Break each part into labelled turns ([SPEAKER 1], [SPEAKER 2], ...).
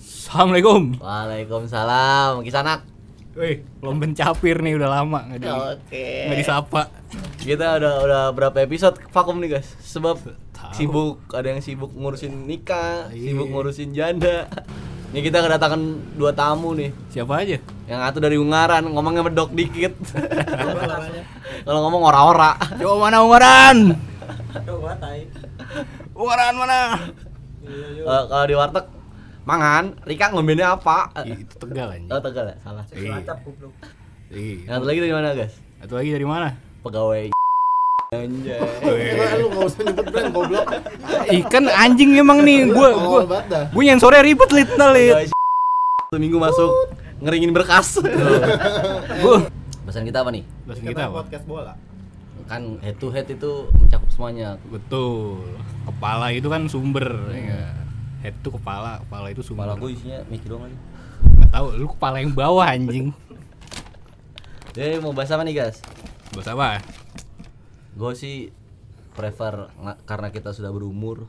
[SPEAKER 1] Assalamualaikum.
[SPEAKER 2] Waalaikumsalam, Kisanak.
[SPEAKER 1] Wih, lomben capir nih udah lama nggak di
[SPEAKER 2] Oke.
[SPEAKER 1] nggak disapa.
[SPEAKER 2] Kita udah udah berapa episode vakum nih guys? Sebab
[SPEAKER 1] Tahu.
[SPEAKER 2] sibuk, ada yang sibuk ngurusin nikah,
[SPEAKER 1] Iya.
[SPEAKER 2] sibuk ngurusin janda. Ini kita kedatangan dua tamu nih.
[SPEAKER 1] Siapa aja?
[SPEAKER 2] Yang satu dari Ungaran, ngomongnya medok dikit.
[SPEAKER 3] Iya,
[SPEAKER 2] Kalau ngomong ora-ora.
[SPEAKER 1] Coba mana Ungaran?
[SPEAKER 4] Coba tai.
[SPEAKER 1] Ungaran mana?
[SPEAKER 3] iya.
[SPEAKER 2] Eh, Kalau di warteg mangan, Rika ngombinnya apa?
[SPEAKER 1] Ih, Itu Tegal anjing.
[SPEAKER 2] Oh, Tegal ya? Salah.
[SPEAKER 1] Iya.
[SPEAKER 4] Cuaca goblok.
[SPEAKER 1] Ih,
[SPEAKER 2] Yang satu lagi dari mana, guys?
[SPEAKER 1] Satu lagi dari mana?
[SPEAKER 2] Pegawai Anjay.
[SPEAKER 3] Eh, lu nggak usah nyebut brand goblok.
[SPEAKER 1] Ikan kan anjing emang nih gua gua
[SPEAKER 3] Tolol banget dah. Iya,
[SPEAKER 1] gua nyensornya ribet lit nalit.
[SPEAKER 2] Pegawai Satu minggu masuk ngeringin berkas.
[SPEAKER 3] Iya,
[SPEAKER 1] Gua
[SPEAKER 2] Pesan kita apa nih?
[SPEAKER 1] Bahas
[SPEAKER 3] Ini
[SPEAKER 1] kita
[SPEAKER 3] kan
[SPEAKER 1] apa?
[SPEAKER 3] podcast bola.
[SPEAKER 2] Kan head to head itu mencakup semuanya.
[SPEAKER 1] Betul. Kepala itu kan sumber ya. Head itu kepala, kepala itu sumber.
[SPEAKER 2] Malah gue isinya mikir doang aja.
[SPEAKER 1] Nggak tahu lu kepala yang bawah anjing.
[SPEAKER 2] Jadi Eh, mau bahas apa nih guys?
[SPEAKER 1] Bahas apa?
[SPEAKER 2] Gue sih prefer nga- karena kita sudah berumur.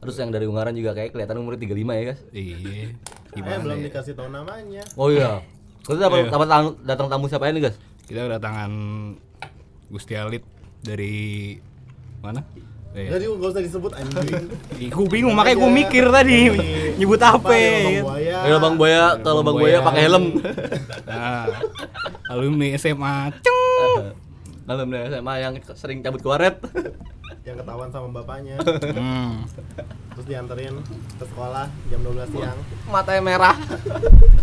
[SPEAKER 2] Terus yang dari Ungaran juga kayak kelihatan umurnya 35 ya guys.
[SPEAKER 1] Iya.
[SPEAKER 3] Eh,
[SPEAKER 1] Gimana?
[SPEAKER 3] belum
[SPEAKER 1] ya?
[SPEAKER 3] dikasih tahu namanya.
[SPEAKER 2] Oh iya. Kita dapat
[SPEAKER 1] Iya.
[SPEAKER 2] dapat tang- datang tamu siapa ini guys?
[SPEAKER 1] kita kedatangan Gusti Alit dari mana? Eh,
[SPEAKER 3] Jadi nggak usah disebut anjing.
[SPEAKER 1] ih, gua bingung makanya gue mikir tadi nyebut apa.
[SPEAKER 3] ya,
[SPEAKER 1] ya
[SPEAKER 3] Bang
[SPEAKER 1] kan?
[SPEAKER 3] Buaya.
[SPEAKER 2] Ayo Bang Boya, kalau Bang Boya pakai helm.
[SPEAKER 1] Nah, alumni SMA. Ceng.
[SPEAKER 2] Kalau dari SMA yang sering cabut ke waret.
[SPEAKER 3] Yang ketahuan sama bapaknya.
[SPEAKER 1] Hmm.
[SPEAKER 3] Terus dianterin ke sekolah jam 12 siang.
[SPEAKER 2] Matanya merah.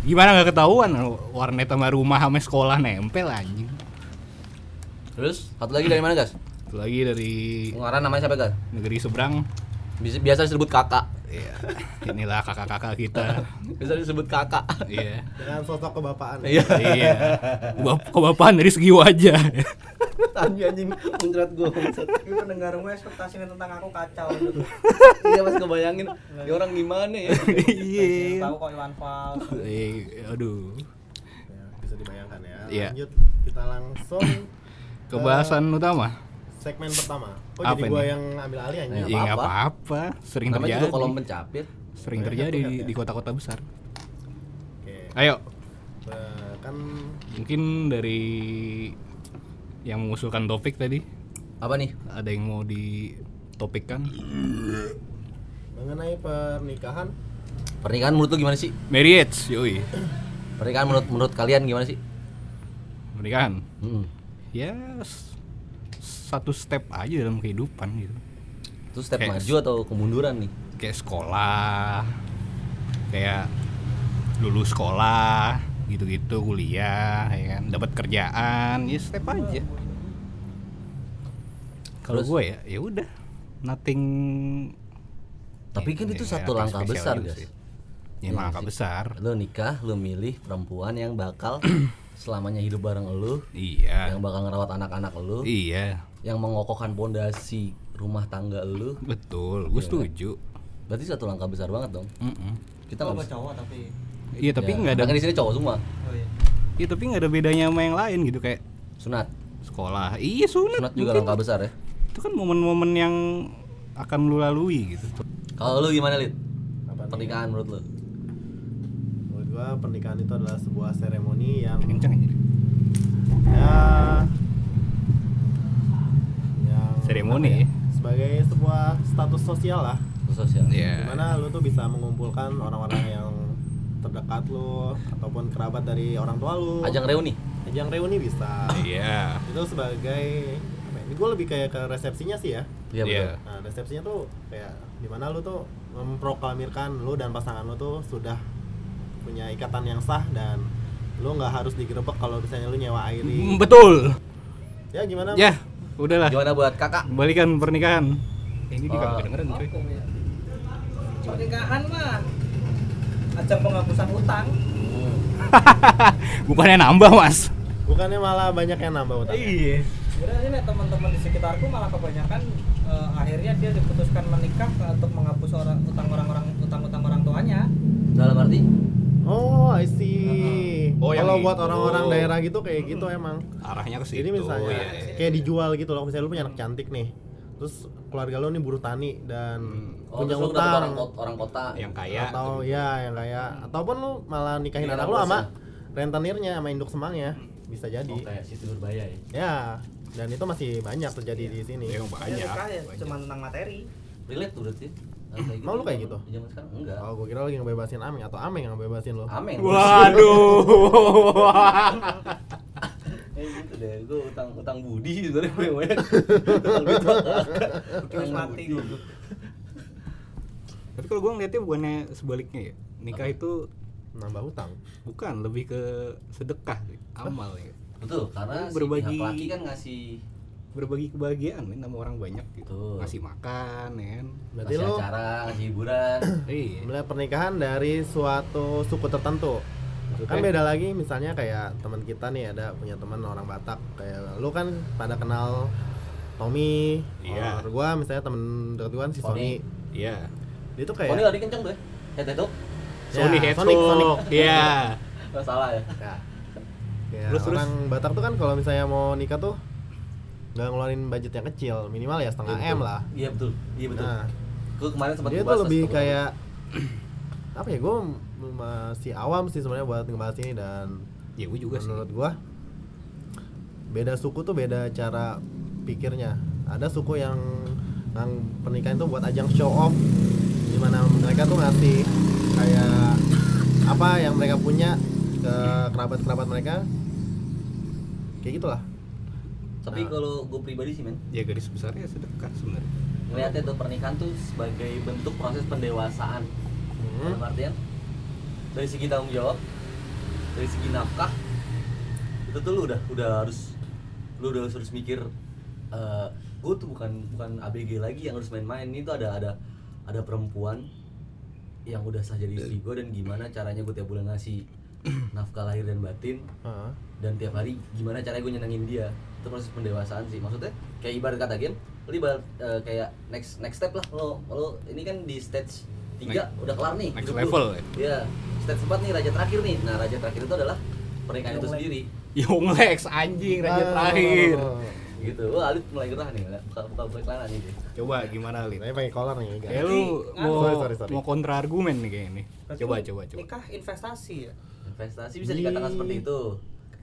[SPEAKER 1] Gimana nggak ketahuan warnet sama rumah sama sekolah nempel anjing.
[SPEAKER 2] Terus satu lagi dari mana guys?
[SPEAKER 1] Satu lagi dari
[SPEAKER 2] Ungaran namanya siapa guys?
[SPEAKER 1] negeri seberang.
[SPEAKER 2] Bisa- Biasa disebut kakak.
[SPEAKER 1] Iya. Inilah kakak-kakak kita.
[SPEAKER 2] Bisa disebut kakak.
[SPEAKER 1] Iya.
[SPEAKER 3] Dengan sosok kebapaan.
[SPEAKER 2] Iya.
[SPEAKER 1] Iya. Bap- Kebapaan dari segi wajah.
[SPEAKER 2] Tadi anjing muncrat gue.
[SPEAKER 4] Tapi pendengar gue ekspektasinya tentang aku kacau.
[SPEAKER 2] iya mas kebayangin ya orang gimana ya
[SPEAKER 4] Pengen
[SPEAKER 1] Iya.
[SPEAKER 4] Tahu kok Iwan Fals.
[SPEAKER 1] Eh, Aduh.
[SPEAKER 3] Ya, bisa dibayangkan ya.
[SPEAKER 1] Iya.
[SPEAKER 3] Lanjut kita langsung
[SPEAKER 1] Ke
[SPEAKER 2] Eh,
[SPEAKER 1] bahasan utama.
[SPEAKER 3] segmen pertama. Oh,
[SPEAKER 1] Apa
[SPEAKER 3] jadi gua
[SPEAKER 1] ini?
[SPEAKER 3] yang ambil alih anjing.
[SPEAKER 2] Nggak
[SPEAKER 1] Ya nggak
[SPEAKER 2] apa-apa.
[SPEAKER 1] apa-apa, sering
[SPEAKER 2] namanya
[SPEAKER 1] terjadi.
[SPEAKER 2] juga Iya, kolom pencapit
[SPEAKER 1] Sering
[SPEAKER 3] Namanya
[SPEAKER 1] terjadi
[SPEAKER 3] satu
[SPEAKER 1] di,
[SPEAKER 3] kan, ya?
[SPEAKER 1] di kota-kota besar.
[SPEAKER 3] Oke.
[SPEAKER 1] Ayo,
[SPEAKER 3] Eh, Kan
[SPEAKER 1] mungkin dari yang mengusulkan topik tadi
[SPEAKER 2] apa nih
[SPEAKER 1] ada yang mau ditopikkan?
[SPEAKER 3] mengenai pernikahan
[SPEAKER 2] pernikahan menurut lu gimana sih
[SPEAKER 1] Marriage, yoi.
[SPEAKER 2] pernikahan menurut menurut kalian gimana sih
[SPEAKER 1] Pernikahan.
[SPEAKER 2] hmm.
[SPEAKER 1] Ya s- satu step aja dalam kehidupan gitu.
[SPEAKER 2] itu step
[SPEAKER 1] Kayak-
[SPEAKER 2] maju atau kemunduran nih
[SPEAKER 1] Kayak sekolah, kayak dulu sekolah, gitu-gitu kuliah, ya kan, dapat kerjaan, ya step aja. Kalau
[SPEAKER 2] Terus?
[SPEAKER 1] gue ya, ya udah, nothing.
[SPEAKER 2] tapi
[SPEAKER 1] Ya,
[SPEAKER 2] kan itu
[SPEAKER 1] ya,
[SPEAKER 2] satu
[SPEAKER 1] apa
[SPEAKER 2] langkah
[SPEAKER 1] spesial
[SPEAKER 2] besar
[SPEAKER 1] juga
[SPEAKER 2] guys
[SPEAKER 1] sih. Ya,
[SPEAKER 2] Iya
[SPEAKER 1] langkah
[SPEAKER 2] sih.
[SPEAKER 1] besar.
[SPEAKER 2] lu nikah lu milih perempuan yang bakal selamanya hidup bareng lu
[SPEAKER 1] Iya,
[SPEAKER 2] yang bakal ngerawat anak-anak lu
[SPEAKER 1] iya,
[SPEAKER 2] yang mengokohkan pondasi rumah tangga lu
[SPEAKER 1] betul.
[SPEAKER 2] Iya.
[SPEAKER 1] Gue setuju.
[SPEAKER 2] berarti satu langkah besar banget dong
[SPEAKER 1] Mm-mm.
[SPEAKER 2] kita
[SPEAKER 4] Kita
[SPEAKER 2] nggak
[SPEAKER 4] gua
[SPEAKER 2] bisa-
[SPEAKER 4] cowok tapi.
[SPEAKER 1] Iya, tapi
[SPEAKER 2] Ya,
[SPEAKER 1] nggak ada.
[SPEAKER 2] karena kan di sini cowok semua
[SPEAKER 4] Oh iya.
[SPEAKER 1] Iya, tapi nggak ada bedanya sama yang lain gitu kayak
[SPEAKER 2] sunat
[SPEAKER 1] sekolah. Iya, sunat.
[SPEAKER 2] sunat juga
[SPEAKER 1] mungkin.
[SPEAKER 2] langkah besar ya
[SPEAKER 1] Itu kan momen-momen yang akan lu lalui gitu.
[SPEAKER 2] kalau lu gimana lid
[SPEAKER 3] apa nih?
[SPEAKER 2] pernikahan menurut lu
[SPEAKER 3] Menurut gua pernikahan itu adalah sebuah seremoni yang
[SPEAKER 1] Kencang aja.
[SPEAKER 3] ya
[SPEAKER 1] Ya,
[SPEAKER 3] yang
[SPEAKER 1] Seremoni.
[SPEAKER 3] sebagai sebuah status sosial lah
[SPEAKER 2] sosial
[SPEAKER 1] Iya.
[SPEAKER 3] dimana lu tuh bisa mengumpulkan orang-orang yang terdekat lu ataupun kerabat dari orang tua lu
[SPEAKER 2] ajang reuni
[SPEAKER 3] Ajang reuni bisa
[SPEAKER 1] Iya.
[SPEAKER 3] itu sebagai apa ya, ini gue lebih kayak ke resepsinya sih ya
[SPEAKER 2] Iya
[SPEAKER 1] Iya.
[SPEAKER 2] betul.
[SPEAKER 3] nah resepsinya tuh kayak dimana lu tuh memproklamirkan lu dan pasangan lu tuh sudah punya ikatan yang sah dan lu nggak harus digerebek kalau misalnya lu nyewa
[SPEAKER 1] Mm,
[SPEAKER 3] airi
[SPEAKER 1] Betul.
[SPEAKER 3] ya gimana
[SPEAKER 1] Ya, udahlah.
[SPEAKER 2] Gimana buat kakak?
[SPEAKER 1] Balikan pernikahan. Oh. Ini
[SPEAKER 2] di kagak
[SPEAKER 1] kedengeran
[SPEAKER 4] Pernikahan mah ajang penghapusan utang.
[SPEAKER 3] Hmm.
[SPEAKER 1] Bukannya nambah, Mas.
[SPEAKER 3] bukannya malah banyak yang nambah utang
[SPEAKER 1] Iya.
[SPEAKER 4] Sebenarnya ini teman-teman di sekitarku malah kebanyakan eh, akhirnya dia diputuskan menikah eh, untuk menghapus orang utang orang-orang utang-utang orang tuanya.
[SPEAKER 2] Dalam arti
[SPEAKER 3] Oh, I see.
[SPEAKER 1] Oh, yang
[SPEAKER 3] Kalau
[SPEAKER 1] itu.
[SPEAKER 3] buat orang-orang daerah gitu kayak gitu emang.
[SPEAKER 1] Arahnya ke situ.
[SPEAKER 3] Jadi misalnya
[SPEAKER 1] ya.
[SPEAKER 3] kayak dijual gitu loh. Misalnya lu punya anak cantik nih. terus keluarga lo nih buruh tani dan
[SPEAKER 1] Hmm.
[SPEAKER 2] Oh,
[SPEAKER 3] punya
[SPEAKER 2] terus lu dapet
[SPEAKER 3] utang
[SPEAKER 2] orang kota, orang kota.
[SPEAKER 1] yang kaya
[SPEAKER 3] atau ya yang kaya ataupun lu malah nikahin
[SPEAKER 2] Iya,
[SPEAKER 3] anak
[SPEAKER 2] anak
[SPEAKER 3] lu
[SPEAKER 2] bos
[SPEAKER 3] sama rentenirnya sama induk semangnya bisa jadi
[SPEAKER 5] Oh, kayak sistem berbahaya ya.
[SPEAKER 3] ya dan itu masih banyak terjadi di sini
[SPEAKER 1] Iya. yang
[SPEAKER 4] Ya,
[SPEAKER 1] banyak,
[SPEAKER 4] nikah ya
[SPEAKER 1] banyak.
[SPEAKER 4] cuma tentang materi
[SPEAKER 2] Relate tuh berarti. Nah, kayak
[SPEAKER 3] Emang Eh, lu kayak gitu?
[SPEAKER 2] Zaman sekarang enggak.
[SPEAKER 3] oh gue kira lagi ngebebasin Ameng atau Ameng yang ngebebasin lo
[SPEAKER 2] Ameng.
[SPEAKER 1] waduh
[SPEAKER 2] Eh gitu deh, gue utang utang budi sih sebenarnya gue banyak. Utang duit buat kakak.
[SPEAKER 4] terus mati goblok.
[SPEAKER 1] tapi kalau gue ngeliatnya bukannya sebaliknya ya nikah itu
[SPEAKER 3] nambah hutang
[SPEAKER 1] bukan lebih ke sedekah sih. amal ya
[SPEAKER 2] Betul, karena si
[SPEAKER 1] Berbagi.
[SPEAKER 2] pihak laki kan ngasih
[SPEAKER 1] berbagi kebahagiaan nih sama orang banyak
[SPEAKER 2] Betul.
[SPEAKER 1] gitu ngasih makan ya kan
[SPEAKER 3] berarti
[SPEAKER 2] ngasih
[SPEAKER 3] lo
[SPEAKER 2] acara, ngasih hiburan.
[SPEAKER 1] iya
[SPEAKER 3] melihat pernikahan dari suatu suku tertentu kan
[SPEAKER 1] Maksudnya?
[SPEAKER 3] beda lagi misalnya kayak teman kita nih ada punya teman orang Batak kayak lu kan pada kenal Tommy
[SPEAKER 1] Iya.
[SPEAKER 3] orang gua misalnya temen deket gua kan si
[SPEAKER 2] Sony.
[SPEAKER 3] Sony
[SPEAKER 1] iya
[SPEAKER 3] dia tuh
[SPEAKER 2] Poni
[SPEAKER 3] kayak
[SPEAKER 2] lari kenceng tuh. Head head tuh.
[SPEAKER 1] Sony
[SPEAKER 3] Ya,
[SPEAKER 1] Hedgehog
[SPEAKER 3] Sonic, Sonic.
[SPEAKER 1] iya
[SPEAKER 2] Enggak salah ya.
[SPEAKER 3] Ya. Ya,
[SPEAKER 1] Terus, terus.
[SPEAKER 3] orang Batak tuh kan kalau misalnya mau nikah tuh nggak ngeluarin budget yang kecil, minimal ya setengah
[SPEAKER 2] Betul.
[SPEAKER 3] M lah.
[SPEAKER 2] Iya betul. Iya betul.
[SPEAKER 3] Nah,
[SPEAKER 2] Gue kemarin sempat
[SPEAKER 3] dia tuh
[SPEAKER 2] ngebahas
[SPEAKER 3] lebih
[SPEAKER 1] kan?
[SPEAKER 2] sama-
[SPEAKER 3] kayak apa ya? Gue masih awam sih sebenarnya buat ngebahas ini dan
[SPEAKER 1] ya gue juga sih
[SPEAKER 3] menurut gua beda suku tuh beda cara pikirnya. Ada suku yang yang pernikahan tuh buat ajang show off dimana mereka tuh ngasih kayak apa yang mereka punya ke kerabat-kerabat mereka kayak gitulah
[SPEAKER 2] Tapi
[SPEAKER 3] Nah.
[SPEAKER 2] kalau gue pribadi sih men,
[SPEAKER 1] ya garis besarnya sedekah sebenarnya
[SPEAKER 2] ngeliatnya tuh pernikahan tuh sebagai bentuk proses pendewasaan.
[SPEAKER 3] Hmm.
[SPEAKER 2] Dalam artian dari segi tanggung jawab, dari segi nafkah, itu tuh lu udah udah harus lu udah harus, harus mikir gue tuh bukan bukan ABG lagi yang harus main-main ini tuh ada ada ada perempuan yang udah sah jadi istri gue dan gimana caranya gue tiap bulan ngasih nafkah lahir dan batin
[SPEAKER 3] Heeh.
[SPEAKER 2] dan tiap hari gimana caranya gue nyenengin dia itu proses pendewasaan sih maksudnya kayak ibarat kata game lu ibarat eh, kayak next next step lah lo lo ini kan di stage 3
[SPEAKER 1] Next-
[SPEAKER 2] udah kelar nih
[SPEAKER 1] next
[SPEAKER 2] hidup lu.
[SPEAKER 1] level ya.
[SPEAKER 2] Iya, stage 4 nih raja terakhir nih nah raja terakhir itu adalah pernikahan itu
[SPEAKER 4] Yang lain.
[SPEAKER 2] sendiri
[SPEAKER 1] Yonglex Ya, anjing raja
[SPEAKER 3] Ah,
[SPEAKER 1] terakhir
[SPEAKER 2] gitu wah alit mulai gerah nih buka buka buka celana nih dia
[SPEAKER 1] coba gimana Lin?
[SPEAKER 3] Saya pakai collar nih, guys.
[SPEAKER 1] Ya lu
[SPEAKER 4] Tapi,
[SPEAKER 1] mau
[SPEAKER 3] sorry, sorry, sorry.
[SPEAKER 1] mau kontra argumen nih kayaknya nih.
[SPEAKER 4] Berarti
[SPEAKER 1] Coba coba coba.
[SPEAKER 4] nikah investasi ya
[SPEAKER 2] investasi bisa dikatakan seperti itu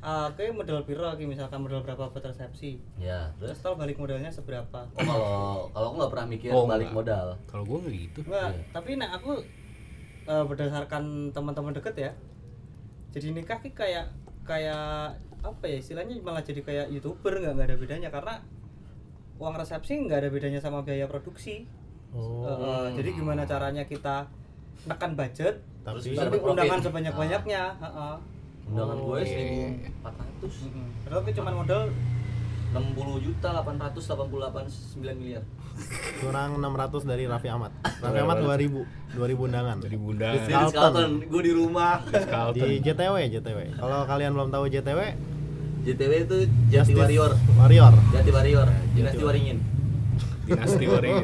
[SPEAKER 4] Ah, kayak modal piro ki misalkan modal berapa buat resepsi
[SPEAKER 2] ya
[SPEAKER 4] terus
[SPEAKER 2] terus
[SPEAKER 4] tau balik modalnya seberapa
[SPEAKER 2] oh, kalau kalau aku nggak pernah mikir
[SPEAKER 1] Oh,
[SPEAKER 2] balik
[SPEAKER 1] nggak.
[SPEAKER 2] modal
[SPEAKER 1] Kalau gua nggak gitu.
[SPEAKER 4] Mbak, tapi nah aku eh, berdasarkan teman-teman deket ya. Jadi nikah ki kayak kayak apa ya istilahnya malah jadi kayak youtuber nggak nggak ada bedanya karena uang resepsi nggak ada bedanya sama biaya produksi.
[SPEAKER 3] Oh.
[SPEAKER 4] Eh, eh, jadi gimana caranya kita tekan budget
[SPEAKER 3] Tapi
[SPEAKER 2] Terus bisa dapat
[SPEAKER 4] tapi
[SPEAKER 2] profit.
[SPEAKER 4] undangan sebanyak-banyaknya. heeh.
[SPEAKER 2] undangan gue
[SPEAKER 1] Oke.
[SPEAKER 2] seribu empat ratus
[SPEAKER 4] Mm-mm. Padahal ki cuma modal
[SPEAKER 2] 60 juta 888 9 miliar.
[SPEAKER 3] kurang 600 dari Raffi Ahmad. Raffi Ahmad 2000, 2000 undangan.
[SPEAKER 1] Dari bunda
[SPEAKER 3] Ritz
[SPEAKER 2] Ritz Carlton, gue di rumah.
[SPEAKER 1] Carlton.
[SPEAKER 3] Di JTW, JTW. Kalau kalian belum tahu JTW,
[SPEAKER 2] JTW itu Jati
[SPEAKER 3] Justice
[SPEAKER 2] Warrior.
[SPEAKER 3] Warrior.
[SPEAKER 2] Jati Warrior, Dinasti
[SPEAKER 3] Jati-
[SPEAKER 2] Waringin.
[SPEAKER 1] Dinasti ya. Warrior.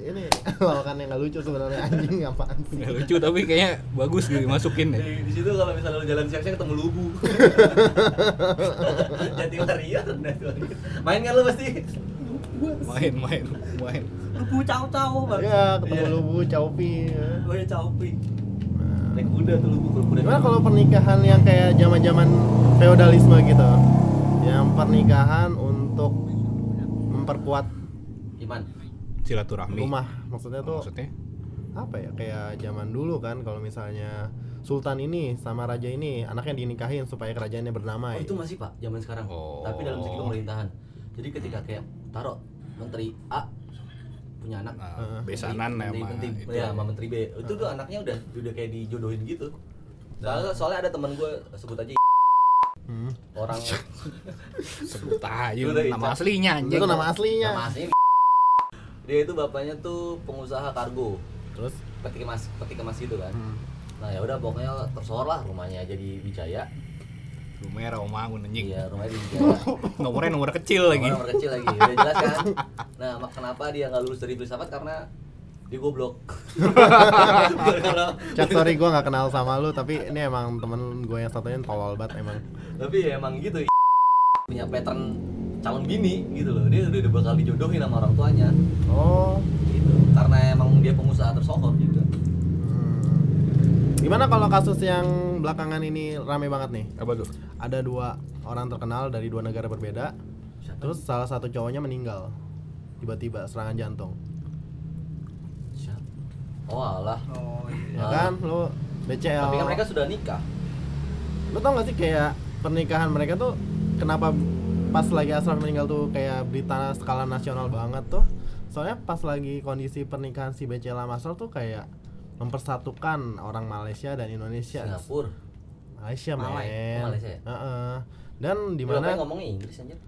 [SPEAKER 3] Ini lawakan yang nggak lucu sebenarnya anjing apaan sih?
[SPEAKER 2] Iya,
[SPEAKER 1] Nggak lucu tapi kayaknya bagus gitu
[SPEAKER 3] Nah.
[SPEAKER 1] dimasukin ya.
[SPEAKER 2] Di, di situ kalau misalnya lu jalan siang-siang ketemu lubu. Jati Warrior, Dinasti Waringin. Main kan lu pasti?
[SPEAKER 1] Main main main.
[SPEAKER 4] lubu cau-cau banget.
[SPEAKER 3] Ya, ketemu
[SPEAKER 2] Iya.
[SPEAKER 3] lu Bu Chaupi.
[SPEAKER 2] Gue ya caupi.
[SPEAKER 3] Nah.
[SPEAKER 2] Naik kuda tuh lubu, kalau kuda.
[SPEAKER 3] Gimana kalau pernikahan yang kayak zaman-zaman feodalisme gitu? Yang pernikahan untuk memperkuat
[SPEAKER 2] Iman.
[SPEAKER 1] Silaturahmi.
[SPEAKER 3] rumah. Maksudnya tuh
[SPEAKER 1] Maksudnya?
[SPEAKER 3] apa ya kayak zaman dulu kan kalau misalnya sultan ini sama raja ini anaknya dinikahin supaya kerajaannya
[SPEAKER 2] Oh,
[SPEAKER 3] bernama
[SPEAKER 2] itu masih Pak, zaman sekarang.
[SPEAKER 1] Iya. Oh. Hmm.
[SPEAKER 2] Tapi dalam segi pemerintahan. Jadi ketika kayak taruh menteri A punya anak eh,
[SPEAKER 1] Nah, besanan
[SPEAKER 2] menteri,
[SPEAKER 1] sama
[SPEAKER 2] menteri,
[SPEAKER 1] itu.
[SPEAKER 2] menteri, ya, sama menteri B itu tuh anaknya udah udah kayak dijodohin gitu
[SPEAKER 1] Nah.
[SPEAKER 2] soalnya, soalnya ada teman gue sebut aja
[SPEAKER 3] Hmm.
[SPEAKER 2] orang
[SPEAKER 1] Sebut aja
[SPEAKER 2] Udah,
[SPEAKER 1] nama
[SPEAKER 2] Ica.
[SPEAKER 1] aslinya anjing.
[SPEAKER 3] itu nama aslinya
[SPEAKER 2] nama aslinya dia itu bapaknya tuh pengusaha kargo
[SPEAKER 3] terus
[SPEAKER 2] peti kemas peti kemas gitu kan
[SPEAKER 3] hmm,
[SPEAKER 2] nah ya udah pokoknya tersohor lah rumahnya jadi Wijaya
[SPEAKER 1] Rumahnya Romangun anjing.
[SPEAKER 2] iya rumahnya di Wijaya
[SPEAKER 1] Nomornya nomor kecil lagi.
[SPEAKER 2] Orang-orang kecil lagi udah jelas kan nah mak- kenapa dia nggak lulus dari filsafat karena dia goblok Karena-
[SPEAKER 3] Cak sorry gue nggak kenal sama lu tapi ini emang temen gue yang satunya tolol banget emang
[SPEAKER 2] tapi ya emang gitu punya pattern calon bini gitu loh dia udah, udah bakal dijodohin sama orang tuanya
[SPEAKER 3] oh
[SPEAKER 2] gitu karena emang dia pengusaha tersohor gitu
[SPEAKER 3] Hmm. gimana kalau kasus yang belakangan ini rame banget nih
[SPEAKER 1] apa tuh
[SPEAKER 3] ada dua orang terkenal dari dua negara berbeda
[SPEAKER 2] Siapa?
[SPEAKER 3] terus salah satu cowoknya meninggal tiba-tiba serangan jantung
[SPEAKER 2] Siap. oh alah
[SPEAKER 4] oh iya.
[SPEAKER 3] ya
[SPEAKER 2] Ah.
[SPEAKER 3] kan lu BCL
[SPEAKER 2] tapi kan mereka sudah nikah
[SPEAKER 3] lu tau gak sih kayak pernikahan mereka tuh kenapa pas lagi Ashraf meninggal tuh kayak berita skala nasional banget tuh soalnya pas lagi kondisi pernikahan si BCL sama Ashraf tuh kayak mempersatukan orang Malaysia dan Indonesia
[SPEAKER 2] Singapura
[SPEAKER 3] Malaysia men
[SPEAKER 2] Malai. Oh, Malaysia ya?
[SPEAKER 3] Heeh. dan di
[SPEAKER 2] Lu
[SPEAKER 3] mana
[SPEAKER 2] ngapain ngomongnya Inggris anjir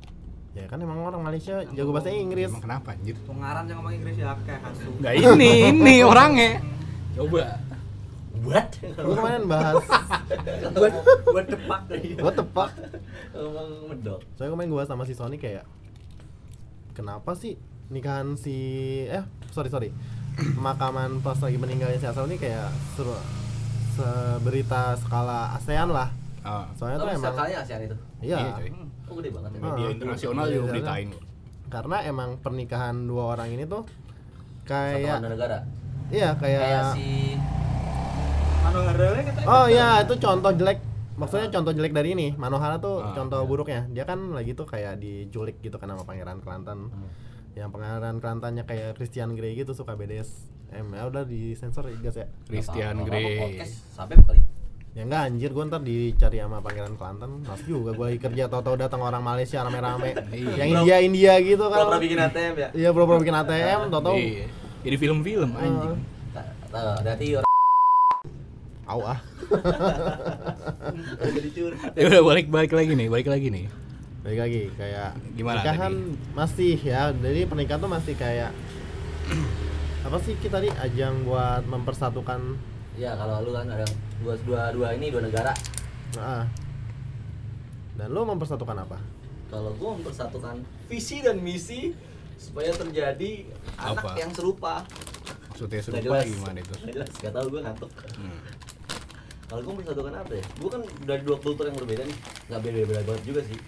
[SPEAKER 3] ya kan emang orang Malaysia jago bahasa Inggris
[SPEAKER 1] emang kenapa anjir
[SPEAKER 4] pengarang yang ngomong Inggris ya kayak hasu
[SPEAKER 1] nggak ini ini orangnya coba
[SPEAKER 2] buat
[SPEAKER 3] lu kemarin bahas
[SPEAKER 2] buat buat tepak
[SPEAKER 3] what the fuck
[SPEAKER 2] ngomong medok
[SPEAKER 3] soalnya kemarin gue bahas sama si Sony kayak kenapa sih nikahan si eh sorry sorry pemakaman pas lagi meninggalnya si Asal ini kayak seru seberita skala ASEAN lah
[SPEAKER 1] Ah,
[SPEAKER 2] oh,
[SPEAKER 3] soalnya tuh emang
[SPEAKER 2] sekalinya ASEAN itu
[SPEAKER 3] iya
[SPEAKER 1] cuy.
[SPEAKER 2] oh gede banget ya
[SPEAKER 3] Ah.
[SPEAKER 1] media internasional juga
[SPEAKER 3] Iya,
[SPEAKER 1] beritain
[SPEAKER 3] karena emang pernikahan dua orang ini tuh
[SPEAKER 2] satu
[SPEAKER 3] kayak
[SPEAKER 2] warna negara
[SPEAKER 3] iya kayak,
[SPEAKER 2] kayak si
[SPEAKER 4] Manohara katanya
[SPEAKER 3] oh iya itu contoh jelek maksudnya contoh jelek dari ini Manohara tuh
[SPEAKER 1] Ah,
[SPEAKER 2] iya.
[SPEAKER 3] contoh buruknya dia kan lagi tuh kayak diculik gitu kan sama pangeran Kelantan yang pengarang Kelantannya kayak Christian Grey gitu suka BDS em ya udah di sensor ya, gas ya
[SPEAKER 1] Christian
[SPEAKER 2] Apa-apa
[SPEAKER 1] Grey
[SPEAKER 2] podcast sabep kali
[SPEAKER 3] ya enggak anjir gue ntar dicari sama pangeran Kelantan mas juga gue lagi kerja tau-tau datang orang Malaysia rame-rame
[SPEAKER 1] Iya.
[SPEAKER 3] yang India India gitu
[SPEAKER 2] Gak pernah
[SPEAKER 3] kan
[SPEAKER 2] bikin ATM ya
[SPEAKER 3] iya bro bro bikin ATM tau-tau
[SPEAKER 1] Iya. jadi film-film anjing
[SPEAKER 2] Nah, berarti orang
[SPEAKER 3] au ah
[SPEAKER 2] jadi curhat
[SPEAKER 1] ya udah balik balik lagi nih balik lagi nih
[SPEAKER 3] balik lagi kayak
[SPEAKER 1] Gimana
[SPEAKER 3] pernikahan masih ya jadi pernikahan tuh masih kayak apa sih kita tadi ajang buat mempersatukan
[SPEAKER 2] Ya kalau lu kan ada dua, dua, dua ini dua negara
[SPEAKER 3] ah. dan lo mempersatukan apa
[SPEAKER 2] Kalau gua mempersatukan visi dan misi supaya terjadi anak
[SPEAKER 1] Apa?
[SPEAKER 2] yang serupa
[SPEAKER 1] maksudnya
[SPEAKER 2] Nggak
[SPEAKER 1] serupa gimana itu
[SPEAKER 2] Nggak jelas, gak tau gue ngantuk
[SPEAKER 1] Hmm.
[SPEAKER 2] Kalau gua mempersatukan apa ya? Gue kan dari dua kultur yang berbeda nih Gak beda-beda banget juga sih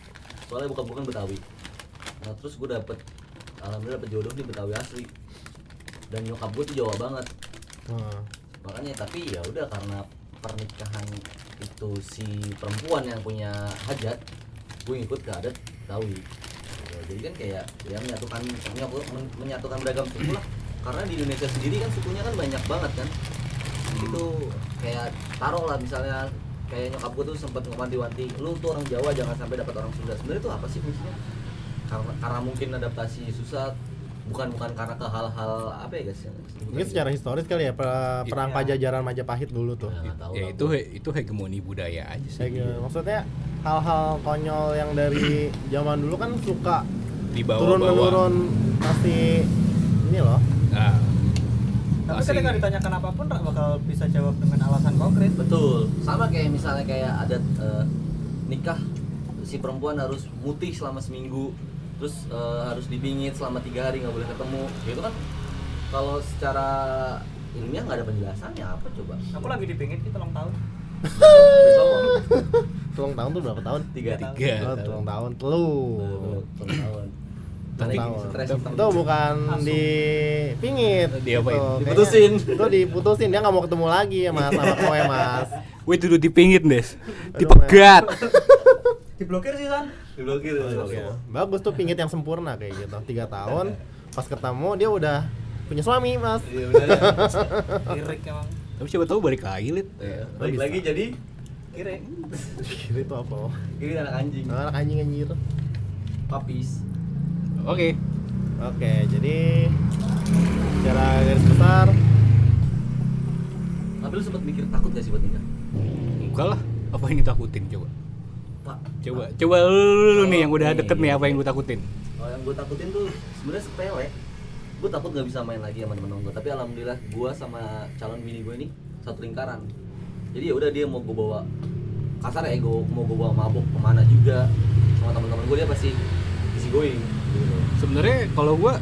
[SPEAKER 2] Soalnya bukan bukan Betawi Nah terus gue dapet Alhamdulillah dapet jodoh nih Betawi asli Dan nyokap gue tuh Jawa banget
[SPEAKER 3] Hmm.
[SPEAKER 2] makanya tapi ya udah karena pernikahan itu si perempuan yang punya hajat gue ngikut ke adat Betawi Ya, jadi kan kayak ya menyatukan menyapu- men- menyatukan beragam suku lah karena di Indonesia sendiri kan sukunya kan banyak banget kan itu kayak taruh lah misalnya kayak nyokap gue tuh sempat ngewanti-wanti lu tuh orang Jawa jangan sampai dapat orang Sunda sebenarnya itu apa sih misinya karena karena mungkin adaptasi susah bukan bukan karena ke hal-hal apa ya guys
[SPEAKER 3] Mungkin secara historis kali ya per- perang
[SPEAKER 2] Iya.
[SPEAKER 3] pajajaran Majapahit dulu tuh.
[SPEAKER 2] Ya, nggak tahu
[SPEAKER 1] ya
[SPEAKER 2] lah
[SPEAKER 1] itu
[SPEAKER 2] gua.
[SPEAKER 1] itu hegemoni budaya aja
[SPEAKER 3] Kayak
[SPEAKER 1] sih
[SPEAKER 3] gitu. maksudnya hal-hal konyol yang dari zaman dulu kan suka
[SPEAKER 1] di bawah
[SPEAKER 3] turun menurun masih ini loh.
[SPEAKER 1] nah,
[SPEAKER 4] tapi
[SPEAKER 1] masih-
[SPEAKER 4] ketika ditanyakan apapun Ra bakal bisa jawab dengan alasan konkret
[SPEAKER 2] Betul. Sama kayak misalnya kayak adat eh, nikah si perempuan harus mutih selama seminggu, terus eh, harus dibingit selama tiga hari nggak boleh ketemu. Ya Itu kan kalau secara ilmiah nggak ada penjelasannya apa coba?
[SPEAKER 4] aku lagi dipingit itu ulang tahun
[SPEAKER 2] Besok kok.
[SPEAKER 3] Tulang tahun tuh berapa tahun?
[SPEAKER 2] tiga Iya, tahun.
[SPEAKER 1] tiga
[SPEAKER 3] Oh, tulang tahun
[SPEAKER 2] Tuh,
[SPEAKER 3] lu.
[SPEAKER 2] tuh, tahun.
[SPEAKER 3] Tulang
[SPEAKER 2] Tapi
[SPEAKER 3] tahun.
[SPEAKER 2] stres
[SPEAKER 3] Itu-
[SPEAKER 2] hitam.
[SPEAKER 3] Itu bukan
[SPEAKER 4] Langsung.
[SPEAKER 3] dipingit.
[SPEAKER 1] Diapain?
[SPEAKER 3] Itu kayaknya-
[SPEAKER 2] ya? Diputusin.
[SPEAKER 3] Itu diputusin dia nggak mau ketemu lagi ya mas sama kowe mas.
[SPEAKER 1] Wih duduk di pinggir des,
[SPEAKER 3] Aduh,
[SPEAKER 1] dipegat.
[SPEAKER 4] diblokir sih san
[SPEAKER 2] Diblokir.
[SPEAKER 3] Oke. Gitu. Bagus tuh pingit yang sempurna kayak gitu. Tiga tahun pas ketemu dia udah punya suami mas.
[SPEAKER 2] Iya benar. ya.
[SPEAKER 4] lirik emang
[SPEAKER 1] Tapi coba tahu balik lagi lid.
[SPEAKER 2] Ya, Balik
[SPEAKER 3] Bisa.
[SPEAKER 2] lagi jadi kiri.
[SPEAKER 3] Kiri Gitu itu apa?
[SPEAKER 2] Kiri anak anjing.
[SPEAKER 3] Anak anjing anjir.
[SPEAKER 2] Papis.
[SPEAKER 1] Oke.
[SPEAKER 3] Oke, jadi secara garis besar
[SPEAKER 2] Tapi lu sempat mikir takut gak sih buat nikah?
[SPEAKER 1] Enggak lah. Apa yang ditakutin coba?
[SPEAKER 2] Pak.
[SPEAKER 1] Coba, coba lu, lu- lu nih yang udah
[SPEAKER 2] Oke.
[SPEAKER 1] deket nih apa yang lu takutin?
[SPEAKER 2] Kalau yang gue takutin tuh sebenarnya sepele. Gue takut nggak bisa main lagi sama temen gue. Tapi alhamdulillah gue sama calon bini gue ini satu lingkaran. Jadi ya udah dia mau gue bawa kasar ya gue mau gue bawa mabuk kemana juga sama teman-teman gue dia pasti easy going. Gitu.
[SPEAKER 1] Sebenarnya kalau gua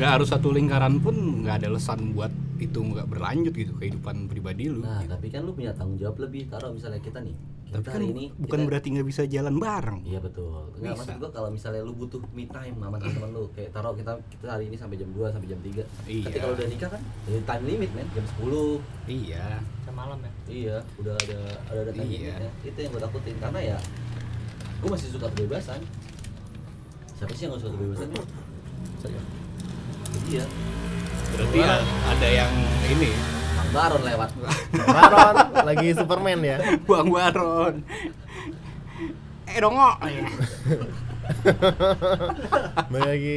[SPEAKER 1] nggak harus satu lingkaran pun nggak ada lesan buat itu nggak berlanjut gitu kehidupan pribadi lu
[SPEAKER 2] Nah,
[SPEAKER 1] gitu.
[SPEAKER 2] tapi kan lu punya tanggung jawab lebih. Taruh misalnya kita nih, kita
[SPEAKER 1] tapi kan
[SPEAKER 2] hari
[SPEAKER 1] bu-
[SPEAKER 2] ini
[SPEAKER 1] bukan
[SPEAKER 2] kita-
[SPEAKER 1] berarti nggak bisa jalan bareng
[SPEAKER 2] Iya betul. Enggak
[SPEAKER 1] Bisa.
[SPEAKER 2] maksud gua kalau misalnya lu butuh me time sama teman-teman lu, kayak taruh kita kita hari ini sampai jam 2 sampai jam 3.
[SPEAKER 1] Iya.
[SPEAKER 2] Tapi kalau udah nikah kan, ya time limit men, jam 10.
[SPEAKER 1] iya
[SPEAKER 4] Jam malam ya.
[SPEAKER 2] Iya, udah ada ada ada time
[SPEAKER 1] Iya.
[SPEAKER 2] limitnya. Itu yang gua takutin karena ya gua masih suka kebebasan. Siapa sih yang gak suka kebebasan? ya? Serius. Iya,
[SPEAKER 1] berarti ya ada yang ini
[SPEAKER 2] Bang Baron lewat.
[SPEAKER 3] Baron lagi Superman ya.
[SPEAKER 1] Bang Baron eh dongok
[SPEAKER 2] Oh, iya.
[SPEAKER 3] Kembali lagi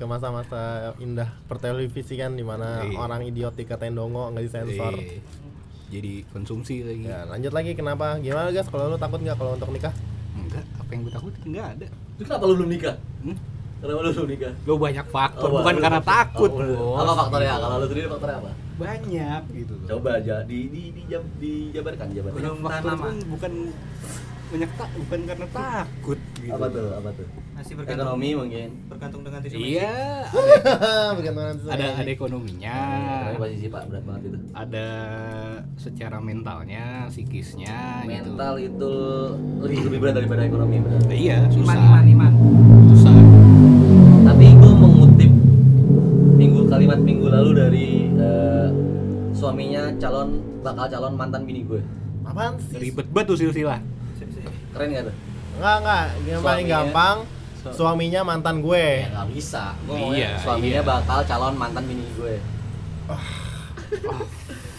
[SPEAKER 3] ke masa-masa indah pertelevisian di mana
[SPEAKER 1] Iya.
[SPEAKER 3] orang idiot dikatain dongo nggak disensor.
[SPEAKER 1] Eh, jadi konsumsi lagi
[SPEAKER 2] Iya.
[SPEAKER 3] Ya, lanjut lagi kenapa? Gimana guys kalau lu takut nggak kalau untuk nikah?
[SPEAKER 1] enggak apa yang gue takutin enggak ada
[SPEAKER 2] Lu kenapa lu belum nikah?
[SPEAKER 1] Hmm?
[SPEAKER 2] Kenapa lu belum nikah?
[SPEAKER 1] lo banyak faktor
[SPEAKER 2] Oh,
[SPEAKER 1] bukan
[SPEAKER 2] lu-
[SPEAKER 1] karena takut
[SPEAKER 2] Oh, lu-
[SPEAKER 1] bos.
[SPEAKER 2] Apa faktornya? Kalau lu sendiri faktornya apa?
[SPEAKER 1] banyak gitu loh.
[SPEAKER 2] Coba aja di di di jam dijabarkan jabarkan.
[SPEAKER 1] banyak faktor
[SPEAKER 4] tanaman.
[SPEAKER 1] tuh bukan banyak tak bukan karena takut gitu
[SPEAKER 2] Apa tuh? Apa tuh?
[SPEAKER 4] Masih bergantung
[SPEAKER 2] Ekonomi mungkin.
[SPEAKER 4] bergantung dengan tisu
[SPEAKER 1] iya
[SPEAKER 3] Bukan ya, orang
[SPEAKER 1] ada ada, ada
[SPEAKER 3] sendiri.
[SPEAKER 1] ekonominya
[SPEAKER 2] Ekonomi pasti sih Pak berat banget
[SPEAKER 1] Nah,
[SPEAKER 2] itu.
[SPEAKER 1] ada secara mentalnya psikisnya gitu
[SPEAKER 2] Mental itu lebih lebih berat daripada ekonomi benar.
[SPEAKER 1] Nah, iya susah
[SPEAKER 4] Iman, iman, iman.
[SPEAKER 1] susah
[SPEAKER 2] Tapi gue mengutip minggu kalimat minggu lalu dari eh, suaminya calon bakal calon mantan bini gue.
[SPEAKER 3] Apaan sih?
[SPEAKER 1] ribet banget tuh silsilah
[SPEAKER 4] Sip, sip.
[SPEAKER 2] Keren gak tuh?
[SPEAKER 3] Enggak, enggak. Yang paling
[SPEAKER 2] Suaminya-
[SPEAKER 3] gampang
[SPEAKER 2] Su-
[SPEAKER 3] suaminya mantan gue.
[SPEAKER 2] Ya nggak bisa. Gue
[SPEAKER 1] Iya,
[SPEAKER 2] suaminya
[SPEAKER 1] iya.
[SPEAKER 2] bakal calon mantan bini gue.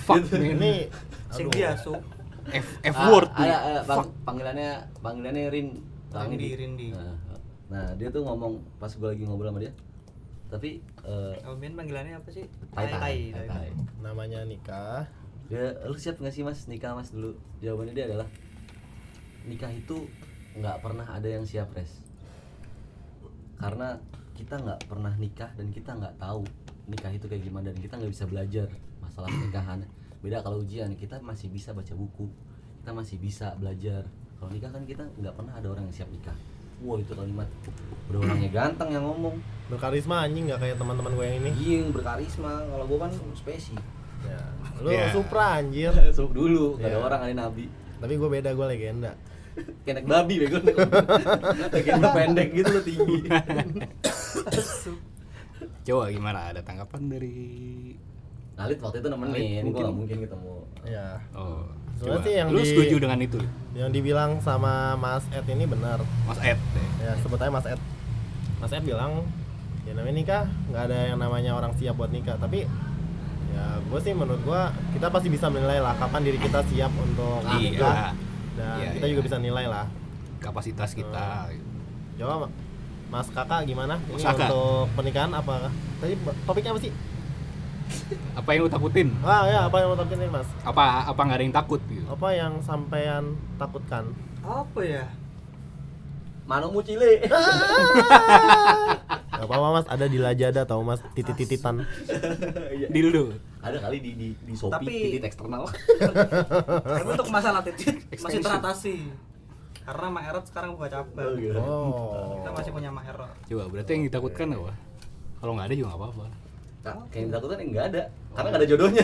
[SPEAKER 1] fuck man
[SPEAKER 3] Ini
[SPEAKER 4] Sing
[SPEAKER 3] aduh.
[SPEAKER 4] biasu.
[SPEAKER 1] f
[SPEAKER 2] Gitu.
[SPEAKER 1] f
[SPEAKER 2] Ah,
[SPEAKER 1] word nih.
[SPEAKER 2] ada, ada,
[SPEAKER 1] fuck
[SPEAKER 2] pang- panggilannya panggilannya Rin. Bang Indi.
[SPEAKER 4] Rindi, Rindi.
[SPEAKER 2] Nah, Nah, dia tuh ngomong pas gue lagi ngobrol sama dia. Tapi eh,
[SPEAKER 4] Amin panggilannya apa sih?
[SPEAKER 2] tai tai,
[SPEAKER 4] tai,
[SPEAKER 2] tai
[SPEAKER 4] tai.
[SPEAKER 2] tai.
[SPEAKER 3] namanya nikah.
[SPEAKER 2] dia Ya, lu siap nggak sih mas nikah mas dulu jawabannya dia adalah nikah itu nggak pernah ada yang siap res karena kita nggak pernah nikah dan kita nggak tahu nikah itu kayak gimana dan kita nggak bisa belajar masalah pernikahan beda kalau ujian kita masih bisa baca buku kita masih bisa belajar kalau nikah kan kita nggak pernah ada orang yang siap nikah wow itu kalimat udah orangnya ganteng yang ngomong
[SPEAKER 3] Berkarisma anjing nggak kayak teman-teman gue yang ini.
[SPEAKER 2] Ying berkarisma kalau gua kan spesi
[SPEAKER 3] Ya. Lu
[SPEAKER 1] Ya.
[SPEAKER 3] supra anjir.
[SPEAKER 2] Suruh dulu nggak ada
[SPEAKER 3] Iya.
[SPEAKER 2] orang ada nabi
[SPEAKER 3] Tapi gue beda, gue legenda.
[SPEAKER 2] kayak naik babi bego kayak lu pendek gitu lo tinggi
[SPEAKER 1] coba gimana ada tanggapan dari
[SPEAKER 2] Alit waktu itu nemenin
[SPEAKER 1] Alit
[SPEAKER 2] gue
[SPEAKER 1] mungkin.
[SPEAKER 2] gak mungkin ketemu
[SPEAKER 3] Ya.
[SPEAKER 1] oh
[SPEAKER 3] Sebenarnya
[SPEAKER 1] coba.
[SPEAKER 3] sih yang
[SPEAKER 1] lu
[SPEAKER 3] di-
[SPEAKER 1] setuju dengan itu Li?
[SPEAKER 3] Yang dibilang sama Mas Ed ini benar.
[SPEAKER 1] mas Ed deh.
[SPEAKER 3] Ya, sebut aja Mas Ed. Mas Ed bilang, ya namanya nikah nggak ada yang namanya orang siap buat nikah. Tapi ya gue sih menurut gue kita pasti bisa menilai lah kapan diri kita siap untuk
[SPEAKER 2] Nah,
[SPEAKER 1] iya
[SPEAKER 3] nikah. Dan
[SPEAKER 1] Iya,
[SPEAKER 3] kita
[SPEAKER 1] iya.
[SPEAKER 3] juga bisa nilai lah.
[SPEAKER 1] kapasitas kita gitu.
[SPEAKER 3] Coba Ma- Mas Kakak gimana? Ini
[SPEAKER 1] Mas Kakak.
[SPEAKER 3] untuk pernikahan apa? Tadi ba- topiknya apa sih?
[SPEAKER 1] apa yang lu takutin
[SPEAKER 3] Ah ya apa yang mau takutin nih, Mas?
[SPEAKER 1] apa apa nggak ada yang takut gitu
[SPEAKER 3] Apa yang sampean takutkan?
[SPEAKER 4] Apa ya?
[SPEAKER 2] Manomu cile
[SPEAKER 3] Gak apa-apa mas, ada di Lajada tau mas, titit-tititan
[SPEAKER 1] dildo
[SPEAKER 2] ada kali di di di Shopee
[SPEAKER 4] Tapi-
[SPEAKER 2] titik eksternal
[SPEAKER 4] Tapi untuk masalah titik masih
[SPEAKER 1] Extension.
[SPEAKER 4] teratasi. Karena Mak Erot sekarang buka
[SPEAKER 2] Oh,
[SPEAKER 4] cabang.
[SPEAKER 1] iya.
[SPEAKER 2] gitu. Nah,
[SPEAKER 3] Oh
[SPEAKER 4] Kita masih punya Mak Erot.
[SPEAKER 1] coba berarti yang ditakutkan apa kalau nggak ada juga nggak apa-apa
[SPEAKER 2] Nah,
[SPEAKER 3] Oh.
[SPEAKER 2] kayak yang ditakutkan yang nggak ada karena nggak ada jodohnya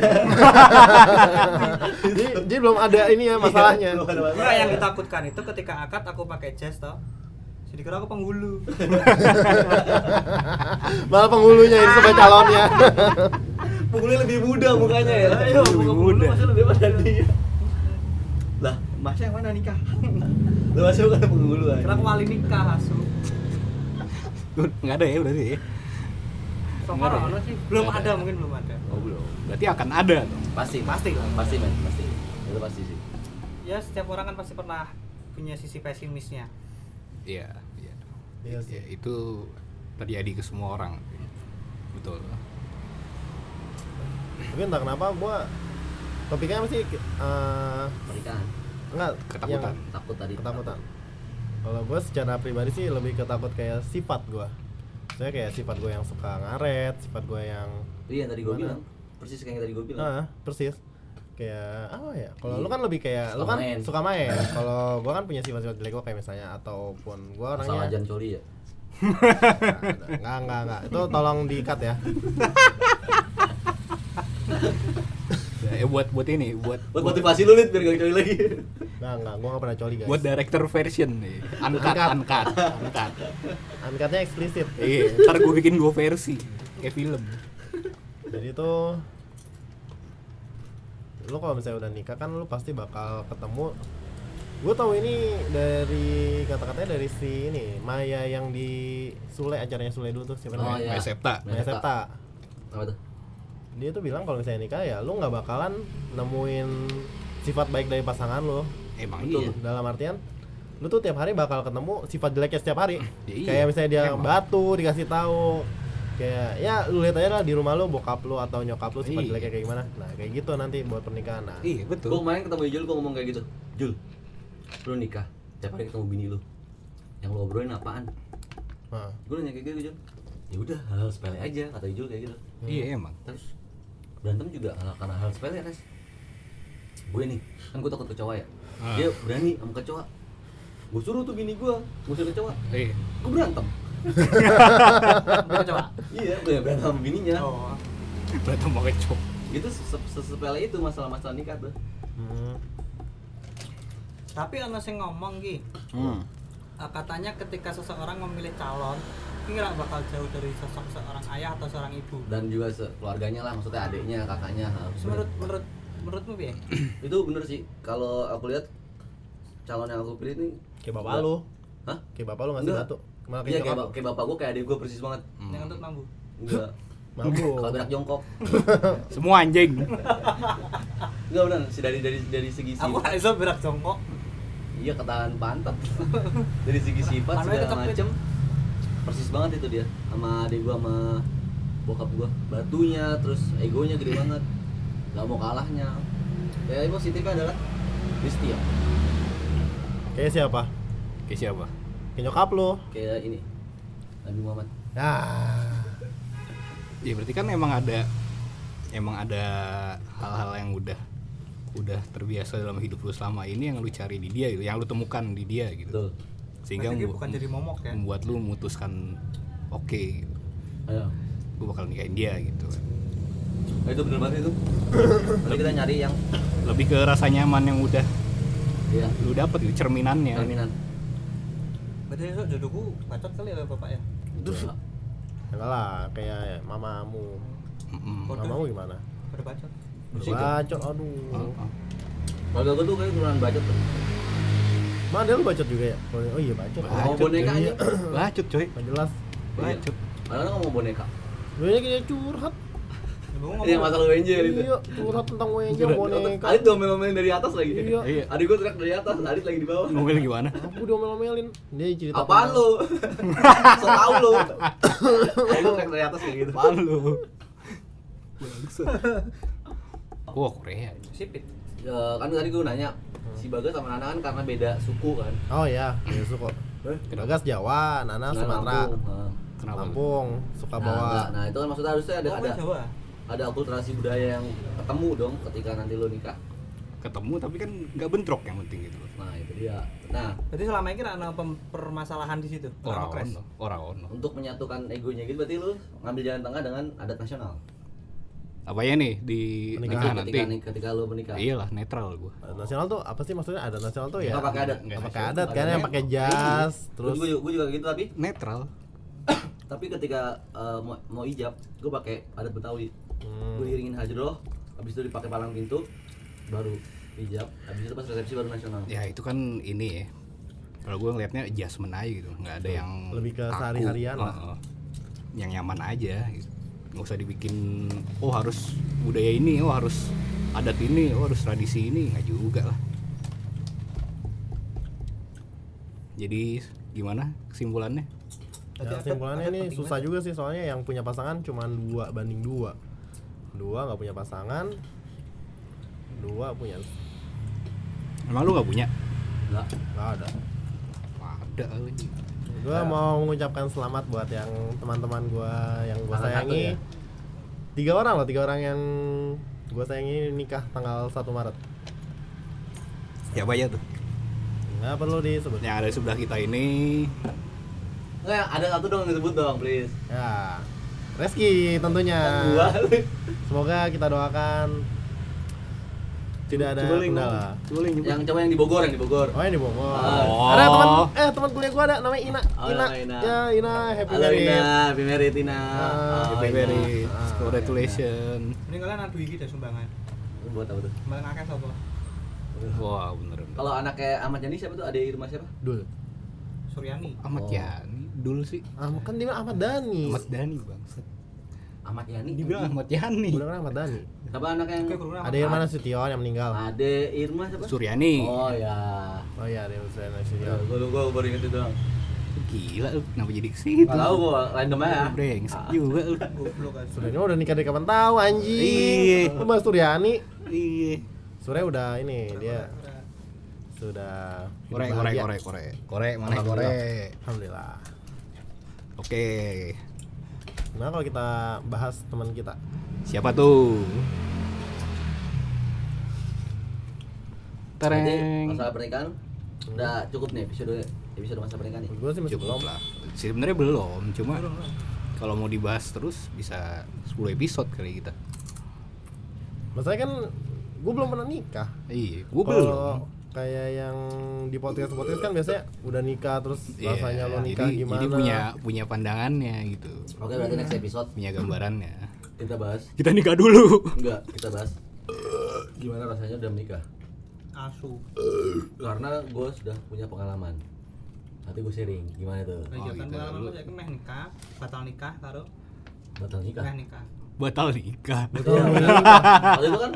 [SPEAKER 3] jadi, jadi belum ada ini ya masalahnya
[SPEAKER 2] Iya, Belum ada masalah.
[SPEAKER 4] Enggak Iya, yang ditakutkan itu ketika akad aku pakai jas toh. Jadi kira aku penghulu.
[SPEAKER 3] Malah penghulunya ini sebagai calonnya
[SPEAKER 2] pukulnya lebih muda mukanya ya ayo
[SPEAKER 1] Lebih
[SPEAKER 2] muka
[SPEAKER 1] muda.
[SPEAKER 2] muda masih lebih pada dia lah masnya yang mana nikah lu kan masih bukan pengulu aja
[SPEAKER 4] Kira aku wali nikah asu.
[SPEAKER 1] Tuh, nggak ada ya berarti ya
[SPEAKER 4] So
[SPEAKER 1] Nggak
[SPEAKER 4] far
[SPEAKER 1] ada. ya?
[SPEAKER 4] ono sih belum
[SPEAKER 1] Nggak ada.
[SPEAKER 4] ada mungkin belum ada.
[SPEAKER 2] oh belum
[SPEAKER 1] berarti akan ada dong
[SPEAKER 2] pasti
[SPEAKER 4] Pasti lah.
[SPEAKER 2] pasti men pasti itu pasti sih
[SPEAKER 4] Ya setiap orang kan pasti pernah punya sisi pesimisnya.
[SPEAKER 1] iya iya
[SPEAKER 3] Iya sih.
[SPEAKER 1] Ya, itu terjadi ke semua orang betul
[SPEAKER 3] Tapi entah kenapa gua Topiknya apa sih? Eh,
[SPEAKER 2] pernikahan
[SPEAKER 3] enggak,
[SPEAKER 1] Ketakutan.
[SPEAKER 3] yang-
[SPEAKER 2] takut tadi
[SPEAKER 3] Ketakutan Kalau gua secara pribadi sih lebih ketakut kayak sifat gua Saya kayak sifat gua yang suka ngaret, sifat gua yang
[SPEAKER 2] Iya yang tadi gue
[SPEAKER 3] Gimana?
[SPEAKER 2] bilang persis kayak yang tadi gue bilang.
[SPEAKER 3] Ah, persis. Kayak apa ya? Kalau lu kan lebih kayak
[SPEAKER 2] Iya. Suka
[SPEAKER 3] lu kan
[SPEAKER 2] main.
[SPEAKER 3] suka main. Kalau gua kan punya sifat-sifat jelek gua kayak misalnya ataupun gua
[SPEAKER 2] Asal
[SPEAKER 3] orangnya
[SPEAKER 2] ajan coli ya.
[SPEAKER 3] Nah, Enggak, enggak, enggak. Itu tolong diikat ya.
[SPEAKER 1] eh buat buat ini buat
[SPEAKER 2] buat motivasi lu lid biar gak kecuali lagi
[SPEAKER 3] Nah, enggak, gua nggak pernah coli guys.
[SPEAKER 1] buat director version nih. Uncut,
[SPEAKER 3] Uncut.
[SPEAKER 1] uncut, uncut.
[SPEAKER 3] Angkatnya eksplisit.
[SPEAKER 1] Iya, ntar gue bikin dua versi kayak film.
[SPEAKER 3] Jadi tuh lu kalau misalnya udah nikah kan lu pasti bakal ketemu gue tahu ini dari kata-katanya dari si ini Maya yang di Sule acaranya Sule dulu tuh siapa
[SPEAKER 2] Oh,
[SPEAKER 3] namanya
[SPEAKER 2] iya.
[SPEAKER 1] Maya Septa.
[SPEAKER 3] Maya Septa
[SPEAKER 2] apa tuh
[SPEAKER 3] dia tuh bilang kalau misalnya nikah ya lu nggak bakalan nemuin sifat baik dari pasangan lo
[SPEAKER 1] Emang
[SPEAKER 2] Betul.
[SPEAKER 1] iya.
[SPEAKER 3] dalam artian lu tuh tiap hari bakal ketemu sifat jeleknya setiap hari
[SPEAKER 1] Ya iya,
[SPEAKER 3] kayak misalnya dia
[SPEAKER 1] emang.
[SPEAKER 3] batu dikasih tahu kayak ya lu lihat aja lah di rumah lu bokap lu atau nyokap lu
[SPEAKER 1] Iya.
[SPEAKER 3] sifat jeleknya kayak gimana nah kayak gitu nanti buat pernikahan nah
[SPEAKER 1] Iya,
[SPEAKER 2] gue
[SPEAKER 1] betul.
[SPEAKER 2] kemarin ketemu Jul gue ngomong kayak gitu Jul lu nikah tiap hari ketemu bini lu yang lu obrolin apaan
[SPEAKER 3] nah,
[SPEAKER 2] gue nanya kayak gitu Jul ya udah hal-hal sepele aja kata Jul kayak gitu
[SPEAKER 1] Iya, emang.
[SPEAKER 2] terus berantem juga hal- karena hal sepele Nes gue nih kan gue takut kecoa ya
[SPEAKER 1] Ah.
[SPEAKER 2] dia berani sama kecoa gue suruh tuh bini gue musuh kecoa
[SPEAKER 1] Iya.
[SPEAKER 2] gue berantem
[SPEAKER 4] coba
[SPEAKER 2] iya gue berantem sama bininya
[SPEAKER 4] oh
[SPEAKER 1] Berantem mau kecok.
[SPEAKER 2] itu se- se- sepele itu masalah-masalah nikah tuh
[SPEAKER 3] hmm,
[SPEAKER 4] tapi ono sing ngomong ki
[SPEAKER 1] Hmm.
[SPEAKER 4] eh, katanya ketika seseorang memilih calon ini nggak bakal jauh dari sosok seorang ayah atau seorang ibu
[SPEAKER 2] dan juga se- keluarganya lah maksudnya adiknya kakaknya harus
[SPEAKER 4] menurut menurut menurutmu ya
[SPEAKER 2] itu bener sih kalau aku lihat calon yang aku pilih nih
[SPEAKER 3] kayak bapak lu
[SPEAKER 2] hah
[SPEAKER 3] kayak bapak lu ngasih
[SPEAKER 2] Enggak.
[SPEAKER 3] batu malah
[SPEAKER 2] iya
[SPEAKER 3] kayak
[SPEAKER 2] kayak,
[SPEAKER 3] nyokap
[SPEAKER 2] bap- kayak bapak gue kayak adik gue persis banget
[SPEAKER 4] yang menurut mambu
[SPEAKER 2] enggak
[SPEAKER 3] mampu
[SPEAKER 2] kalau berak jongkok
[SPEAKER 1] Semua anjing.
[SPEAKER 2] enggak benar sih dari dari dari segi sifat
[SPEAKER 4] aku nggak bisa berak jongkok
[SPEAKER 2] iya ketahan pantat dari segi sifat
[SPEAKER 4] Pantatnya
[SPEAKER 2] segala
[SPEAKER 4] kejepit.
[SPEAKER 2] macem persis banget itu dia sama adik gue sama bokap gue batunya terus egonya gede banget nggak mau kalahnya ya positifnya adalah dia setia
[SPEAKER 3] kayak siapa
[SPEAKER 1] Kayak siapa?
[SPEAKER 3] kayak nyokap lu
[SPEAKER 2] kayak ini Nabi Muhammad
[SPEAKER 3] nah
[SPEAKER 1] Ya berarti kan emang ada emang ada hal-hal yang udah udah terbiasa dalam hidup lu selama ini yang lu cari di dia gitu, yang lu temukan di dia gitu.
[SPEAKER 2] betul
[SPEAKER 1] Sehingga
[SPEAKER 4] Berarti
[SPEAKER 1] membu-
[SPEAKER 4] bukan jadi momok ya
[SPEAKER 1] membuat lu memutuskan oke, gitu.
[SPEAKER 2] ayo
[SPEAKER 1] gue bakal nikahin dia gitu.
[SPEAKER 2] Nah, itu bener banget itu tapi kita nyari yang
[SPEAKER 1] Lebih ke rasa nyaman yang udah
[SPEAKER 2] ya
[SPEAKER 1] lu dapet gitu, cerminannya.
[SPEAKER 2] cerminan
[SPEAKER 4] berarti besok jodohku bacot kali ya bapak ya
[SPEAKER 2] Enggak.
[SPEAKER 3] Ya enggak lah kayak mamamu
[SPEAKER 1] Mm-mm.
[SPEAKER 4] Kode.
[SPEAKER 3] mamamu gimana
[SPEAKER 4] pada bacot
[SPEAKER 2] Bersih, kan?
[SPEAKER 3] bacot aduh
[SPEAKER 1] Oh, oh.
[SPEAKER 2] Keluarga gue tuh kayak turunan bacot Iya. tuh.
[SPEAKER 3] mana ada lu bacot juga ya oh iya bacot ya.
[SPEAKER 2] Bacot.
[SPEAKER 1] Bacut,
[SPEAKER 2] boneka
[SPEAKER 1] coy.
[SPEAKER 2] aja.
[SPEAKER 1] Bacut coy.
[SPEAKER 3] Nggak jelas
[SPEAKER 1] Bacut.
[SPEAKER 2] Padahal ngomong boneka.
[SPEAKER 3] lu ini kayak curhat
[SPEAKER 4] Ya,
[SPEAKER 2] Ini
[SPEAKER 4] gua
[SPEAKER 2] yang
[SPEAKER 4] ngomong
[SPEAKER 2] masalah gitu. WNJ itu.
[SPEAKER 3] Iya, curhat tentang wenjo
[SPEAKER 1] Curhat.
[SPEAKER 3] boneka.
[SPEAKER 2] Adit domel-domelin dari atas lagi.
[SPEAKER 3] Iya.
[SPEAKER 1] Iya.
[SPEAKER 2] Adik gue teriak dari atas, Adit lagi di bawah.
[SPEAKER 1] Ngomel gimana?
[SPEAKER 3] Aku diomel-omelin. Dia cerita.
[SPEAKER 2] Apaan
[SPEAKER 3] tentang-
[SPEAKER 2] lu? so tau lu. Adik gue teriak dari atas kayak gitu.
[SPEAKER 1] Apaan lu? Wah, Korea.
[SPEAKER 4] sipit
[SPEAKER 2] Ya, kan tadi gue nanya
[SPEAKER 1] Hmm.
[SPEAKER 2] si Bagas sama Nana kan karena beda suku kan.
[SPEAKER 3] Oh iya, ya suko.
[SPEAKER 1] Eh,
[SPEAKER 3] Bagas Jawa, Nana
[SPEAKER 2] Nana
[SPEAKER 3] Sumatera,
[SPEAKER 2] Lampung. Nah,
[SPEAKER 1] Kenapa? lu?
[SPEAKER 3] Lampung, suka
[SPEAKER 2] Nah, enggak.
[SPEAKER 3] bawa.
[SPEAKER 2] nah, itu kan maksudnya harusnya ada
[SPEAKER 4] Oh,
[SPEAKER 2] ada
[SPEAKER 4] ada Jawa
[SPEAKER 2] ada akulturasi budaya yang ketemu dong ketika nanti lo nikah.
[SPEAKER 1] Ketemu tapi kan nggak bentrok yang penting gitu.
[SPEAKER 2] Nah, itu dia. Nah,
[SPEAKER 4] berarti selama ini kan ada pem- permasalahan di situ
[SPEAKER 1] Orang
[SPEAKER 4] Kres.
[SPEAKER 1] ono, orang ono.
[SPEAKER 2] untuk menyatukan egonya gitu berarti lu ngambil jalan tengah dengan adat nasional. Nah,
[SPEAKER 1] Apa ya nih di nikah
[SPEAKER 3] Pernikahan.
[SPEAKER 2] ketika,
[SPEAKER 3] kan,
[SPEAKER 1] nanti?
[SPEAKER 2] ketika lu menikah.
[SPEAKER 1] Iyalah netral gua.
[SPEAKER 3] Adat Eh, Nasional tuh apa sih maksudnya? Adat nasional tuh ya.
[SPEAKER 2] Nggak pakai adat.
[SPEAKER 3] Nggak
[SPEAKER 1] Nggak
[SPEAKER 3] pakai
[SPEAKER 2] nasional.
[SPEAKER 3] adat kan yang pakai jas, terus
[SPEAKER 2] gue juga, gua juga gitu tapi
[SPEAKER 1] Netral.
[SPEAKER 2] tapi ketika eh, mau, mau ijab gue pakai adat betawi
[SPEAKER 3] Hmm.
[SPEAKER 2] gue iringin hajroh habis itu dipakai palang pintu baru ijab habis itu pas resepsi baru nasional
[SPEAKER 1] Ya itu kan ini ya. Kalau gua ngelihatnya adjustment aja gitu, nggak ada yang
[SPEAKER 3] Lebih ke
[SPEAKER 1] kaku.
[SPEAKER 3] sehari-harian lah.
[SPEAKER 1] Heeh. Yang nyaman aja gitu. Nggak usah dibikin oh harus budaya ini, oh harus adat ini, oh harus tradisi ini, nggak juga lah. Jadi gimana kesimpulannya?
[SPEAKER 3] Ya, kesimpulannya ini susah juga sih soalnya yang punya pasangan cuma dua banding dua dua nggak punya pasangan dua punya
[SPEAKER 1] Emang lu nggak punya?
[SPEAKER 2] enggak
[SPEAKER 3] nggak ada
[SPEAKER 1] Ada lagi.
[SPEAKER 3] Gua mau mengucapkan selamat buat yang teman-teman gua yang gua
[SPEAKER 2] Salah satu
[SPEAKER 3] sayangi.
[SPEAKER 2] ya?
[SPEAKER 3] Tiga orang loh, tiga orang yang gua sayangi nikah tanggal 1 Maret.
[SPEAKER 1] Ya bayar tuh.
[SPEAKER 3] Nggak perlu disebut.
[SPEAKER 2] Ya.
[SPEAKER 1] Yang ada di sebelah kita ini
[SPEAKER 2] enggak ada satu dong yang disebut dong please
[SPEAKER 3] Ya. Ah.
[SPEAKER 2] Kan
[SPEAKER 3] Reski tentunya.
[SPEAKER 2] dua
[SPEAKER 3] Semoga kita doakan tidak ada
[SPEAKER 1] coba link
[SPEAKER 3] kendala.
[SPEAKER 1] coba link
[SPEAKER 2] yang coba yang di Bogor yang di Bogor
[SPEAKER 3] Oh, ini Bogor.
[SPEAKER 1] Oh.
[SPEAKER 3] Ada teman eh teman kuliah gua ada namanya Ina.
[SPEAKER 2] Ah. Oh,
[SPEAKER 3] Ina.
[SPEAKER 2] nama Ina.
[SPEAKER 3] Ya, Ina happy
[SPEAKER 2] Halo
[SPEAKER 3] married.
[SPEAKER 2] Ina, happy married Ina.
[SPEAKER 3] Ah,
[SPEAKER 2] Oh,
[SPEAKER 1] Happy
[SPEAKER 2] Ina.
[SPEAKER 1] married.
[SPEAKER 3] Ah,
[SPEAKER 1] Congratulations.
[SPEAKER 4] Ini kalian adu iki deh sumbangan.
[SPEAKER 2] Buat apa tuh?
[SPEAKER 4] Sumbangan akeh sapa?
[SPEAKER 1] Wah, bener bener.
[SPEAKER 2] Kalau anaknya Ahmad Yani siapa tuh? Ada di rumah siapa?
[SPEAKER 3] Dul.
[SPEAKER 4] Suryani.
[SPEAKER 2] Oh.
[SPEAKER 1] Ahmad Yani dulu sih.
[SPEAKER 3] Ah, kan dia bilang Ahmad Dhani.
[SPEAKER 1] Ahmad Dhani bang.
[SPEAKER 2] Ahmad Yani.
[SPEAKER 1] Dibilang Ahmad Yani.
[SPEAKER 3] Gua dengar Ahmad Dhani.
[SPEAKER 2] Siapa anak yang
[SPEAKER 4] Oke, kurang
[SPEAKER 3] Ada Irman Nasution yang meninggal.
[SPEAKER 2] Ade Irma siapa?
[SPEAKER 1] Suryani.
[SPEAKER 2] Oh ya.
[SPEAKER 3] Oh iya, ada Irman
[SPEAKER 2] Ya,
[SPEAKER 3] Nasution.
[SPEAKER 2] gua gua baru inget itu doang.
[SPEAKER 1] Gila lu kenapa jadi ke situ?
[SPEAKER 2] Gak tau gua random aja.
[SPEAKER 1] Brengsek
[SPEAKER 2] Ah.
[SPEAKER 1] juga lu.
[SPEAKER 4] goblok kan.
[SPEAKER 3] Suryani udah nikah dari kapan tahu anjing.
[SPEAKER 1] Iya.
[SPEAKER 3] Lu Mas Suryani.
[SPEAKER 1] Iya.
[SPEAKER 3] Surya udah ini dia sudah hidup
[SPEAKER 1] Korek, korek,
[SPEAKER 3] bahagia.
[SPEAKER 1] korek, korek. Korek, mana
[SPEAKER 3] Alhamdulillah.
[SPEAKER 1] korek?
[SPEAKER 3] Alhamdulillah.
[SPEAKER 1] Oke.
[SPEAKER 3] Nah, kalau kita bahas teman kita.
[SPEAKER 1] Siapa tuh?
[SPEAKER 2] Berarti
[SPEAKER 1] Tereng.
[SPEAKER 2] masalah pernikahan udah cukup nih episode episode masa pernikahan nih.
[SPEAKER 3] Gue sih masih
[SPEAKER 1] Iya, Cukup
[SPEAKER 3] belum.
[SPEAKER 1] lah. Sebenarnya belum, cuma kalau mau dibahas terus bisa 10 episode kali kita.
[SPEAKER 3] Masalahnya kan gue belum pernah nikah.
[SPEAKER 1] Iya, gua
[SPEAKER 3] Kalau
[SPEAKER 1] belum.
[SPEAKER 3] Kayak yang di podcast podcast kan biasanya udah nikah terus
[SPEAKER 1] Iya,
[SPEAKER 3] rasanya lo nikah
[SPEAKER 1] jadi,
[SPEAKER 3] gimana?
[SPEAKER 1] jadi punya punya pandangannya gitu.
[SPEAKER 2] Oke, berarti next episode
[SPEAKER 1] Punya gambarannya.
[SPEAKER 2] kita bahas
[SPEAKER 1] Kita nikah dulu.
[SPEAKER 2] enggak, kita bahas gimana rasanya udah menikah.
[SPEAKER 4] Asu.
[SPEAKER 2] Karena gue sudah punya pengalaman. Nanti gue sharing gimana tuh
[SPEAKER 4] Lah iya kan
[SPEAKER 1] gitu.
[SPEAKER 4] pengalaman saya kan meh nikah, batal nikah karo
[SPEAKER 2] batal nikah.
[SPEAKER 4] meh nikah.
[SPEAKER 1] Batal nikah.
[SPEAKER 2] Betul. Waktu itu kan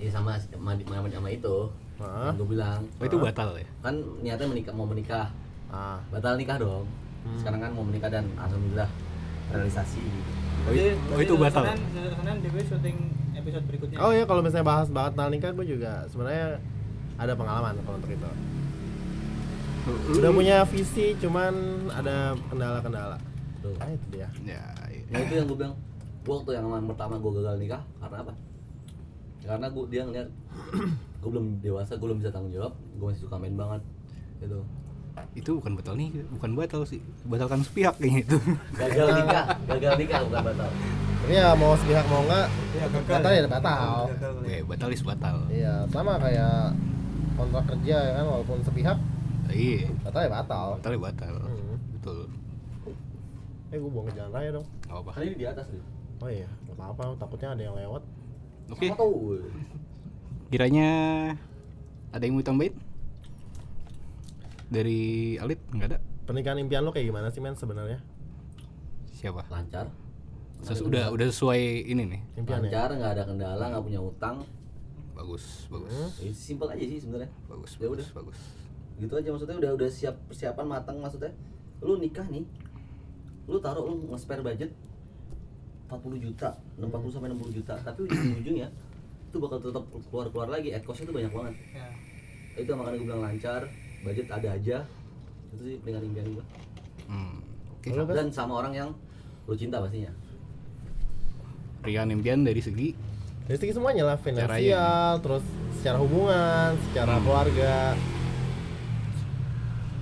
[SPEAKER 2] ya sama sama, sama, sama itu.
[SPEAKER 3] Hah?
[SPEAKER 2] Gue bilang
[SPEAKER 1] Oh, itu batal ya?
[SPEAKER 2] kan niatnya menikah mau menikah
[SPEAKER 3] Ah,
[SPEAKER 2] batal nikah dong.
[SPEAKER 1] Hmm.
[SPEAKER 2] Sekarang kan mau menikah dan alhamdulillah realisasi.
[SPEAKER 1] Oh, i- oh, itu batal.
[SPEAKER 4] Senin dhewe syuting episode berikutnya.
[SPEAKER 3] Oh ya kalau misalnya bahas banget tentang nikah gue juga sebenarnya ada pengalaman kalau untuk itu. Udah punya visi cuman ada kendala-kendala.
[SPEAKER 2] Tuh.
[SPEAKER 3] Ah itu dia.
[SPEAKER 1] Ya,
[SPEAKER 2] Nah itu yang gue bilang gue waktu yang yang pertama gue gagal nikah karena apa? Karena gue dia ngeliat gue belum dewasa, gue belum bisa tanggung jawab, gue masih suka main banget gitu.
[SPEAKER 1] itu bukan batal nih, bukan batal sih. Batalkan sepihak kayaknya itu.
[SPEAKER 2] Gagal nikah, gagal nikah bukan batal.
[SPEAKER 3] Tapi ya mau sepihak mau enggak
[SPEAKER 4] ya
[SPEAKER 3] batal ya batal.
[SPEAKER 4] Gagal.
[SPEAKER 1] ya, batal is batal.
[SPEAKER 3] Iya, sama kayak kontrak kerja ya kan walaupun sepihak
[SPEAKER 1] Iya,
[SPEAKER 3] batal ya batal.
[SPEAKER 1] batal ya batal.
[SPEAKER 3] Hmm.
[SPEAKER 1] Betul.
[SPEAKER 3] Eh gue buang ke jalan raya dong.
[SPEAKER 1] Gak apa-apa.
[SPEAKER 2] Kali ini di atas nih.
[SPEAKER 3] Oh iya, nggak apa-apa takutnya ada yang lewat.
[SPEAKER 1] Oke,
[SPEAKER 2] Apa tuh?
[SPEAKER 1] kiranya ada yang mau tambahin? Dari Alit nggak ada?
[SPEAKER 3] Pernikahan impian lo kayak gimana sih men sebenarnya?
[SPEAKER 1] Siapa?
[SPEAKER 2] Lancar.
[SPEAKER 1] Ses- udah udah sesuai ini nih.
[SPEAKER 3] Impian ya?
[SPEAKER 2] lancar nggak ada kendala nggak punya utang
[SPEAKER 1] Bagus, bagus.
[SPEAKER 3] Hmm?
[SPEAKER 2] Ya, simpel aja sih sebenarnya
[SPEAKER 1] Bagus,
[SPEAKER 2] Ya
[SPEAKER 1] bagus,
[SPEAKER 2] udah.
[SPEAKER 1] bagus.
[SPEAKER 2] gitu aja maksudnya udah udah siap persiapan matang maksudnya lu nikah nih lu taruh lu nge-spare budget 40 juta 40 sampai 60 juta tapi ujung-ujungnya itu bakal tetap keluar-keluar lagi ad cost-nya tuh banyak banget
[SPEAKER 4] Ya.
[SPEAKER 2] itu yang makanya gue bilang lancar budget ada aja itu sih peringkat impian gue
[SPEAKER 1] Hmm. Oke.
[SPEAKER 3] Lo kan
[SPEAKER 2] dan sama orang yang lu cinta pastinya
[SPEAKER 1] Rian impian dari segi
[SPEAKER 3] dari segi semuanya lah
[SPEAKER 1] Caranya.
[SPEAKER 3] finansial, terus secara hubungan, secara
[SPEAKER 1] Hmm.
[SPEAKER 3] keluarga.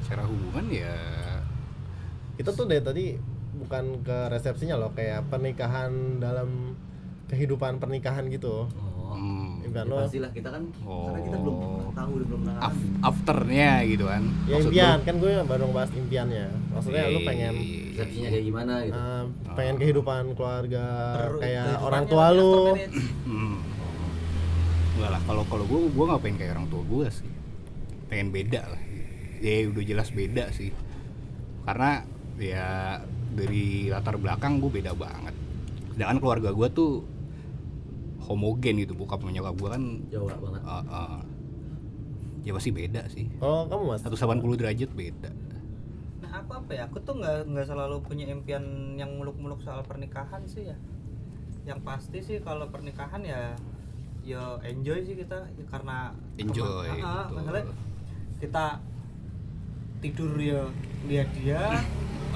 [SPEAKER 1] cara hubungan ya
[SPEAKER 3] Kita tuh dari tadi bukan ke resepsinya loh, kayak pernikahan dalam kehidupan pernikahan gitu.
[SPEAKER 2] oh
[SPEAKER 1] hmm,
[SPEAKER 3] Impian
[SPEAKER 2] ya
[SPEAKER 3] lo,
[SPEAKER 2] pastilah kita kan karena kita belum
[SPEAKER 1] Oh.
[SPEAKER 2] tahu dan belum pernah
[SPEAKER 1] af- afternya gitu kan.
[SPEAKER 3] ya
[SPEAKER 1] Maksud lu-
[SPEAKER 3] impian kan gue baru bahas impiannya. Maksudnya lu
[SPEAKER 1] Iya, Ah.
[SPEAKER 3] pengen
[SPEAKER 1] iya, iya, iya.
[SPEAKER 2] resepsinya kayak gimana gitu
[SPEAKER 3] eh, pengen kehidupan keluarga
[SPEAKER 4] Terus ya
[SPEAKER 3] kayak
[SPEAKER 4] kehidupannya
[SPEAKER 3] orang tua
[SPEAKER 4] after
[SPEAKER 3] lu.
[SPEAKER 4] marriage.
[SPEAKER 1] Hmm. Enggak lah, kalau kalau gue gue nggak pengen kayak orang tua gue sih. Pengen beda lah. Ya udah jelas beda sih. Karena ya dari latar belakang gue beda banget. Sedangkan keluarga gue tuh homogen gitu bokap sama nyokap gue kan
[SPEAKER 2] Jawa banget
[SPEAKER 1] uh, uh, ya pasti beda sih.
[SPEAKER 3] Oh, kamu Mas.
[SPEAKER 1] 180 derajat beda.
[SPEAKER 4] Nah, aku apa ya? Aku tuh nggak nggak selalu punya impian yang muluk-muluk soal pernikahan sih ya. Yang pasti sih kalau pernikahan ya ya enjoy sih kita ya karena
[SPEAKER 1] Enjoy,
[SPEAKER 4] kema- Ah, ah,
[SPEAKER 1] betul.
[SPEAKER 4] masalahnya kita tidur ya lihat dia,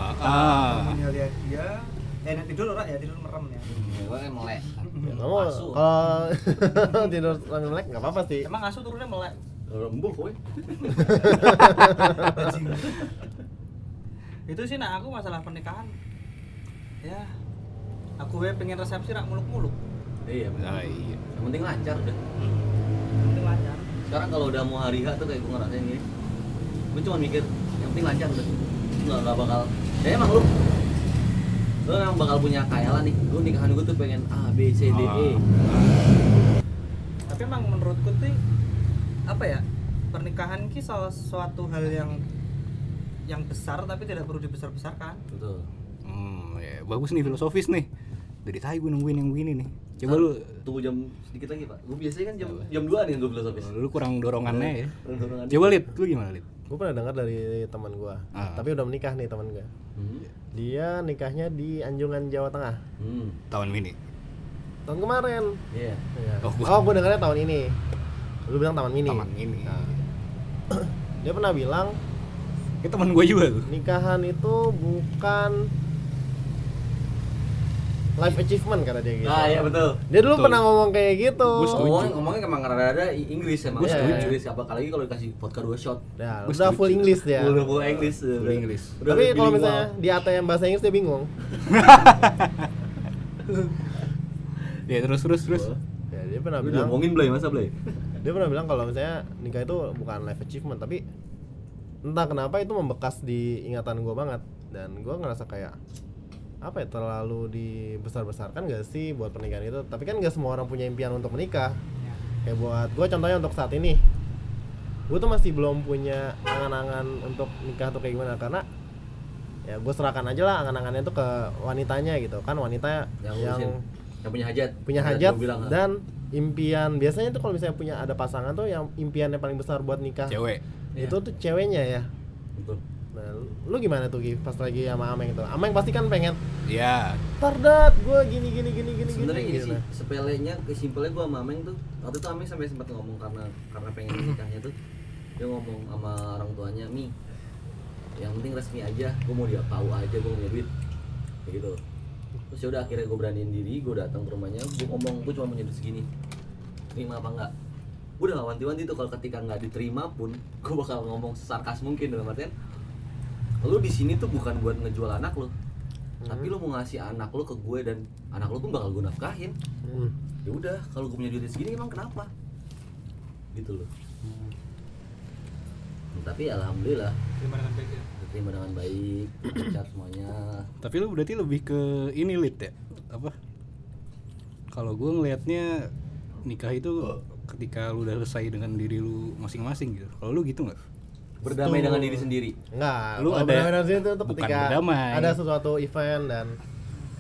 [SPEAKER 1] Ah,
[SPEAKER 4] bangunnya lihat dia. Eh, nah, tidur ora ya tidur merem ya.
[SPEAKER 2] gue kan melek
[SPEAKER 3] Ya, kamu kalau tidur sambil melek nggak apa-apa sih.
[SPEAKER 4] Emang asu turunnya melek.
[SPEAKER 2] rembuh kowe
[SPEAKER 4] Itu sih nah aku masalah pernikahan. Ya aku we pengen resepsi rak muluk-muluk.
[SPEAKER 2] iya benar
[SPEAKER 1] Ah, iya.
[SPEAKER 2] yang penting lancar udah
[SPEAKER 5] yang penting lancar
[SPEAKER 2] sekarang kalau udah mau hari H tuh kayak gue ngerasain gini gue cuma mikir yang penting lancar udah nggak nggak bakal ya emang lu lu emang bakal punya kayalan nih lu nikahan gue tuh pengen A B C D E
[SPEAKER 1] Ah.
[SPEAKER 4] tapi emang menurutku tuh apa ya pernikahan ki salah suatu hal yang yang besar tapi tidak perlu dibesar-besarkan
[SPEAKER 2] betul
[SPEAKER 1] Hmm, ya, bagus nih filosofis nih. Dari tadi gue nungguin yang begini nih. Coba
[SPEAKER 2] Ntar,
[SPEAKER 1] lu
[SPEAKER 2] tunggu jam sedikit lagi pak gue biasanya kan jam jam dua nih gue filosofis
[SPEAKER 1] lu kurang dorongannya ya.
[SPEAKER 2] Dorongan.
[SPEAKER 1] Coba lid, lu gimana lid?
[SPEAKER 3] gue pernah dengar dari teman gue
[SPEAKER 1] Ah.
[SPEAKER 3] tapi udah menikah nih teman gue
[SPEAKER 2] hmm.
[SPEAKER 3] dia nikahnya di Anjungan Jawa Tengah
[SPEAKER 2] hmm.
[SPEAKER 1] Tahun ini.
[SPEAKER 3] tahun kemarin
[SPEAKER 2] Iya.
[SPEAKER 3] Iya.
[SPEAKER 1] Oh,
[SPEAKER 3] oh
[SPEAKER 1] gua-
[SPEAKER 3] gue dengarnya tahun ini lu bilang taman mini
[SPEAKER 1] Taman ini.
[SPEAKER 3] Nah. dia pernah bilang
[SPEAKER 1] Itu teman gue juga tuh.
[SPEAKER 3] nikahan itu bukan life achievement kata dia gitu
[SPEAKER 2] ah iya betul
[SPEAKER 3] dia dulu
[SPEAKER 1] Betul.
[SPEAKER 3] pernah ngomong kayak gitu
[SPEAKER 1] Gua setuju.
[SPEAKER 2] ngomongnya ngomongnya emang rada-rada I- Inggris emang
[SPEAKER 3] Gua
[SPEAKER 2] Iya,
[SPEAKER 3] setuju.
[SPEAKER 2] Inggris apa lagi kalau dikasih vodka dua shot
[SPEAKER 3] Nah,
[SPEAKER 1] Gua
[SPEAKER 3] udah
[SPEAKER 1] setuju.
[SPEAKER 3] full English dia
[SPEAKER 2] udah full Inggris udah-
[SPEAKER 1] Full Inggris.
[SPEAKER 2] udah
[SPEAKER 3] tapi kalau
[SPEAKER 2] bilingual.
[SPEAKER 3] misalnya di ATM bahasa Inggris dia bingung
[SPEAKER 1] Ya terus terus terus.
[SPEAKER 3] ya dia pernah
[SPEAKER 2] Lu
[SPEAKER 3] bilang
[SPEAKER 2] diomongin Blay, masa Blay?
[SPEAKER 3] dia pernah bilang kalau misalnya nikah itu bukan life achievement tapi entah kenapa itu membekas di ingatan gue banget dan gue ngerasa kayak apa ya terlalu dibesar-besarkan gak sih buat pernikahan itu tapi kan gak semua orang punya impian untuk menikah kayak buat gue contohnya untuk saat ini gue tuh masih belum punya angan-angan untuk nikah tuh kayak gimana karena ya gue serahkan aja lah angan-angannya tuh ke wanitanya gitu kan wanita
[SPEAKER 2] Yang ngurusin.
[SPEAKER 3] yang
[SPEAKER 2] Yang punya hajat.
[SPEAKER 3] punya
[SPEAKER 2] Yang
[SPEAKER 3] hajat Nah,
[SPEAKER 2] gua bilang, ah.
[SPEAKER 3] dan impian biasanya tuh kalau misalnya punya ada pasangan tuh yang impiannya paling besar buat nikah
[SPEAKER 1] Cewek.
[SPEAKER 3] itu tuh ceweknya
[SPEAKER 2] Iya,
[SPEAKER 3] ya
[SPEAKER 2] Betul.
[SPEAKER 3] nah lu- lu gimana tuh Gi, pas lagi sama Ameng tuh Ameng pasti kan pengen
[SPEAKER 1] Ya,
[SPEAKER 3] tardat gue gini gini gini gini
[SPEAKER 2] Sebenarnya
[SPEAKER 3] gini
[SPEAKER 2] ini
[SPEAKER 3] gitu.
[SPEAKER 2] sih sepelenya, kesimpelnya gua sama Ameng tuh waktu itu Ameng sampai sempat ngomong karena karena pengen nikahnya tuh dia ngomong sama orang tuanya mi yang penting resmi aja gua mau dia tahu aja gua punya duit kayak gitu terus yaudah akhirnya gua beraniin diri gua datang ke rumahnya gua ngomong gua cuma punya duit segini terima apa enggak gua udah gak wanti-wanti tuh kalau ketika nggak diterima pun gua bakal ngomong sarkas mungkin dalam artian lu di sini tuh bukan buat ngejual anak lu tapi lu mau ngasih anak lu ke gue dan anak lu pun bakal gue nafkahin
[SPEAKER 3] Hmm.
[SPEAKER 2] ya udah kalau gue punya duit segini emang kenapa gitu loh tapi alhamdulillah
[SPEAKER 4] gimana kan baiknya
[SPEAKER 2] diterima dengan baik lancar semuanya
[SPEAKER 1] tapi lu berarti lebih ke ini lid ya. Apa? Kalau gue ngelihatnya nikah itu ketika lu udah selesai dengan diri lu masing-masing gitu. Kalau lu gitu nggak?
[SPEAKER 2] berdamai
[SPEAKER 3] Betul.
[SPEAKER 2] dengan diri sendiri
[SPEAKER 3] Enggak,
[SPEAKER 1] Lu
[SPEAKER 3] lu
[SPEAKER 1] ada-
[SPEAKER 3] ada itu tuh
[SPEAKER 1] bukan
[SPEAKER 3] ketika
[SPEAKER 1] berdamai.
[SPEAKER 3] ada sesuatu event dan,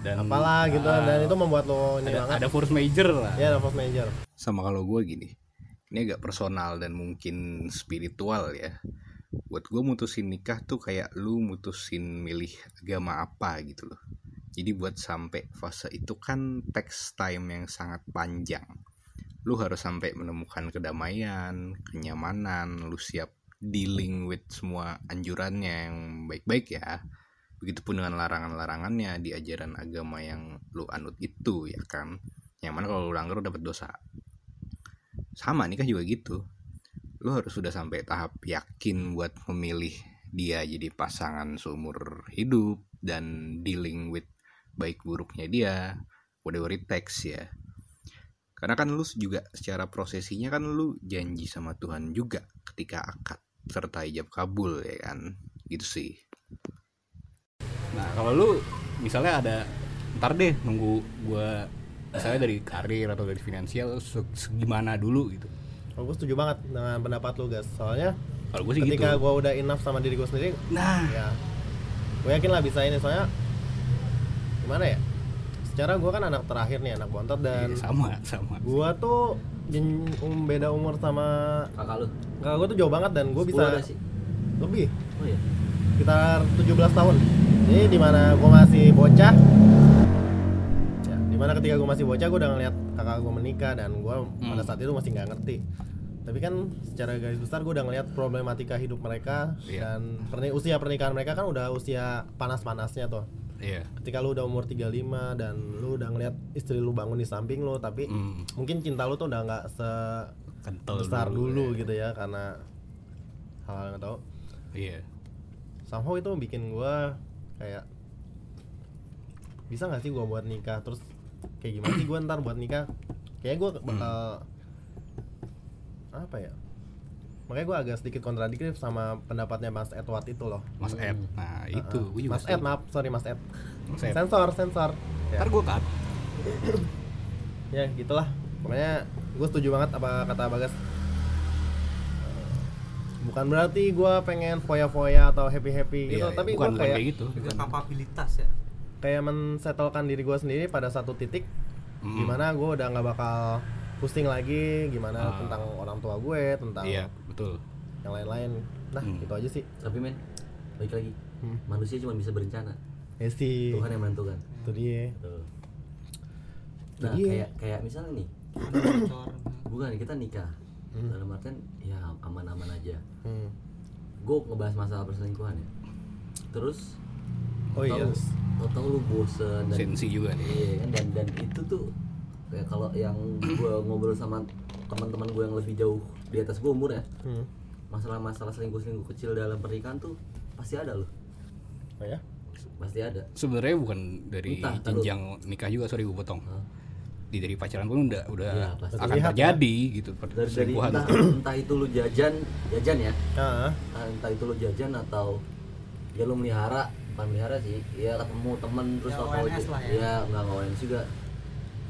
[SPEAKER 1] Dan
[SPEAKER 3] apalah gitu
[SPEAKER 1] ah,
[SPEAKER 3] dan itu membuat lo ini
[SPEAKER 1] ada,
[SPEAKER 3] banget
[SPEAKER 1] ada force major lah.
[SPEAKER 3] ya ada force major
[SPEAKER 1] sama kalau gue gini ini agak personal dan mungkin spiritual ya buat gue mutusin nikah tuh kayak lu mutusin milih agama apa gitu loh jadi buat sampai fase itu kan text time yang sangat panjang lu harus sampai menemukan kedamaian kenyamanan lu siap dealing with semua anjurannya yang baik-baik ya begitupun dengan larangan-larangannya di ajaran agama yang lu anut itu ya kan yang mana kalau lu langgar lu dapat dosa sama nikah juga gitu lo harus sudah sampai tahap yakin buat memilih dia jadi pasangan seumur hidup dan dealing with baik buruknya dia whatever it takes ya karena kan lu juga secara prosesinya kan lu janji sama Tuhan juga ketika akad serta ijab kabul ya kan gitu sih nah kalau lu misalnya ada ntar deh nunggu gua misalnya dari karir atau dari finansial se- segimana dulu gitu
[SPEAKER 3] oh, gue setuju banget dengan pendapat lu guys soalnya
[SPEAKER 1] kalau gue sih
[SPEAKER 3] ketika
[SPEAKER 1] gitu
[SPEAKER 3] gue udah enough sama diri gue sendiri
[SPEAKER 1] nah
[SPEAKER 3] ya gue yakin lah bisa ini soalnya gimana ya secara gue kan anak terakhir nih anak bontot dan
[SPEAKER 1] iya, sama sama
[SPEAKER 3] gue tuh jen- um, beda umur sama
[SPEAKER 2] kakak lu
[SPEAKER 3] kakak gue tuh jauh banget dan gue bisa
[SPEAKER 2] Sepuluh ada sih
[SPEAKER 3] lebih
[SPEAKER 2] oh iya
[SPEAKER 3] sekitar 17 tahun jadi dimana gue masih bocah ya, dimana ketika gue masih bocah gue udah ngeliat kakak gue menikah dan gue
[SPEAKER 1] Hmm.
[SPEAKER 3] pada saat itu masih nggak ngerti tapi kan secara garis besar gue udah ngeliat problematika hidup mereka
[SPEAKER 1] Iya.
[SPEAKER 3] dan perni- usia pernikahan mereka kan udah usia panas-panasnya tuh
[SPEAKER 1] iya
[SPEAKER 3] ketika lu udah umur 35 dan lu udah ngeliat istri lu bangun di samping lu tapi
[SPEAKER 1] Hmm,
[SPEAKER 3] mungkin cinta lu tuh udah nggak
[SPEAKER 1] kental
[SPEAKER 3] sebesar dulu,
[SPEAKER 1] ya.
[SPEAKER 3] gitu ya karena hal-hal nggak tahu
[SPEAKER 1] iya
[SPEAKER 3] somehow itu bikin gua kayak bisa nggak sih gua buat
[SPEAKER 1] Hmm.
[SPEAKER 3] nikah terus kayak gimana sih gua ntar buat nikah kayak gua bakal eh, apa ya makanya gue agak sedikit kontradiktif sama pendapatnya Mas Edward itu loh
[SPEAKER 1] Mas Ed. Nah, itu.
[SPEAKER 3] Uh-uh.
[SPEAKER 1] gua juga
[SPEAKER 3] Mas Ed
[SPEAKER 1] setuju.
[SPEAKER 3] maaf sorry Mas Ed
[SPEAKER 1] Mas Ed.
[SPEAKER 3] sensor sensor ya,
[SPEAKER 1] Ntar gue cut.
[SPEAKER 3] ya gitulah pokoknya gue setuju banget apa kata Bagas bukan berarti gue pengen foya-foya atau happy-happy gitu
[SPEAKER 1] Iya,
[SPEAKER 3] tapi
[SPEAKER 1] bukan,
[SPEAKER 3] gue
[SPEAKER 1] bukan
[SPEAKER 3] kayak
[SPEAKER 1] kayak gitu.
[SPEAKER 5] Itu
[SPEAKER 1] Bukan.
[SPEAKER 5] kapabilitas ya
[SPEAKER 3] kayak mensetelkan diri gue sendiri pada satu titik
[SPEAKER 1] Mm.
[SPEAKER 3] gimana gue udah nggak bakal pusing lagi
[SPEAKER 1] Ah.
[SPEAKER 3] gimana tentang orang tua gue tentang
[SPEAKER 1] Iya, betul.
[SPEAKER 3] yang lain-lain nah
[SPEAKER 1] Hmm.
[SPEAKER 3] itu aja sih
[SPEAKER 2] Tapi men, baik lagi.
[SPEAKER 3] Hmm.
[SPEAKER 2] Manusia cuma bisa berencana.
[SPEAKER 3] ya sih
[SPEAKER 2] Tuhan yang menentukan.
[SPEAKER 3] itu dia
[SPEAKER 2] Tuh. Nah,
[SPEAKER 3] Jadi ya.
[SPEAKER 2] kayak kayak misalnya nih,
[SPEAKER 4] Bocor.
[SPEAKER 2] bukan kita nikah. Dalam artian ya aman-aman aja.
[SPEAKER 3] Hmm.
[SPEAKER 2] Gue ngebahas masalah perselingkuhan ya. Terus
[SPEAKER 3] oh iya
[SPEAKER 2] tau lu bosen dan
[SPEAKER 1] Sensi juga nih.
[SPEAKER 2] Iya kan dan dan itu tuh kayak kalau yang gua ngobrol sama teman-teman gua yang lebih jauh di atas gua umur ya
[SPEAKER 3] Hmm.
[SPEAKER 2] masalah-masalah selingkuh-selingkuh kecil dalam pernikahan tuh pasti ada loh
[SPEAKER 3] oh ya
[SPEAKER 2] pasti ada
[SPEAKER 1] Sebenarnya bukan dari
[SPEAKER 2] Entah, taruh.
[SPEAKER 1] jenjang nikah juga, sorry gue potong.
[SPEAKER 2] Hah?
[SPEAKER 1] Di dari pacaran pun udah udah
[SPEAKER 2] Iya, pasti.
[SPEAKER 1] akan
[SPEAKER 3] Terlihat,
[SPEAKER 1] terjadi gitu
[SPEAKER 2] dari, dari
[SPEAKER 1] perselingkuhan.
[SPEAKER 2] entah, entah itu lu jajan jajan ya
[SPEAKER 3] Ah,
[SPEAKER 2] entah itu lu jajan atau ya lu melihara bukan melihara sih ya ketemu temen terus
[SPEAKER 5] Ya,
[SPEAKER 2] apa
[SPEAKER 5] ONS lah ya.
[SPEAKER 2] ya nggak nggak ONS juga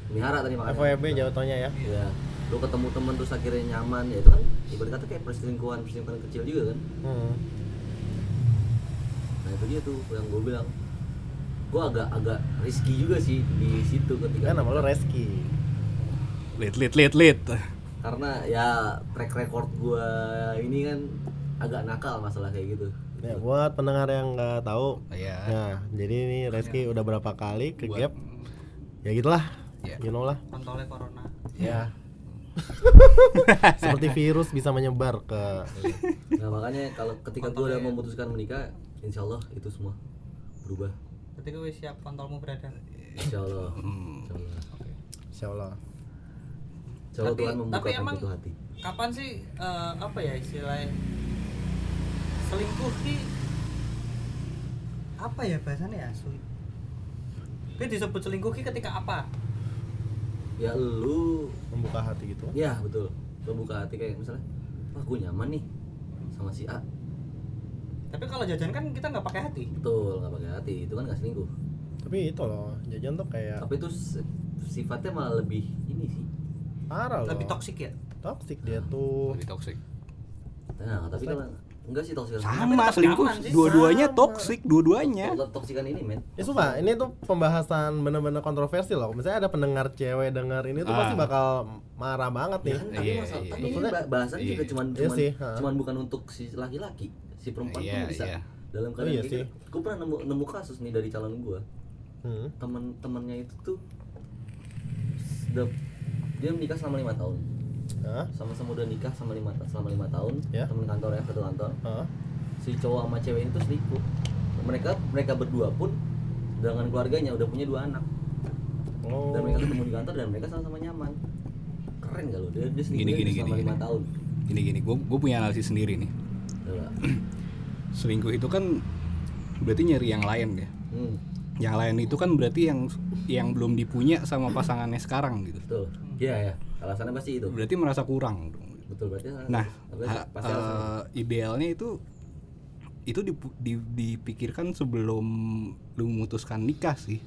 [SPEAKER 2] melihara tadi makanya
[SPEAKER 3] FWB jatuhnya ya
[SPEAKER 2] ya lu ketemu temen terus akhirnya nyaman ya itu kan ibarat kata kayak perselingkuhan perselingkuhan kecil juga kan
[SPEAKER 3] Hmm.
[SPEAKER 2] nah itu dia tuh yang gue bilang gue agak agak risky juga sih di situ ketika
[SPEAKER 3] kan nama lo Reski
[SPEAKER 1] Lit lit lit lit.
[SPEAKER 2] karena ya track record gue ini kan agak nakal masalah kayak gitu
[SPEAKER 3] ya buat pendengar yang nggak tahu
[SPEAKER 1] Ya,
[SPEAKER 3] nah jadi ini Reski udah berapa kali
[SPEAKER 1] Iya.
[SPEAKER 3] ke
[SPEAKER 1] Buat-
[SPEAKER 3] gap ya gitulah
[SPEAKER 1] Ya.
[SPEAKER 3] you know lah
[SPEAKER 4] Kontolnya corona.
[SPEAKER 3] ya seperti virus bisa menyebar ke
[SPEAKER 2] nah makanya kalau ketika gue udah memutuskan menikah insya Allah itu semua berubah
[SPEAKER 4] Berarti gue siap kontolmu berada.
[SPEAKER 2] insya Allah
[SPEAKER 4] Hmm.
[SPEAKER 2] insya Allah,
[SPEAKER 3] Insya Allah
[SPEAKER 2] insya Allah
[SPEAKER 4] Tapi-
[SPEAKER 2] Tuhan
[SPEAKER 4] tapi
[SPEAKER 2] membukakan
[SPEAKER 4] emang-
[SPEAKER 2] pintu hati
[SPEAKER 4] Kapan sih eh, apa ya istilahnya selingkuh sih apa ya bahasanya ya sulit. Dia disebut selingkuh ki ketika apa?
[SPEAKER 2] ya lu
[SPEAKER 3] membuka hati gitu
[SPEAKER 2] Ya betul. Lo buka hati kayak misalnya, wah gue nyaman nih sama si A.
[SPEAKER 4] Tapi kalau jajan kan kita nggak pakai hati.
[SPEAKER 2] Betul, nggak pakai hati. Itu kan nggak selingkuh.
[SPEAKER 3] tapi itu loh jajan tuh kayak
[SPEAKER 4] Ya.
[SPEAKER 2] Tapi itu se- sifatnya malah lebih ini sih.
[SPEAKER 3] parah loh
[SPEAKER 5] lebih toksik ya
[SPEAKER 3] toksik dia tuh
[SPEAKER 1] Ah, lebih toksik.
[SPEAKER 2] Nah, tapi kalau enggak sih toksikan.
[SPEAKER 1] Sama
[SPEAKER 4] tetap
[SPEAKER 1] selingkuh,
[SPEAKER 4] nyaman sih,
[SPEAKER 1] dua-duanya
[SPEAKER 3] sama.
[SPEAKER 1] toksik, dua-duanya.
[SPEAKER 2] Kalau Toksikan ini men.
[SPEAKER 3] ya sumpah ini tuh pembahasan bener-bener kontroversi loh misalnya ada pendengar cewek dengar ini tuh
[SPEAKER 1] Ah.
[SPEAKER 3] pasti bakal marah banget nih
[SPEAKER 2] Ya kan, tapi
[SPEAKER 1] Iya,
[SPEAKER 2] masalah,
[SPEAKER 1] iya,
[SPEAKER 2] tapi
[SPEAKER 3] iya.
[SPEAKER 2] ini bah- bahasan
[SPEAKER 1] Iya.
[SPEAKER 2] juga cuman
[SPEAKER 3] Iya
[SPEAKER 2] cuman,
[SPEAKER 3] sih, ha.
[SPEAKER 2] cuman bukan untuk si laki-laki, si perempuan
[SPEAKER 1] Iya,
[SPEAKER 2] pun bisa.
[SPEAKER 1] iya.
[SPEAKER 2] Dalam
[SPEAKER 3] Oh,
[SPEAKER 2] keadaan
[SPEAKER 3] iya
[SPEAKER 2] kayak
[SPEAKER 3] sih.
[SPEAKER 2] gitu. Gue pernah nemu nemu kasus nih dari calon gue.
[SPEAKER 3] hmm.
[SPEAKER 2] Temen-temennya itu tuh sudah- dia menikah selama lima tahun.
[SPEAKER 3] Hah?
[SPEAKER 2] sama-sama udah nikah sama lima ta- selama lima tahun
[SPEAKER 3] Ya.
[SPEAKER 2] temen kantor ya satu kantor
[SPEAKER 3] Hah?
[SPEAKER 2] si cowok sama cewek itu selingkuh mereka mereka berdua pun dengan keluarganya udah punya dua anak
[SPEAKER 3] Oh.
[SPEAKER 2] dan mereka ketemu di kantor dan mereka sama-sama nyaman keren gak lo dia, dia selingkuh
[SPEAKER 1] Gini, gini,
[SPEAKER 2] selama
[SPEAKER 1] gini,
[SPEAKER 2] lima
[SPEAKER 1] gini.
[SPEAKER 2] tahun
[SPEAKER 1] Gini gini, gue gue punya analisis sendiri nih.
[SPEAKER 2] Coba.
[SPEAKER 1] Selingkuh itu kan berarti nyari yang lain ya.
[SPEAKER 2] hmm,
[SPEAKER 1] Yang lain itu kan berarti yang yang belum dipunya sama pasangannya sekarang gitu.
[SPEAKER 2] betul iya ya alasannya pasti itu
[SPEAKER 1] Berarti merasa kurang dong.
[SPEAKER 2] betul berarti alasan-
[SPEAKER 1] Nah,
[SPEAKER 2] berarti
[SPEAKER 1] ha-
[SPEAKER 2] pasti alasan
[SPEAKER 1] eh, idealnya itu itu dipu- di- dipikirkan sebelum lu memutuskan nikah sih.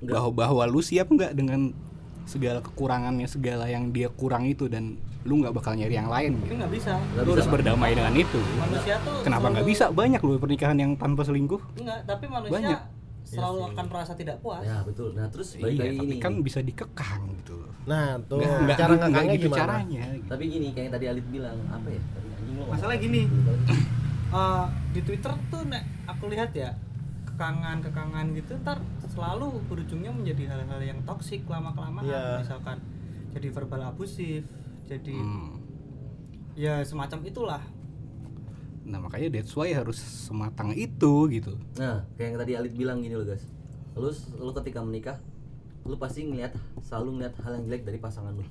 [SPEAKER 2] Enggak.
[SPEAKER 1] Bahwa bahwa lu siap nggak dengan segala kekurangannya, segala yang dia kurang itu dan lu nggak bakal nyari yang lain gitu.
[SPEAKER 4] Ini nggak bisa.
[SPEAKER 2] Nggak
[SPEAKER 1] Lu
[SPEAKER 2] bisa,
[SPEAKER 1] harus
[SPEAKER 2] Pak.
[SPEAKER 1] berdamai dengan itu.
[SPEAKER 4] Manusia tuh
[SPEAKER 1] Kenapa nggak
[SPEAKER 4] selalu-
[SPEAKER 1] bisa? Banyak loh pernikahan yang tanpa selingkuh.
[SPEAKER 4] Enggak, tapi manusia
[SPEAKER 1] Banyak.
[SPEAKER 4] selalu akan merasa tidak puas.
[SPEAKER 2] ya betul nah terus balik
[SPEAKER 1] Iya,
[SPEAKER 2] lagi
[SPEAKER 1] tapi
[SPEAKER 2] ini
[SPEAKER 1] kan bisa dikekang gitu. loh.
[SPEAKER 3] nah tuh
[SPEAKER 1] Nggak- nggak-
[SPEAKER 3] cara
[SPEAKER 1] nggak
[SPEAKER 3] ngekangnya
[SPEAKER 1] gitu
[SPEAKER 3] gimana
[SPEAKER 1] caranya. gitu.
[SPEAKER 2] tapi gini kayak yang tadi Alit bilang apa ya tadi anjing lo ngomong.
[SPEAKER 5] Masalah gini.
[SPEAKER 4] Eh, di Twitter tuh nek aku lihat ya kekangan-kekangan gitu ntar selalu berujungnya menjadi hal-hal yang toksik lama-kelamaan
[SPEAKER 3] Iya.
[SPEAKER 4] misalkan jadi verbal abusif, jadi
[SPEAKER 1] Hmm.
[SPEAKER 4] ya semacam itulah.
[SPEAKER 1] Nah makanya that's why harus sematang itu gitu.
[SPEAKER 2] Nah, kayak yang tadi Alit bilang gini loh guys. Lu lu ketika menikah, lu pasti ngelihat selalu ngelihat hal yang jelek dari pasangan lu.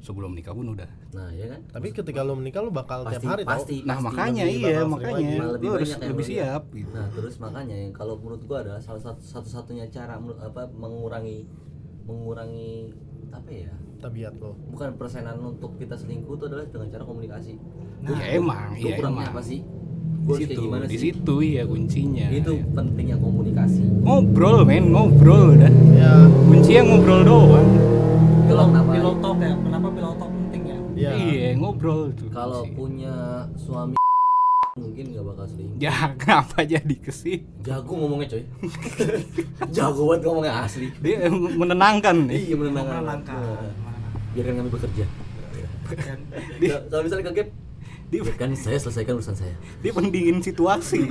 [SPEAKER 1] Sebelum nikah pun udah.
[SPEAKER 2] Nah, ya kan?
[SPEAKER 3] tapi ketika lu menikah lu bakal tiap
[SPEAKER 2] Pasti
[SPEAKER 3] hari tau
[SPEAKER 2] pasti.
[SPEAKER 1] Nah
[SPEAKER 2] pasti
[SPEAKER 1] makanya
[SPEAKER 3] lebih
[SPEAKER 1] iya
[SPEAKER 3] bakal sering
[SPEAKER 1] makanya
[SPEAKER 2] Malah
[SPEAKER 1] lu harus
[SPEAKER 2] yang
[SPEAKER 1] lebih
[SPEAKER 2] lu
[SPEAKER 1] siap
[SPEAKER 2] lihat.
[SPEAKER 1] gitu.
[SPEAKER 2] Nah, terus makanya yang kalau menurut gua adalah salah satu satu-satunya cara menur- apa mengurangi mengurangi apa ya?
[SPEAKER 3] tabiat lo
[SPEAKER 2] bukan persenan untuk kita selingkuh itu adalah dengan cara komunikasi
[SPEAKER 1] Nah,
[SPEAKER 2] Gua-
[SPEAKER 1] ya emang,
[SPEAKER 2] gua
[SPEAKER 1] iya
[SPEAKER 2] kurangnya
[SPEAKER 1] emang.
[SPEAKER 2] apa sih
[SPEAKER 1] di
[SPEAKER 2] Gua harus kayak
[SPEAKER 1] situ
[SPEAKER 2] gimana
[SPEAKER 1] di
[SPEAKER 2] sih? Gitu.
[SPEAKER 1] situ ya kuncinya
[SPEAKER 2] itu pentingnya komunikasi
[SPEAKER 1] ngobrol men ngobrol udah
[SPEAKER 3] ya
[SPEAKER 1] kuncinya ngobrol doang
[SPEAKER 2] kalau
[SPEAKER 4] Pillow-
[SPEAKER 2] kenapa
[SPEAKER 4] pillow talk ya kenapa pillow talk penting ya
[SPEAKER 3] ya
[SPEAKER 1] iya ngobrol tuh
[SPEAKER 2] kalau
[SPEAKER 1] kunci.
[SPEAKER 2] punya suami mungkin nggak bakal selingkuh
[SPEAKER 1] ya kenapa jadi ke situ?
[SPEAKER 2] jago ngomongnya coy jago banget ngomongnya asli
[SPEAKER 1] dia em- menenangkan ya. nih
[SPEAKER 2] iya menenangkan
[SPEAKER 4] Menenangkan.
[SPEAKER 2] Nah, biarkan kami bekerja
[SPEAKER 4] Dan-
[SPEAKER 2] Nah, kalau misalnya kaget
[SPEAKER 1] Di-
[SPEAKER 2] biarkan saya selesaikan urusan saya
[SPEAKER 1] dia pendingin situasi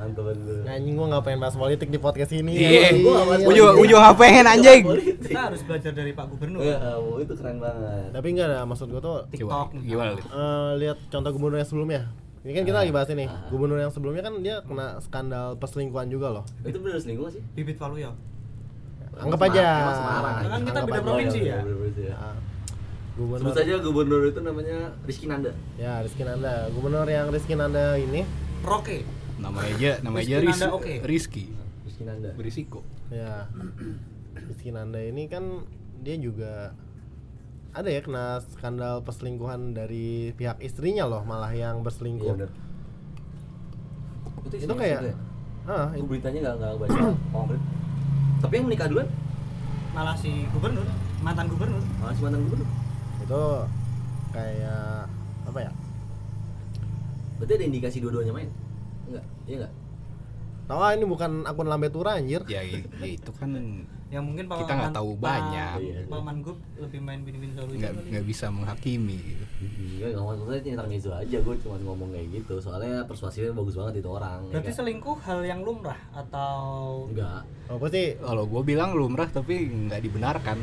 [SPEAKER 2] mantap
[SPEAKER 1] Nah,
[SPEAKER 2] banget
[SPEAKER 3] anjing Nah, gua nggak pengen bahas politik di podcast ini
[SPEAKER 1] iya
[SPEAKER 2] gua nggak bahas
[SPEAKER 1] ujo
[SPEAKER 2] politik.
[SPEAKER 1] ujo ngapain
[SPEAKER 2] Nah,
[SPEAKER 1] anjing
[SPEAKER 4] kita harus belajar dari Pak Gubernur
[SPEAKER 2] Ya, oh, itu keren banget
[SPEAKER 3] tapi enggak ada maksud gua
[SPEAKER 1] Coba,
[SPEAKER 3] tuh
[SPEAKER 4] TikTok
[SPEAKER 1] gimana Lid?
[SPEAKER 3] eh, lihat contoh gubernur yang sebelumnya ini kan
[SPEAKER 2] Ah,
[SPEAKER 3] kita lagi bahas ini gubernur yang sebelumnya kan dia kena skandal perselingkuhan juga loh
[SPEAKER 2] itu bener selingkuh nggak sih
[SPEAKER 4] bibit Waluyo
[SPEAKER 3] anggap
[SPEAKER 2] Emang
[SPEAKER 3] aja
[SPEAKER 2] Semarang- emang Semarang,
[SPEAKER 4] Kan
[SPEAKER 3] anggap
[SPEAKER 4] kita beda
[SPEAKER 3] aja.
[SPEAKER 4] provinsi ya?
[SPEAKER 2] Bener-bener ya.
[SPEAKER 3] Ya. gubernur
[SPEAKER 2] Sebut saja gubernur itu namanya Rizky Nanda.
[SPEAKER 3] ya Rizky Nanda gubernur yang Rizky Nanda ini
[SPEAKER 4] Roke
[SPEAKER 1] nama aja nama aja
[SPEAKER 4] Rizky
[SPEAKER 1] Ris
[SPEAKER 4] Nanda, oke.
[SPEAKER 1] Rizky
[SPEAKER 2] Rizky Nanda.
[SPEAKER 1] berisiko
[SPEAKER 3] ya Rizky Nanda ini kan dia juga ada ya kena skandal perselingkuhan dari pihak istrinya loh malah yang
[SPEAKER 2] Iya
[SPEAKER 3] berselingkuh
[SPEAKER 2] benar. Itu,
[SPEAKER 3] itu kayak ah
[SPEAKER 2] Gue
[SPEAKER 3] itu-
[SPEAKER 2] beritanya nggak nggak baca komplit. Tapi yang menikah duluan
[SPEAKER 4] malah si gubernur mantan gubernur
[SPEAKER 2] malah si mantan gubernur.
[SPEAKER 3] itu kayak apa ya
[SPEAKER 2] Berarti ada indikasi dua-duanya main? Enggak, iya enggak.
[SPEAKER 3] Tahu ah, ini bukan akun lambe tura anjir.
[SPEAKER 1] ya i- ya itu kan
[SPEAKER 4] yang Ya, mungkin Pak
[SPEAKER 1] Kita nggak
[SPEAKER 4] Man-
[SPEAKER 1] tahu
[SPEAKER 4] Pak-
[SPEAKER 1] banyak.
[SPEAKER 2] Iya.
[SPEAKER 4] Pak Manggup lebih main win-win solution
[SPEAKER 1] nggak
[SPEAKER 4] kali.
[SPEAKER 1] nggak bisa menghakimi gitu.
[SPEAKER 2] Iya, nggak maksudnya itu intermezzo aja. Gue cuma ngomong kayak gitu. Soalnya persuasifnya bagus banget itu orang. ya
[SPEAKER 4] berarti
[SPEAKER 2] kan?
[SPEAKER 4] selingkuh hal yang lumrah atau
[SPEAKER 2] Enggak.
[SPEAKER 3] Apa sih?
[SPEAKER 1] kalau gue bilang lumrah tapi nggak dibenarkan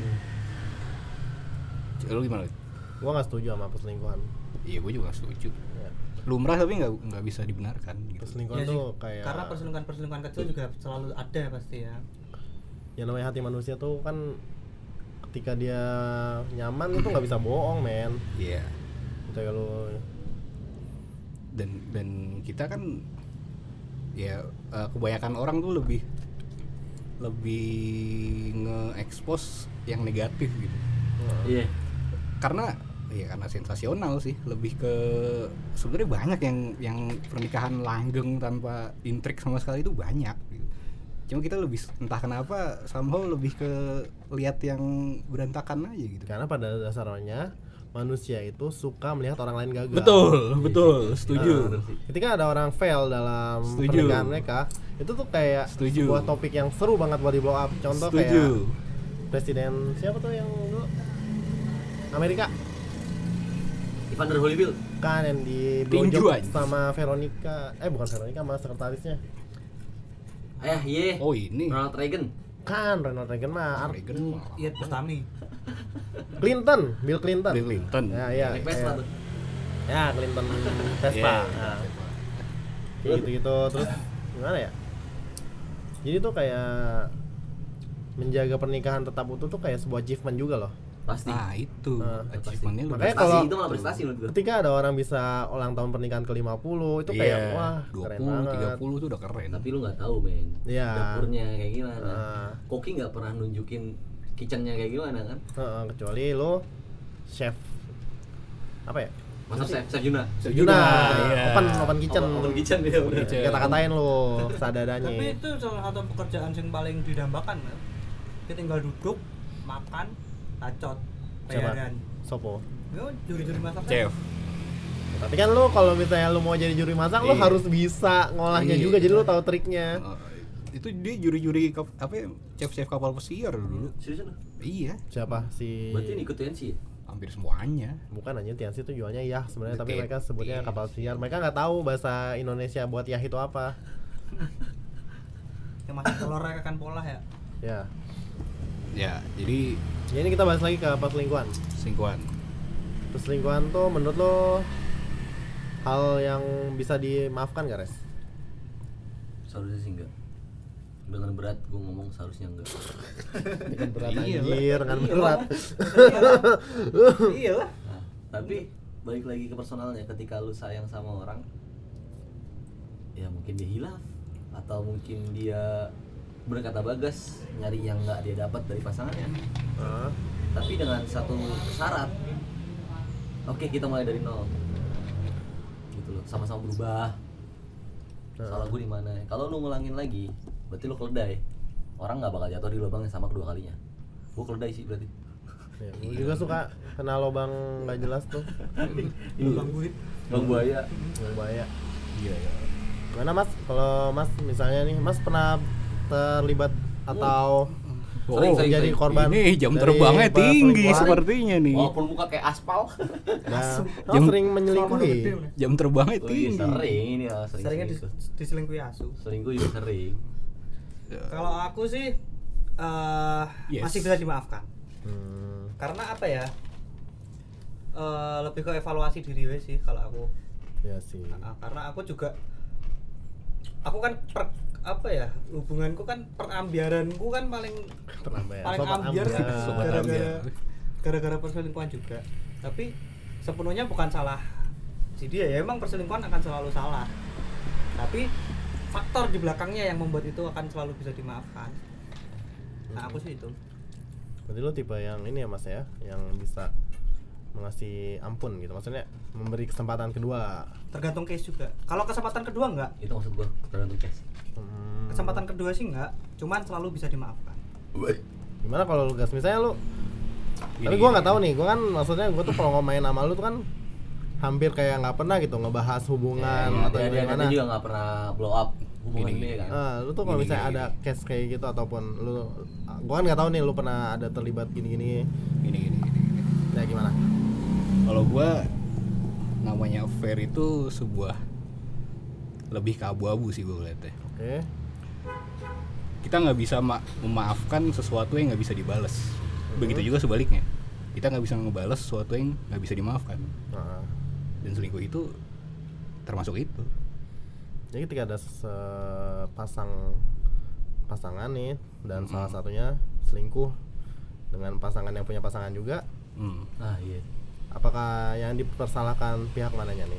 [SPEAKER 1] lu gimana Lid?
[SPEAKER 3] Gua nggak setuju sama perselingkuhan.
[SPEAKER 1] iya gue juga nggak setuju
[SPEAKER 3] Ya.
[SPEAKER 1] lumrah tapi nggak nggak bisa dibenarkan gitu
[SPEAKER 3] Perselingkuhan
[SPEAKER 4] Ya sih,
[SPEAKER 3] tuh kayak
[SPEAKER 4] karena perselingkuhan-perselingkuhan kecil juga selalu ada pasti ya
[SPEAKER 3] yang namanya hati manusia tuh kan ketika dia nyaman itu nggak bisa bohong, men.
[SPEAKER 1] iya
[SPEAKER 3] Itu ya lu
[SPEAKER 1] dan dan kita kan ya eh, kebanyakan orang tuh lebih lebih nge-expose yang negatif gitu
[SPEAKER 2] Iya.
[SPEAKER 1] karena ya karena sensasional sih lebih ke sebenarnya banyak yang yang pernikahan langgeng tanpa intrik sama sekali itu banyak gitu. cuma kita lebih entah kenapa somehow lebih ke lihat yang berantakan aja gitu
[SPEAKER 3] karena pada dasarnya manusia itu suka melihat orang lain gagal.
[SPEAKER 1] betul betul setuju
[SPEAKER 3] Nah, ketika ada orang fail dalam
[SPEAKER 1] Setuju.
[SPEAKER 3] pernikahan mereka, itu tuh kayak
[SPEAKER 1] Setuju.
[SPEAKER 3] sebuah topik yang seru banget buat di blow up. Contoh
[SPEAKER 1] setuju
[SPEAKER 3] kayak presiden siapa tuh yang dulu Amerika
[SPEAKER 2] Evander Holyfield.
[SPEAKER 3] kan yang di
[SPEAKER 1] Tinju
[SPEAKER 3] blowjob
[SPEAKER 1] aja.
[SPEAKER 3] sama Veronica eh bukan Veronica sama sekretarisnya
[SPEAKER 2] Ayah, ye.
[SPEAKER 1] oh
[SPEAKER 2] Eh,
[SPEAKER 1] ini
[SPEAKER 2] iya. Ronald Reagan.
[SPEAKER 3] kan Ronald Reagan mah Ar-
[SPEAKER 1] Reagan malah.
[SPEAKER 4] Iya Bustami
[SPEAKER 3] Clinton Bill Clinton
[SPEAKER 1] Bill Clinton
[SPEAKER 3] ya ya
[SPEAKER 2] Naik
[SPEAKER 3] ya,
[SPEAKER 2] Vespa tuh.
[SPEAKER 3] ya Clinton
[SPEAKER 1] Iya.
[SPEAKER 3] Vespa nah, kayak gitu gitu terus gimana ya jadi tuh kayak menjaga pernikahan tetap utuh tuh kayak sebuah achievement juga loh
[SPEAKER 2] Pasti.
[SPEAKER 1] nah itu
[SPEAKER 3] Nah,
[SPEAKER 1] achievementnya lu
[SPEAKER 3] Makanya
[SPEAKER 2] prestasi
[SPEAKER 3] kalau-
[SPEAKER 2] itu malah prestasi menurut gue.
[SPEAKER 3] ketika ada orang bisa ulang tahun pernikahan ke 50
[SPEAKER 1] Iya.
[SPEAKER 3] itu kayak wah keren
[SPEAKER 1] 20
[SPEAKER 3] banget
[SPEAKER 1] 30 itu udah keren
[SPEAKER 2] Eh, Tapi lu nggak tahu, men.
[SPEAKER 3] Iya.
[SPEAKER 2] Dapurnya kayak gimana.
[SPEAKER 3] Nah.
[SPEAKER 2] Koki nggak pernah nunjukin kitchennya kayak gimana kan?
[SPEAKER 3] Heeh, kecuali lo chef apa ya
[SPEAKER 2] Masa chef chef Juna?
[SPEAKER 3] Juna,
[SPEAKER 1] iya.
[SPEAKER 3] Nah, open open kitchen.
[SPEAKER 2] Open- open kitchen, iya, bener.
[SPEAKER 1] kitchen.
[SPEAKER 3] Kita katain lo sadadanya.
[SPEAKER 4] tapi itu salah satu pekerjaan yang paling didambakan Mel. kita tinggal duduk makan tacot
[SPEAKER 3] Siapa?
[SPEAKER 4] bayaran
[SPEAKER 3] Sopo.
[SPEAKER 4] Yo, juri-juri masak
[SPEAKER 1] chef
[SPEAKER 3] Tapi kan lo kalau misalnya lo mau jadi juri masak lo
[SPEAKER 1] Iya.
[SPEAKER 3] harus bisa ngolahnya
[SPEAKER 1] Iya.
[SPEAKER 3] juga jadi lo tahu triknya.
[SPEAKER 1] Oh, itu dia juri-juri kap- apa ya, chef-chef kapal pesiar dulu
[SPEAKER 2] Seriusan? lu?
[SPEAKER 1] iya
[SPEAKER 3] Siapa si
[SPEAKER 2] Berarti ini ikut TNC ya?
[SPEAKER 1] hampir semuanya
[SPEAKER 3] bukan anjir Tiansi itu jualnya yah sebenarnya tapi
[SPEAKER 1] Betul.
[SPEAKER 3] mereka sebutnya
[SPEAKER 1] Iya.
[SPEAKER 3] kapal siar. Mereka nggak tahu bahasa Indonesia buat yah itu apa.
[SPEAKER 4] yang masak telur akan pola ya
[SPEAKER 3] Ya.
[SPEAKER 1] ya jadi
[SPEAKER 3] Ya ini kita bahas lagi ke perselingkuhan.
[SPEAKER 1] singkuan
[SPEAKER 3] Perselingkuhan tuh menurut lo hal yang bisa dimaafkan gak, Res?
[SPEAKER 2] Seharusnya sih enggak. Dengan berat gue ngomong seharusnya enggak.
[SPEAKER 3] Dengan Kan berat
[SPEAKER 1] Iya,
[SPEAKER 3] anjir, dengan berat.
[SPEAKER 4] iya lah
[SPEAKER 2] Nah, tapi balik lagi ke personalnya ketika lu sayang sama orang ya mungkin dia hilaf atau mungkin dia berkata bagas nyari yang enggak dia dapat dari pasangannya.
[SPEAKER 3] Ah.
[SPEAKER 2] tapi dengan satu syarat oke kita mulai dari nol gitu loh sama-sama berubah
[SPEAKER 3] Nah.
[SPEAKER 2] salah gue di mana kalau lu ngulangin lagi berarti lu keledai orang nggak bakal jatuh di lubang yang sama kedua kalinya gue keledai sih berarti
[SPEAKER 3] Ya, gue juga suka kena lubang nggak jelas tuh
[SPEAKER 4] Iya.
[SPEAKER 2] lubang buaya lubang buaya
[SPEAKER 3] bahaya
[SPEAKER 1] Iya, iya.
[SPEAKER 3] gimana mas kalau mas misalnya nih mas pernah terlibat atau
[SPEAKER 1] Oh,
[SPEAKER 2] Sering, sering,
[SPEAKER 3] menjadi
[SPEAKER 2] sering.
[SPEAKER 3] korban
[SPEAKER 1] ini jam
[SPEAKER 3] dari Nah,
[SPEAKER 1] terbangnya
[SPEAKER 3] pe-
[SPEAKER 1] tinggi
[SPEAKER 3] penipuan?
[SPEAKER 1] sepertinya nih.
[SPEAKER 2] walaupun muka kayak aspal
[SPEAKER 3] Nah, oh,
[SPEAKER 1] Jam-
[SPEAKER 3] sering menyelingkuhi
[SPEAKER 1] Jam terbangnya
[SPEAKER 2] Oh iya,
[SPEAKER 1] tinggi.
[SPEAKER 2] sering ini ya sering
[SPEAKER 4] seringnya
[SPEAKER 2] sering,
[SPEAKER 4] dis- diselingkuhi asu
[SPEAKER 2] sering gue juga sering
[SPEAKER 4] kalau aku sih eh,
[SPEAKER 1] Yes.
[SPEAKER 4] masih bisa dimaafkan
[SPEAKER 3] Hmm,
[SPEAKER 4] karena apa ya Eh, lebih ke evaluasi diri we sih kalau aku
[SPEAKER 3] ya sih
[SPEAKER 4] Ah, karena aku juga aku kan per, apa ya hubunganku kan perambiaranku kan paling
[SPEAKER 3] Kenapa ya?
[SPEAKER 4] paling
[SPEAKER 3] Sobat
[SPEAKER 4] ambiar sih
[SPEAKER 3] ambiar.
[SPEAKER 1] Sobat
[SPEAKER 4] gara-gara
[SPEAKER 1] ambiar.
[SPEAKER 4] gara-gara perselingkuhan juga tapi sepenuhnya bukan salah si dia ya emang perselingkuhan akan selalu salah tapi faktor di belakangnya yang membuat itu akan selalu bisa dimaafkan nah aku sih itu
[SPEAKER 3] Berarti lo tipe yang ini ya mas ya, yang bisa mengasih ampun gitu. Maksudnya memberi kesempatan kedua.
[SPEAKER 4] tergantung case juga kalau kesempatan kedua enggak
[SPEAKER 2] itu maksud gue tergantung case
[SPEAKER 3] Hmm,
[SPEAKER 4] kesempatan kedua sih enggak cuman selalu bisa dimaafkan
[SPEAKER 3] Gimana kalau lu gas? Misalnya lu, tapi
[SPEAKER 1] Gini,
[SPEAKER 3] gue
[SPEAKER 1] gini.
[SPEAKER 3] nggak tahu nih. Gue kan maksudnya gue tuh kalau main sama lu tuh kan hampir kayak nggak pernah gitu ngebahas hubungan
[SPEAKER 1] Iya,
[SPEAKER 2] Ya,
[SPEAKER 3] atau
[SPEAKER 2] dia, dia,
[SPEAKER 3] gimana.
[SPEAKER 2] dia juga nggak pernah blow up hubungan
[SPEAKER 1] Gini.
[SPEAKER 2] dia kan
[SPEAKER 3] Ah, lu tuh kalau
[SPEAKER 1] Gini,
[SPEAKER 3] misalnya
[SPEAKER 1] gini,
[SPEAKER 3] ada case kayak gitu ataupun lu, gue kan nggak tahu nih lu pernah ada terlibat gini-gini.
[SPEAKER 1] Gini, gini, gini, gini.
[SPEAKER 3] Ya gimana?
[SPEAKER 1] Kalau gua namanya affair itu sebuah lebih ke abu-abu sih gua lihatnya.
[SPEAKER 3] Oke.
[SPEAKER 1] Kita nggak bisa ma- memaafkan sesuatu yang nggak bisa dibales. Begitu juga sebaliknya. Kita nggak bisa ngebales sesuatu yang nggak bisa dimaafkan.
[SPEAKER 3] Nah,
[SPEAKER 1] Dan selingkuh itu termasuk itu.
[SPEAKER 3] Jadi ketika ada sepasang pasangan nih dan salah satunya selingkuh dengan pasangan yang punya pasangan juga,
[SPEAKER 1] Hmm.
[SPEAKER 2] ah iya
[SPEAKER 3] apakah yang dipersalahkan pihak mananya nih?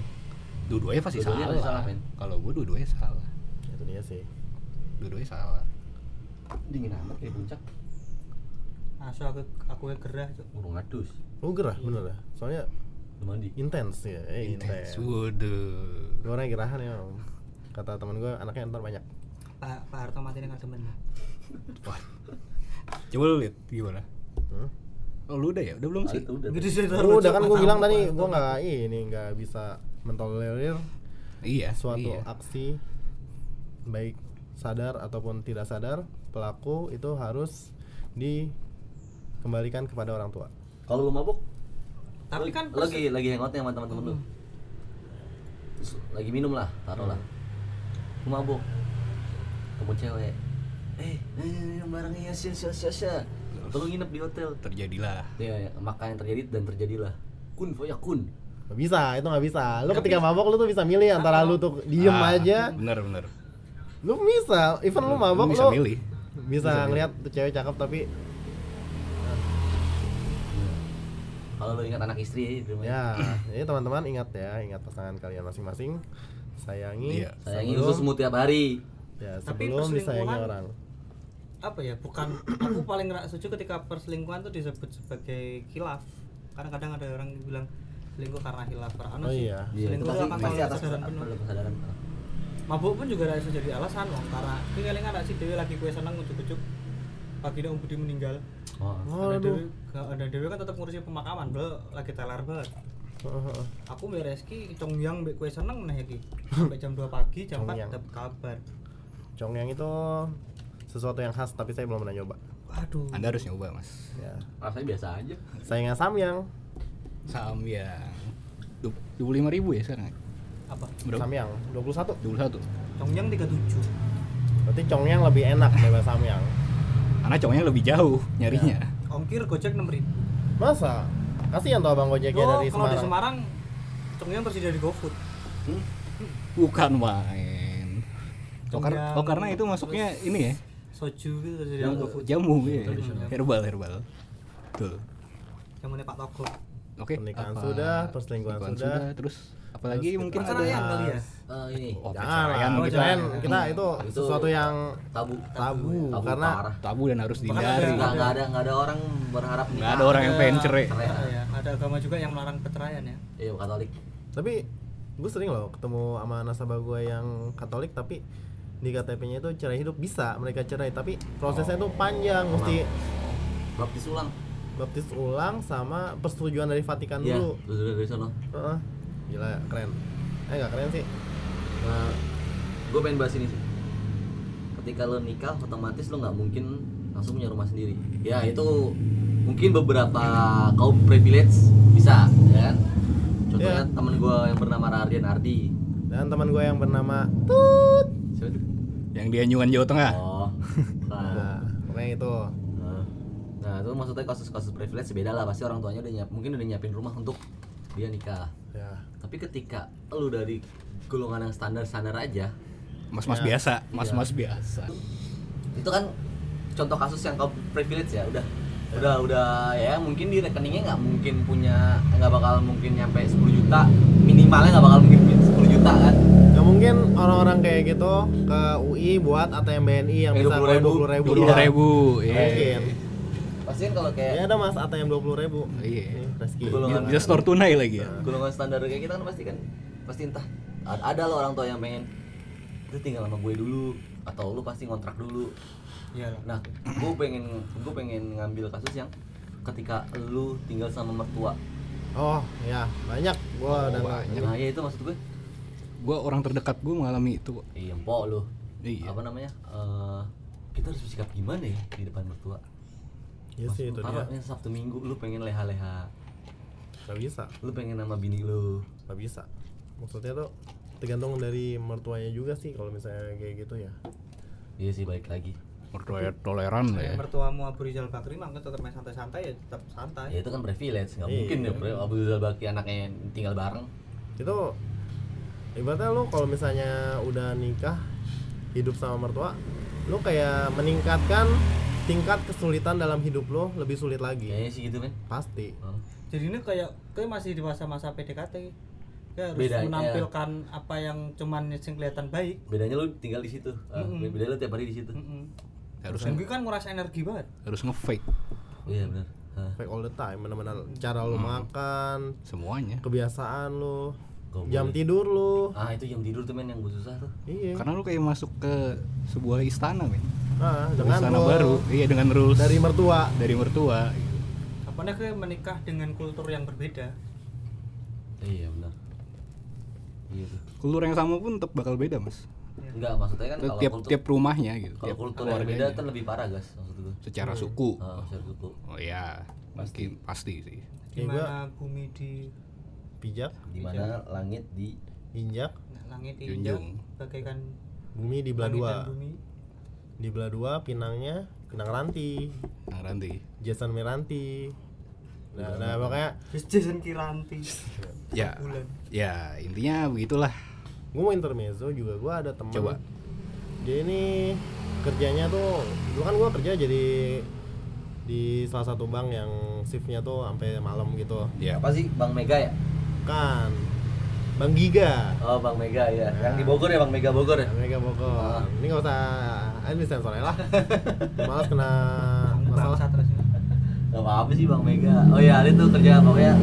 [SPEAKER 1] Dua-duanya pasti
[SPEAKER 2] Dua-duanya pasti salah,
[SPEAKER 1] salah.
[SPEAKER 2] men.
[SPEAKER 1] Kalau gua dua-duanya salah.
[SPEAKER 3] Itu dia sih.
[SPEAKER 1] Dua-duanya salah.
[SPEAKER 2] dingin amat kayak puncak
[SPEAKER 4] asu Nah, aku aku yang gerah Cuk.
[SPEAKER 2] burung adus
[SPEAKER 3] Lu gerah bener dah. Soalnya
[SPEAKER 2] Lu mandi
[SPEAKER 3] intens
[SPEAKER 2] Iya,
[SPEAKER 3] ya, eh,
[SPEAKER 1] Intens.
[SPEAKER 3] intens.
[SPEAKER 1] Waduh.
[SPEAKER 3] Gue orangnya gerahan ya. Om. Kata temen gue anaknya ntar banyak.
[SPEAKER 4] pak pak Harto mati ya? ini nggak demen
[SPEAKER 1] Wah. Coba lu lihat gimana.
[SPEAKER 3] Hmm?
[SPEAKER 1] Oh, lu udah ya? Udah belum
[SPEAKER 2] Ah,
[SPEAKER 1] sih?
[SPEAKER 2] itu udah
[SPEAKER 4] Gitu sih,
[SPEAKER 3] Lu udah kan gue
[SPEAKER 4] Pak
[SPEAKER 3] bilang
[SPEAKER 4] Harto,
[SPEAKER 3] tadi
[SPEAKER 4] Pak
[SPEAKER 3] gue
[SPEAKER 4] Harto.
[SPEAKER 3] nggak ini nggak bisa mentolerir
[SPEAKER 1] Iya.
[SPEAKER 3] suatu
[SPEAKER 1] iya.
[SPEAKER 3] aksi baik sadar ataupun tidak sadar pelaku itu harus dikembalikan kepada orang tua
[SPEAKER 2] kalau lu mabuk lu
[SPEAKER 4] tapi kan
[SPEAKER 2] lagi lagi hangout nih sama teman-teman lu Terus lagi minum lah taruh lah lu mabuk ketemu cewek eh eh, minum bareng ya sya sya sya sya atau lu nginep di hotel
[SPEAKER 1] Terjadilah.
[SPEAKER 2] ya, ya maka yang terjadi dan terjadilah kun foya kun
[SPEAKER 3] nggak bisa itu nggak bisa lu ketika mabok lu tuh bisa milih antara lu tuh diem
[SPEAKER 1] Ah,
[SPEAKER 3] aja
[SPEAKER 1] Bener bener.
[SPEAKER 3] lu bisa even lu mabok lu
[SPEAKER 1] bisa milih.
[SPEAKER 3] bisa ngeliat tuh cewek cakep tapi
[SPEAKER 2] kalau lu ingat anak istri eh, di rumah
[SPEAKER 3] ya jadi teman-teman ingat ya ingat pasangan kalian masing-masing sayangi
[SPEAKER 1] Iya.
[SPEAKER 2] sayangi
[SPEAKER 3] sebelum-
[SPEAKER 2] ususmu tiap hari
[SPEAKER 3] ya
[SPEAKER 4] Tapi
[SPEAKER 3] sebelum disayangi
[SPEAKER 4] perselingkuhan-
[SPEAKER 3] orang
[SPEAKER 4] apa ya bukan aku paling nggak setuju ketika perselingkuhan tuh disebut sebagai khilaf karena kadang ada orang yang bilang selingkuh karena khilaf karena
[SPEAKER 3] Oh
[SPEAKER 4] sih,
[SPEAKER 3] iya.
[SPEAKER 2] Iya, itu
[SPEAKER 4] selingkuh
[SPEAKER 2] pasti,
[SPEAKER 4] itu akan
[SPEAKER 2] pasti
[SPEAKER 4] selalu
[SPEAKER 2] atas
[SPEAKER 4] kesadaran penuh
[SPEAKER 2] atas kesadaran
[SPEAKER 4] mabuk pun juga nggak bisa jadi alasan loh karena ini kali nggak sih dewi lagi kue seneng ujuk-ujuk pagi dong budi meninggal
[SPEAKER 2] oh.
[SPEAKER 3] Waduh.
[SPEAKER 4] karena dewi dan dewi kan tetap ngurusin pemakaman bro lagi teler banget aku mbak Reski congyang mbak kue seneng meneh iki. sampai jam 2 pagi jam 4
[SPEAKER 3] Congyang.
[SPEAKER 4] dapat kabar
[SPEAKER 3] congyang itu sesuatu yang khas tapi saya belum pernah nyoba
[SPEAKER 4] waduh
[SPEAKER 1] Anda harus nyoba mas.
[SPEAKER 3] ya
[SPEAKER 2] rasanya biasa aja
[SPEAKER 3] sayangan samyang
[SPEAKER 1] Samyang. Dua puluh lima ribu ya sekarang.
[SPEAKER 4] apa
[SPEAKER 1] Berapa?
[SPEAKER 3] samyang 21
[SPEAKER 1] Dua puluh satu.
[SPEAKER 4] congyang 37
[SPEAKER 3] Berarti congyang lebih enak daripada samyang.
[SPEAKER 1] Karena cowoknya lebih jauh nyarinya.
[SPEAKER 4] ongkir gojek 6000
[SPEAKER 3] Masa? Kasihan tuh abang gojeknya
[SPEAKER 4] Oh,
[SPEAKER 3] ya dari
[SPEAKER 4] kalau
[SPEAKER 3] Semarang.
[SPEAKER 4] di Semarang Congyang pasti dari GoFood.
[SPEAKER 2] hmm?
[SPEAKER 1] Bukan main. Oh, kar-
[SPEAKER 4] Kenyang,
[SPEAKER 1] oh, karena itu masuknya ini ya
[SPEAKER 4] Soju gitu dari
[SPEAKER 1] Iya.
[SPEAKER 2] Yang
[SPEAKER 4] GoFood.
[SPEAKER 1] jamu ya
[SPEAKER 2] Tradisional.
[SPEAKER 1] herbal herbal. Betul.
[SPEAKER 4] Jamunya Pak Togo.
[SPEAKER 1] Oke.
[SPEAKER 3] Pernikahan
[SPEAKER 1] apa-
[SPEAKER 3] sudah, perselingkuhan sudah.
[SPEAKER 1] terus apalagi
[SPEAKER 3] Terus
[SPEAKER 1] mungkin
[SPEAKER 3] kita
[SPEAKER 1] ada
[SPEAKER 4] Perceraian kali ya?
[SPEAKER 2] Eh, ini
[SPEAKER 1] Oh,
[SPEAKER 3] jangan lah
[SPEAKER 1] perceraian,
[SPEAKER 4] Oh,
[SPEAKER 1] gitu.
[SPEAKER 3] perceraian
[SPEAKER 4] jangan.
[SPEAKER 3] kita itu
[SPEAKER 2] Itu-
[SPEAKER 3] sesuatu yang
[SPEAKER 2] tabu
[SPEAKER 3] Tabu, karena-
[SPEAKER 2] parah.
[SPEAKER 1] tabu dan harus
[SPEAKER 4] Bahkan
[SPEAKER 1] dihindari.
[SPEAKER 2] nggak nggak
[SPEAKER 4] ya?
[SPEAKER 2] ada nggak ada orang berharap
[SPEAKER 1] Nggak ada orang yang pengen cerai.
[SPEAKER 2] Cerai.
[SPEAKER 4] Iya, ada agama juga yang melarang perceraian ya.
[SPEAKER 2] iya katolik
[SPEAKER 3] tapi gue sering loh ketemu sama nasabah gue yang Katolik tapi di KTP-nya itu cerai hidup bisa mereka cerai tapi prosesnya itu panjang mesti
[SPEAKER 2] baptis ulang
[SPEAKER 3] baptis ulang sama persetujuan dari Vatikan
[SPEAKER 2] iya
[SPEAKER 3] dulu
[SPEAKER 2] dari dari- dari sono
[SPEAKER 3] Heeh. gila keren eh nggak keren sih
[SPEAKER 2] gue Nah, pengen bahas ini sih ketika lo nikah otomatis lo nggak mungkin langsung punya rumah sendiri ya itu mungkin beberapa kaum privilege bisa ya kan contohnya
[SPEAKER 3] Iya.
[SPEAKER 2] temen gue yang bernama Radian Ardi
[SPEAKER 3] dan teman gue yang bernama
[SPEAKER 2] siapa tuh?
[SPEAKER 1] Yang di Anjungan Jawa Tengah.
[SPEAKER 2] oh nah,
[SPEAKER 3] nah pokoknya itu
[SPEAKER 2] nah. Nah, itu maksudnya kasus-kasus privilege beda lah pasti orang tuanya udah nyiap mungkin udah nyiapin rumah untuk dia nikah
[SPEAKER 3] ya
[SPEAKER 2] tapi ketika lu dari golongan yang standar-standar aja
[SPEAKER 1] Mas-mas
[SPEAKER 3] Ya.
[SPEAKER 2] Iya.
[SPEAKER 1] biasa, mas-mas biasa.
[SPEAKER 2] itu kan contoh kasus yang kau privilege ya udah udah udah ya mungkin di rekeningnya nggak mungkin punya nggak bakal mungkin nyampe 10 juta minimalnya nggak bakal mungkin punya 10 juta kan
[SPEAKER 3] nggak mungkin orang-orang kayak gitu ke UI buat ATM BNI yang
[SPEAKER 2] Kayak
[SPEAKER 3] bisa
[SPEAKER 2] 20.000.
[SPEAKER 3] Eh, dua puluh ribu
[SPEAKER 1] Dua ribu, iya.
[SPEAKER 3] mungkin
[SPEAKER 2] pasti kan kalau
[SPEAKER 3] ya
[SPEAKER 2] kayak
[SPEAKER 3] ada mas ATM dua puluh ribu
[SPEAKER 1] Iya.
[SPEAKER 3] rezeki
[SPEAKER 2] Golongan
[SPEAKER 1] Bisa store tunai lagi ya.
[SPEAKER 2] golongan standar kayak kita kan pasti kan pasti entah ada, ada lo orang tua yang pengen lu tinggal sama gue dulu atau lu pasti ngontrak dulu
[SPEAKER 4] Iya lah.
[SPEAKER 2] nah gue pengen gue pengen ngambil kasus yang ketika lu tinggal sama mertua
[SPEAKER 3] Oh ya Oh, banyak gua dan
[SPEAKER 2] nah ya itu maksud gue
[SPEAKER 1] Gua orang terdekat gue mengalami itu. kok.
[SPEAKER 2] Iya, empok lu.
[SPEAKER 1] Iya.
[SPEAKER 2] Apa namanya? Eh, kita harus bersikap gimana ya di depan mertua?
[SPEAKER 3] ya sih itu dia
[SPEAKER 2] Taruh nih Sabtu Minggu lu pengen leha-leha.
[SPEAKER 3] nggak bisa
[SPEAKER 2] Lu pengen sama bini lu.
[SPEAKER 3] nggak bisa maksudnya tuh tergantung dari mertuanya juga sih kalau misalnya kayak gitu ya
[SPEAKER 2] Iya sih balik lagi.
[SPEAKER 1] Mertua toleran lah ya.
[SPEAKER 4] Mertuamu Abu Rizal Bakri mah nggak tetap main santai-santai ya tetap
[SPEAKER 2] Ya
[SPEAKER 4] santai.
[SPEAKER 2] itu kan privilege, nggak
[SPEAKER 3] Iya.
[SPEAKER 2] mungkin ya Bre, Abu Rizal Bakri anaknya tinggal bareng.
[SPEAKER 3] itu ibaratnya lu kalau misalnya udah nikah hidup sama mertua lu kayak meningkatkan tingkat kesulitan dalam hidup lu lebih sulit lagi
[SPEAKER 2] Kayaknya sih gitu men.
[SPEAKER 3] pasti
[SPEAKER 2] Heeh.
[SPEAKER 4] Jadi ini kayak kayak masih di masa-masa PDKT. Kayak harus
[SPEAKER 2] Beda,
[SPEAKER 4] menampilkan apa yang cuman yang kelihatan baik.
[SPEAKER 2] Bedanya lu tinggal di situ. Eh,
[SPEAKER 4] Mm-mm.
[SPEAKER 2] Bedanya lu tiap hari di situ.
[SPEAKER 4] Mm-mm.
[SPEAKER 1] Harus
[SPEAKER 4] Mungkin kan nguras energi banget.
[SPEAKER 1] harus ngefake
[SPEAKER 2] Iya benar. Hah.
[SPEAKER 3] Fake all the time benar-benar cara lu makan
[SPEAKER 1] semuanya.
[SPEAKER 3] kebiasaan lu
[SPEAKER 2] Gak
[SPEAKER 3] jam
[SPEAKER 2] boleh.
[SPEAKER 3] tidur lu
[SPEAKER 2] Ah itu jam tidur tuh men yang gue susah tuh.
[SPEAKER 3] iya
[SPEAKER 1] Karena lu kayak masuk ke sebuah istana, men.
[SPEAKER 3] Ah, dengan
[SPEAKER 1] Istana
[SPEAKER 3] lu
[SPEAKER 1] baru. Iya, dengan rules
[SPEAKER 3] dari
[SPEAKER 1] dari
[SPEAKER 3] mertua
[SPEAKER 1] dari mertua. gitu.
[SPEAKER 4] Apanya kayak menikah dengan kultur yang berbeda.
[SPEAKER 2] Iya benar. Iya tuh.
[SPEAKER 1] Kultur yang sama pun tetap bakal beda, Mas.
[SPEAKER 2] Enggak maksudnya kan
[SPEAKER 1] Itu
[SPEAKER 2] kalau
[SPEAKER 1] tiap
[SPEAKER 2] kultur,
[SPEAKER 1] tiap rumahnya gitu,
[SPEAKER 2] kalau
[SPEAKER 1] tiap
[SPEAKER 2] kultur yang beda
[SPEAKER 1] keluarganya.
[SPEAKER 2] tuh lebih parah guys maksud gue.
[SPEAKER 1] secara suku.
[SPEAKER 2] Ah, maksud gue.
[SPEAKER 1] Oh ya, mungkin pasti sih.
[SPEAKER 3] Ya,
[SPEAKER 4] Di
[SPEAKER 3] gua-
[SPEAKER 4] mana bumi di
[SPEAKER 3] pijak
[SPEAKER 2] di mana langit di
[SPEAKER 3] injak
[SPEAKER 4] nah, langit injak
[SPEAKER 1] Junjung.
[SPEAKER 4] bagaikan
[SPEAKER 3] bumi di belah
[SPEAKER 4] langit
[SPEAKER 3] dua
[SPEAKER 4] dan bumi.
[SPEAKER 3] di belah dua pinangnya pinang ranti
[SPEAKER 1] Nah, nanti.
[SPEAKER 3] Jason Miranti nah, nah makanya
[SPEAKER 4] Terus Jason Kiranti.
[SPEAKER 1] Ya.
[SPEAKER 4] Bulan.
[SPEAKER 1] Ya, intinya begitulah.
[SPEAKER 3] gue mau intermezzo juga gue ada teman
[SPEAKER 1] Coba.
[SPEAKER 3] dia ini kerjanya tuh dulu kan gue kerja jadi di salah satu bank yang shiftnya tuh sampai malam gitu
[SPEAKER 1] Ya.
[SPEAKER 2] apa sih Bang Mega ya?
[SPEAKER 3] kan Bang Giga
[SPEAKER 2] Oh Bang Mega ya, yang di Bogor ya Bang Mega Bogor
[SPEAKER 1] Iya.
[SPEAKER 2] ya.
[SPEAKER 3] Mega Bogor ini nggak usah eh, ini sensornya lah malas kena Ah, masalah
[SPEAKER 4] Bangsa terus.
[SPEAKER 2] Gak apa apa sih Bang Mega. Oh ya Ali tuh kerja pokoknya.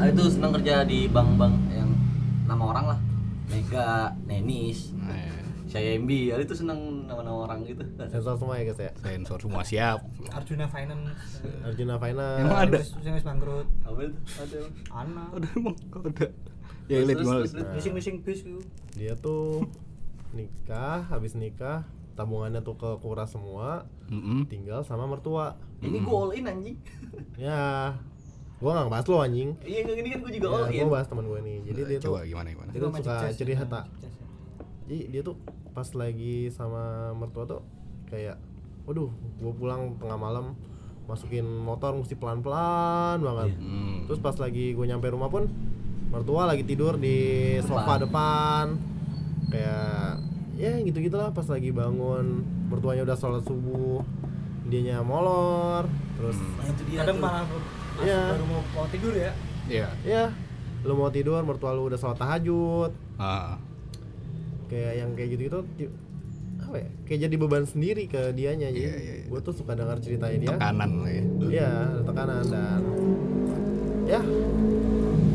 [SPEAKER 2] Ali tuh seneng kerja di bank-bank yang nama orang lah. Mega, Nenis,
[SPEAKER 1] Nah, ya.
[SPEAKER 2] Syayembi. Ali tuh seneng nama-nama orang gitu.
[SPEAKER 3] sensor semua ya guys ya
[SPEAKER 1] sensor semua siap.
[SPEAKER 4] Arjuna Finance.
[SPEAKER 3] Arjuna Finance
[SPEAKER 1] Emang ada?
[SPEAKER 4] Yang wis bangkrut.
[SPEAKER 2] Apa itu? Ada. emang.
[SPEAKER 4] Ana.
[SPEAKER 1] Udah emang udah.
[SPEAKER 2] Terus,
[SPEAKER 1] Ya, lihat
[SPEAKER 2] terus,
[SPEAKER 1] gimana?
[SPEAKER 2] terus, terus.
[SPEAKER 4] Mising-mising bis ku.
[SPEAKER 3] dia tuh nikah habis nikah tabungannya tuh ke kuras semua
[SPEAKER 1] Mm-mm.
[SPEAKER 3] tinggal sama mertua
[SPEAKER 2] Ini gue all in anjing.
[SPEAKER 3] ya gua nggak bahas lo anjing
[SPEAKER 2] Iya nggak gini kan gue juga
[SPEAKER 3] ya,
[SPEAKER 2] all in.
[SPEAKER 3] gua bahas teman gua nih jadi dia tuh
[SPEAKER 1] Nah, Coba gimana gimana.
[SPEAKER 3] dia tuh
[SPEAKER 4] Magic
[SPEAKER 3] suka
[SPEAKER 4] Jazz,
[SPEAKER 3] ciri
[SPEAKER 4] ya,
[SPEAKER 3] hata
[SPEAKER 4] Magic Jazz, ya.
[SPEAKER 3] jadi dia tuh pas lagi sama mertua tuh kayak waduh gua pulang tengah malam masukin motor mesti pelan pelan banget
[SPEAKER 1] Hmm.
[SPEAKER 3] terus pas lagi gue nyampe rumah pun mertua lagi tidur di sofa depan kayak ya gitu gitulah pas lagi bangun mertuanya udah sholat subuh dianya molor terus
[SPEAKER 1] Hmm.
[SPEAKER 2] Nah, itu dia.
[SPEAKER 4] kadang
[SPEAKER 2] tuh.
[SPEAKER 4] malah baru-
[SPEAKER 3] Iya.
[SPEAKER 4] baru mau, mau tidur ya
[SPEAKER 1] Iya.
[SPEAKER 3] ya lu mau tidur mertua lu udah sholat tahajud
[SPEAKER 1] Ah,
[SPEAKER 3] kayak yang kayak gitu gitu apa ya kayak jadi beban sendiri ke dianya jadi
[SPEAKER 1] Iya, iya, iya.
[SPEAKER 3] gue tuh suka dengar ceritanya dia
[SPEAKER 1] tekanan lah ya.
[SPEAKER 3] Iya, ada tekanan dan ya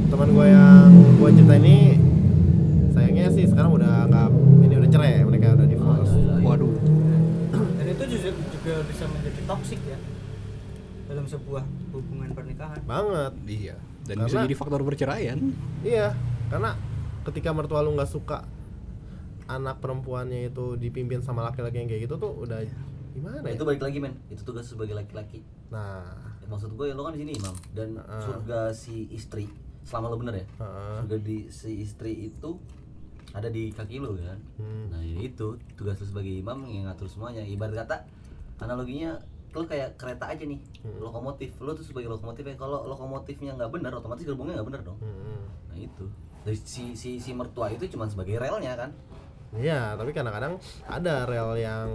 [SPEAKER 3] teman gue yang gue cerita ini sayangnya sih sekarang udah nggak ini udah cerai mereka udah divorce.
[SPEAKER 1] Waduh.
[SPEAKER 4] dan itu juga, juga bisa menjadi toksik ya dalam sebuah hubungan pernikahan
[SPEAKER 3] Banget.
[SPEAKER 1] Iya. Dan bisa
[SPEAKER 3] Karena-
[SPEAKER 1] jadi faktor perceraian.
[SPEAKER 3] Iya, karena ketika mertua lu nggak suka anak perempuannya itu dipimpin sama laki-laki yang kayak gitu tuh udah
[SPEAKER 1] Iya.
[SPEAKER 3] gimana
[SPEAKER 2] Nah,
[SPEAKER 3] ya?
[SPEAKER 2] itu balik lagi men, itu tugas sebagai laki-laki.
[SPEAKER 3] Nah,
[SPEAKER 2] Ya, maksud gue lo kan di sini imam dan
[SPEAKER 3] Heeh.
[SPEAKER 2] surga si istri selama lo bener ya.
[SPEAKER 3] Heeh.
[SPEAKER 2] Surga di si istri itu ada di kaki lo kan.
[SPEAKER 3] Hmm.
[SPEAKER 2] Nah ya itu tugas lo sebagai imam yang ngatur semuanya. Ibarat kata analoginya lo kayak kereta aja nih
[SPEAKER 1] Hmm.
[SPEAKER 2] lokomotif lo tuh sebagai lokomotif ya kalau lokomotifnya nggak bener otomatis gerbongnya nggak bener dong
[SPEAKER 3] mm,
[SPEAKER 2] nah itu Jadi si si si mertua itu cuma sebagai relnya kan
[SPEAKER 3] iya, tapi kadang-kadang ada rel yang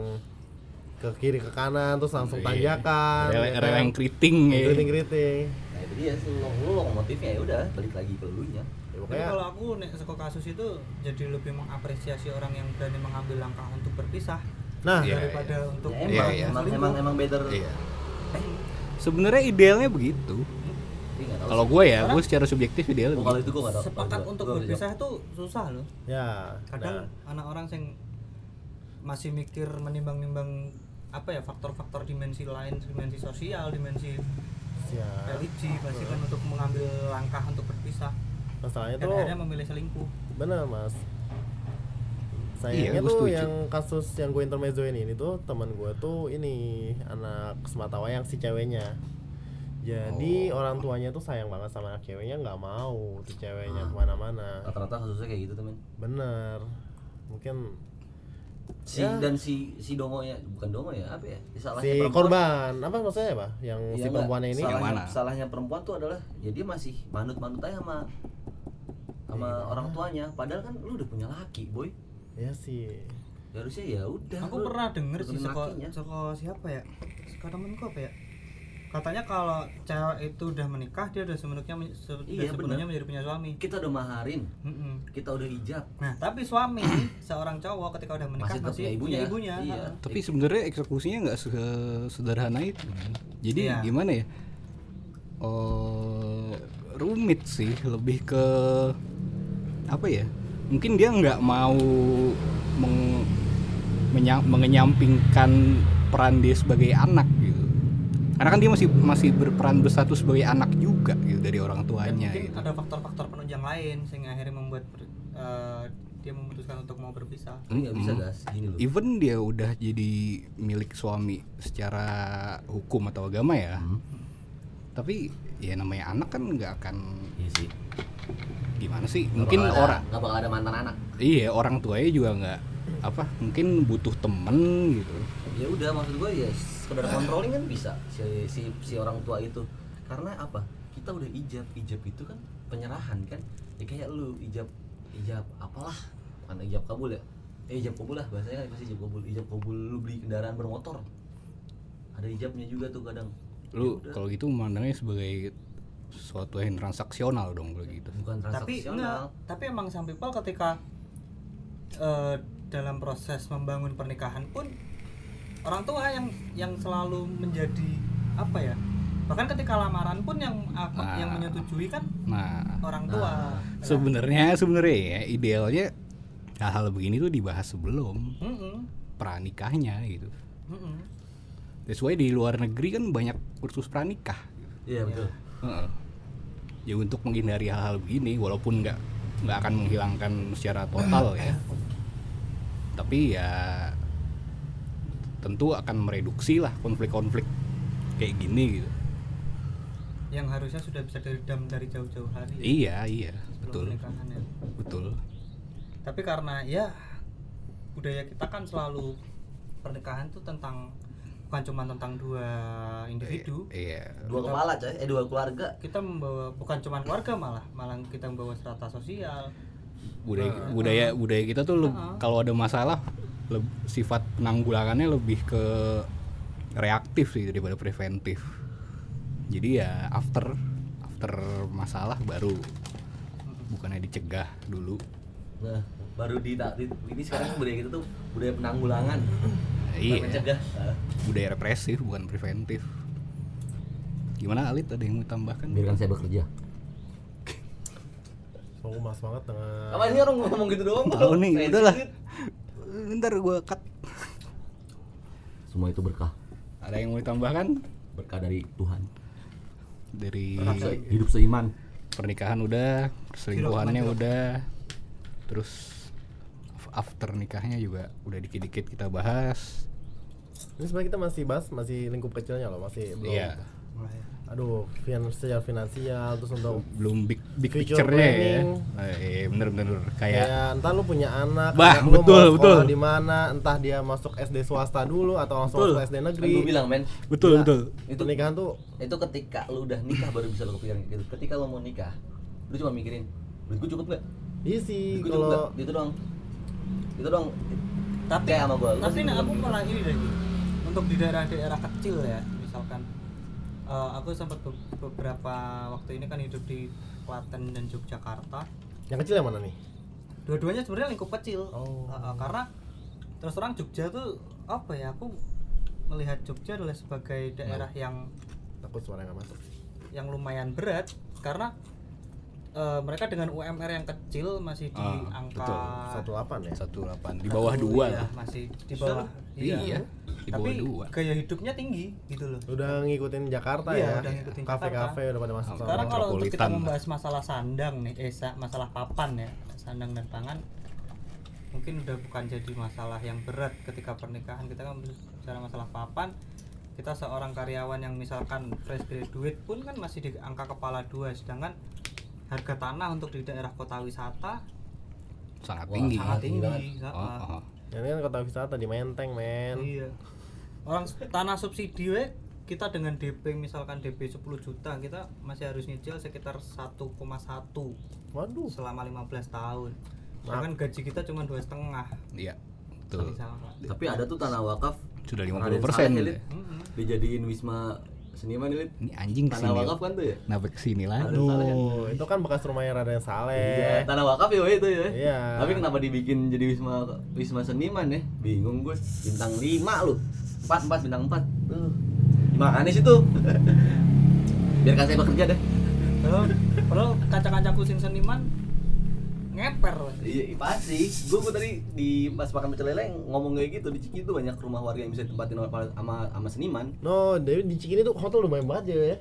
[SPEAKER 3] ke kiri ke kanan terus langsung
[SPEAKER 1] Iya.
[SPEAKER 3] tanjakan.
[SPEAKER 1] Rel,
[SPEAKER 3] ya
[SPEAKER 1] rel
[SPEAKER 3] kan?
[SPEAKER 1] yang keriting ya.
[SPEAKER 3] keriting-keriting.
[SPEAKER 2] nah itu dia lo, lo lokomotifnya ya udah balik lagi ke elunya
[SPEAKER 3] Ya,
[SPEAKER 4] Tapi
[SPEAKER 3] pokoknya
[SPEAKER 4] kalau aku nek seko kasus itu jadi lebih mengapresiasi orang yang berani mengambil langkah untuk berpisah
[SPEAKER 3] nah
[SPEAKER 1] Iya,
[SPEAKER 4] daripada untuk
[SPEAKER 2] ya,
[SPEAKER 1] Iya,
[SPEAKER 2] emang, emang
[SPEAKER 1] iya.
[SPEAKER 2] emang emang better
[SPEAKER 1] Iya.
[SPEAKER 2] Eh,
[SPEAKER 1] Sebenarnya idealnya begitu.
[SPEAKER 2] tapi nggak tahu
[SPEAKER 1] Kalau
[SPEAKER 2] sih.
[SPEAKER 1] gue ya, gue secara subjektif gitu. idealnya
[SPEAKER 2] Oh, kalau
[SPEAKER 1] begitu.
[SPEAKER 2] itu gue nggak tahu
[SPEAKER 4] sepakat
[SPEAKER 2] Kalau gua-
[SPEAKER 4] untuk
[SPEAKER 2] gua nggak bisa
[SPEAKER 4] berpisah itu susah loh
[SPEAKER 3] ya
[SPEAKER 4] kadang anak orang yang masih mikir menimbang-nimbang apa ya faktor-faktor dimensi lain dimensi sosial dimensi
[SPEAKER 3] nah, ya.
[SPEAKER 4] religi pasti kan untuk mengambil langkah untuk berpisah
[SPEAKER 3] masalahnya Ya,
[SPEAKER 4] dan
[SPEAKER 3] tuh
[SPEAKER 4] akhirnya memilih selingkuh
[SPEAKER 3] bener mas sayangnya
[SPEAKER 1] Iya, gua
[SPEAKER 3] tuh
[SPEAKER 1] setuju.
[SPEAKER 3] yang kasus yang gue intermezzoin ini tuh teman gue tuh ini anak semata wayang si ceweknya
[SPEAKER 1] Oh.
[SPEAKER 3] jadi orang tuanya tuh sayang banget sama anak ceweknya nggak mau tuh
[SPEAKER 1] Ah.
[SPEAKER 3] ceweknya
[SPEAKER 2] jawab.
[SPEAKER 3] kemana-mana
[SPEAKER 2] rata-rata kasusnya kayak gitu temen
[SPEAKER 3] bener mungkin
[SPEAKER 2] si
[SPEAKER 3] Ya.
[SPEAKER 2] dan si si dongonya bukan dongo ya apa ya salahnya
[SPEAKER 3] si
[SPEAKER 2] perempuan.
[SPEAKER 3] korban apa maksudnya apa yang
[SPEAKER 2] Iya
[SPEAKER 3] si
[SPEAKER 2] nggak?
[SPEAKER 3] perempuannya ini
[SPEAKER 2] salahnya,
[SPEAKER 1] Yang mana?
[SPEAKER 2] salahnya perempuan tuh adalah ya dia masih manut-manut aja sama sama
[SPEAKER 3] Iya.
[SPEAKER 2] orang tuanya padahal kan lu udah punya laki boy
[SPEAKER 3] ya sih
[SPEAKER 2] ya harusnya ya udah
[SPEAKER 4] aku
[SPEAKER 2] lu
[SPEAKER 4] pernah denger sih
[SPEAKER 2] turunin
[SPEAKER 4] seko,
[SPEAKER 2] lakinya.
[SPEAKER 4] seko siapa ya seko temenku apa ya katanya kalau cewek itu udah menikah dia udah sebenarnya men- se- udah
[SPEAKER 2] Iya,
[SPEAKER 4] sepenuhnya
[SPEAKER 2] bener.
[SPEAKER 4] menjadi punya suami
[SPEAKER 2] kita udah maharin
[SPEAKER 4] Mm-mm.
[SPEAKER 2] kita udah hijab
[SPEAKER 4] nah tapi suami seorang cowok ketika udah menikah
[SPEAKER 2] Masih tetap
[SPEAKER 4] masih,
[SPEAKER 2] punya
[SPEAKER 4] punya
[SPEAKER 2] ibunya.
[SPEAKER 4] ibunya
[SPEAKER 2] Iya.
[SPEAKER 4] Ha.
[SPEAKER 1] Tapi sebenarnya eksekusinya nggak se- sederhana itu. kan. Jadi
[SPEAKER 4] Iya.
[SPEAKER 1] gimana ya? Oh, rumit sih, lebih ke apa ya? Mungkin dia nggak mau meng- menya- mengenyampingkan peran dia sebagai anak gitu. Karena kan dia masih masih berperan berstatus sebagai anak juga gitu dari orang
[SPEAKER 4] Dan
[SPEAKER 1] tuanya.
[SPEAKER 4] Iya, mungkin
[SPEAKER 1] gitu.
[SPEAKER 4] ada faktor-faktor penunjang lain sehingga akhirnya membuat ber- eh, dia memutuskan untuk mau berpisah
[SPEAKER 2] ini nggak
[SPEAKER 1] Hmm.
[SPEAKER 2] bisa gas gini loh
[SPEAKER 1] even dia udah jadi milik suami secara hukum atau agama ya
[SPEAKER 2] Hmm.
[SPEAKER 1] tapi ya namanya anak kan nggak akan
[SPEAKER 2] iya sih
[SPEAKER 1] gimana sih
[SPEAKER 2] Nggak
[SPEAKER 1] mungkin
[SPEAKER 2] bakal ada-
[SPEAKER 1] orang
[SPEAKER 2] nggak bakal ada mantan anak
[SPEAKER 1] iya orang tuanya juga nggak apa mungkin butuh temen gitu
[SPEAKER 2] ya udah maksud gue ya sekedar controlling kan bisa si, si si orang tua itu karena apa kita udah ijab ijab itu kan penyerahan kan ya kayak lu ijab ijab apalah bukan ijab kabul ya eh, ijab kabul lah bahasanya kan pasti ijab kabul ijab kabul lu beli kendaraan bermotor ada ijabnya juga tuh kadang
[SPEAKER 1] lu
[SPEAKER 2] Ya udah.
[SPEAKER 1] kalau gitu memandangnya sebagai suatu yang transaksional dong kalau gitu
[SPEAKER 2] bukan
[SPEAKER 4] tapi nah. enggak,
[SPEAKER 2] transaksional
[SPEAKER 4] tapi emang some people ketika eh, dalam proses membangun pernikahan pun orang tua yang yang selalu menjadi apa ya bahkan ketika lamaran pun yang apa
[SPEAKER 1] Nah.
[SPEAKER 4] yang menyetujui kan
[SPEAKER 2] Hmm.
[SPEAKER 1] nah
[SPEAKER 4] orang tua
[SPEAKER 2] Nah.
[SPEAKER 4] Nah,
[SPEAKER 1] sebenarnya sebenarnya ya idealnya hal-hal begini tuh dibahas sebelum
[SPEAKER 4] mm-mm,
[SPEAKER 1] pranikahnya gitu
[SPEAKER 4] mm-mm.
[SPEAKER 1] That's why di luar negeri kan banyak kursus pranikah.
[SPEAKER 2] iya betul
[SPEAKER 1] Heeh. Ya untuk menghindari hal-hal begini, walaupun nggak nggak akan menghilangkan secara total ya, tapi ya tentu akan mereduksi lah konflik-konflik kayak gini gitu.
[SPEAKER 4] yang harusnya sudah bisa diredam dari jauh-jauh hari ya,
[SPEAKER 1] Iya iya
[SPEAKER 4] sebelum
[SPEAKER 1] betul
[SPEAKER 4] pernikahan ya.
[SPEAKER 1] betul.
[SPEAKER 4] tapi karena ya budaya kita kan selalu pernikahan tuh tentang bukan cuma tentang dua individu
[SPEAKER 1] Iya
[SPEAKER 2] dua kepala coy eh dua keluarga
[SPEAKER 4] kita membawa bukan cuma keluarga malah malah kita membawa strata sosial
[SPEAKER 1] budaya budaya budaya kita tuh leb- kalau ada masalah leb- sifat penanggulangannya lebih ke reaktif sih daripada preventif jadi ya after after masalah baru bukannya dicegah dulu
[SPEAKER 2] Nah, baru di, di- ini sekarang budaya kita tuh budaya penanggulangan.
[SPEAKER 1] Iya.
[SPEAKER 2] Mencegah. Nah,
[SPEAKER 1] budaya represif bukan preventif gimana Alit ada yang mau tambahkan
[SPEAKER 5] biarkan saya bekerja
[SPEAKER 3] so mas banget dengan
[SPEAKER 2] Apa sih orang ngomong gitu doang?
[SPEAKER 1] tahu
[SPEAKER 2] Bro?
[SPEAKER 1] nih
[SPEAKER 2] Sensitif.
[SPEAKER 1] udahlah ntar gue cut
[SPEAKER 5] semua itu berkah
[SPEAKER 1] ada yang mau ditambahkan
[SPEAKER 5] berkah dari Tuhan
[SPEAKER 1] dari
[SPEAKER 5] hidup seiman
[SPEAKER 1] pernikahan udah perselingkuhannya udah terus af- after nikahnya juga udah dikit-dikit kita bahas
[SPEAKER 3] ini sebenarnya kita masih bahas masih lingkup kecilnya loh masih belum
[SPEAKER 1] iya
[SPEAKER 3] aduh fin- secara finansial terus untuk
[SPEAKER 1] belum big big
[SPEAKER 3] Future
[SPEAKER 1] picture-nya ya
[SPEAKER 3] planning.
[SPEAKER 1] Eh, iya bener bener kayak
[SPEAKER 3] kayak entah ya, lu punya anak
[SPEAKER 1] Bah,
[SPEAKER 3] anak lu
[SPEAKER 1] betul,
[SPEAKER 3] mau sekolah
[SPEAKER 1] betul.
[SPEAKER 3] di mana entah dia masuk SD swasta dulu atau langsung
[SPEAKER 1] Betul.
[SPEAKER 3] masuk SD
[SPEAKER 2] Kan gue
[SPEAKER 3] negeri
[SPEAKER 2] bilang men,
[SPEAKER 1] betul betul
[SPEAKER 2] itu
[SPEAKER 3] pernikahan tuh
[SPEAKER 2] itu ketika lu udah nikah baru bisa lu kepikiran gitu. Ketika lu mau nikah, lu cuma mikirin duit gue cukup nggak?
[SPEAKER 3] iya sih
[SPEAKER 2] Duit gue cukup nggak?
[SPEAKER 3] kalau
[SPEAKER 2] Gitu doang. Itu doang.
[SPEAKER 4] Tapi-
[SPEAKER 2] kayak sama gue.
[SPEAKER 4] tapi nah, aku malah ini deh Ki. untuk di daerah-daerah kecil ya misalkan eh, aku sempat be- beberapa waktu ini kan hidup di Klaten dan Yogyakarta
[SPEAKER 3] yang kecil yang mana nih
[SPEAKER 4] dua-duanya sebenarnya lingkup kecil
[SPEAKER 3] Oh.
[SPEAKER 4] Eh, eh, karena terus terang Jogja tuh apa ya aku melihat Jogja adalah sebagai daerah yang
[SPEAKER 3] takut suara nggak masuk
[SPEAKER 4] yang lumayan berat karena eh, mereka dengan UMR yang kecil masih di
[SPEAKER 1] Ah,
[SPEAKER 4] angka
[SPEAKER 1] betul.
[SPEAKER 3] satu delapan ya
[SPEAKER 1] satu delapan di bawah
[SPEAKER 4] satu,
[SPEAKER 1] dua
[SPEAKER 4] iya,
[SPEAKER 1] lah
[SPEAKER 4] masih di bawah
[SPEAKER 1] iya di bawah
[SPEAKER 4] tapi
[SPEAKER 1] dua
[SPEAKER 4] gaya hidupnya tinggi gitu loh
[SPEAKER 3] udah ngikutin Jakarta ya
[SPEAKER 4] Iya, udah ngikutin
[SPEAKER 3] kafe-kafe udah pada masuk
[SPEAKER 4] sekarang
[SPEAKER 3] sama
[SPEAKER 4] kalau untuk kita
[SPEAKER 1] metropolitan lah.
[SPEAKER 4] membahas masalah sandang nih eh sa- masalah papan ya sandang dan pangan mungkin udah bukan jadi masalah yang berat ketika pernikahan kita kan bicara masalah papan kita seorang karyawan yang misalkan fresh graduate pun kan masih di angka kepala dua sedangkan harga tanah untuk di daerah kota wisata
[SPEAKER 1] sangat tinggi
[SPEAKER 4] sangat tinggi
[SPEAKER 1] oh,
[SPEAKER 4] Ha-ha.
[SPEAKER 1] oh.
[SPEAKER 3] ini kan kota wisata di Menteng men
[SPEAKER 4] Iya. Orang s- tanah subsidi we, kita dengan DP misalkan DP 10 juta kita masih harus nyicil sekitar 1,1
[SPEAKER 3] waduh
[SPEAKER 4] selama 15 tahun. Bahkan gaji kita cuma dua setengah
[SPEAKER 1] iya betul
[SPEAKER 4] misalkan.
[SPEAKER 2] Tapi ada tuh tanah wakaf
[SPEAKER 1] sudah
[SPEAKER 2] Raden
[SPEAKER 1] 50%
[SPEAKER 2] Saleh,
[SPEAKER 1] ya.
[SPEAKER 2] Elit. dijadiin wisma seniman Elit.
[SPEAKER 1] ini anjing
[SPEAKER 2] Tanah
[SPEAKER 1] kesini
[SPEAKER 2] wakaf kan tuh ya?
[SPEAKER 1] nah kesini lagi
[SPEAKER 3] aduh itu kan bekas rumahnya Raden Saleh
[SPEAKER 2] Iya, tanah wakaf ya woy, itu ya.
[SPEAKER 3] Iya.
[SPEAKER 2] Tapi kenapa dibikin jadi wisma wisma seniman ya? Bingung gue. Bintang 5 lu. 4 4 bintang 4. Tuh. Gimana sih tuh? Biarkan saya bekerja deh.
[SPEAKER 4] Padahal, padahal kaca-kaca kucing seniman ngeper. we.
[SPEAKER 2] Iya, pasti. Gue gue tadi di pas makan pecel lele ngomong kayak gitu di Ciki tuh banyak rumah warga yang bisa ditempatin sama sama- sama seniman
[SPEAKER 3] no dari di Cikini tuh hotel lumayan banget ya ya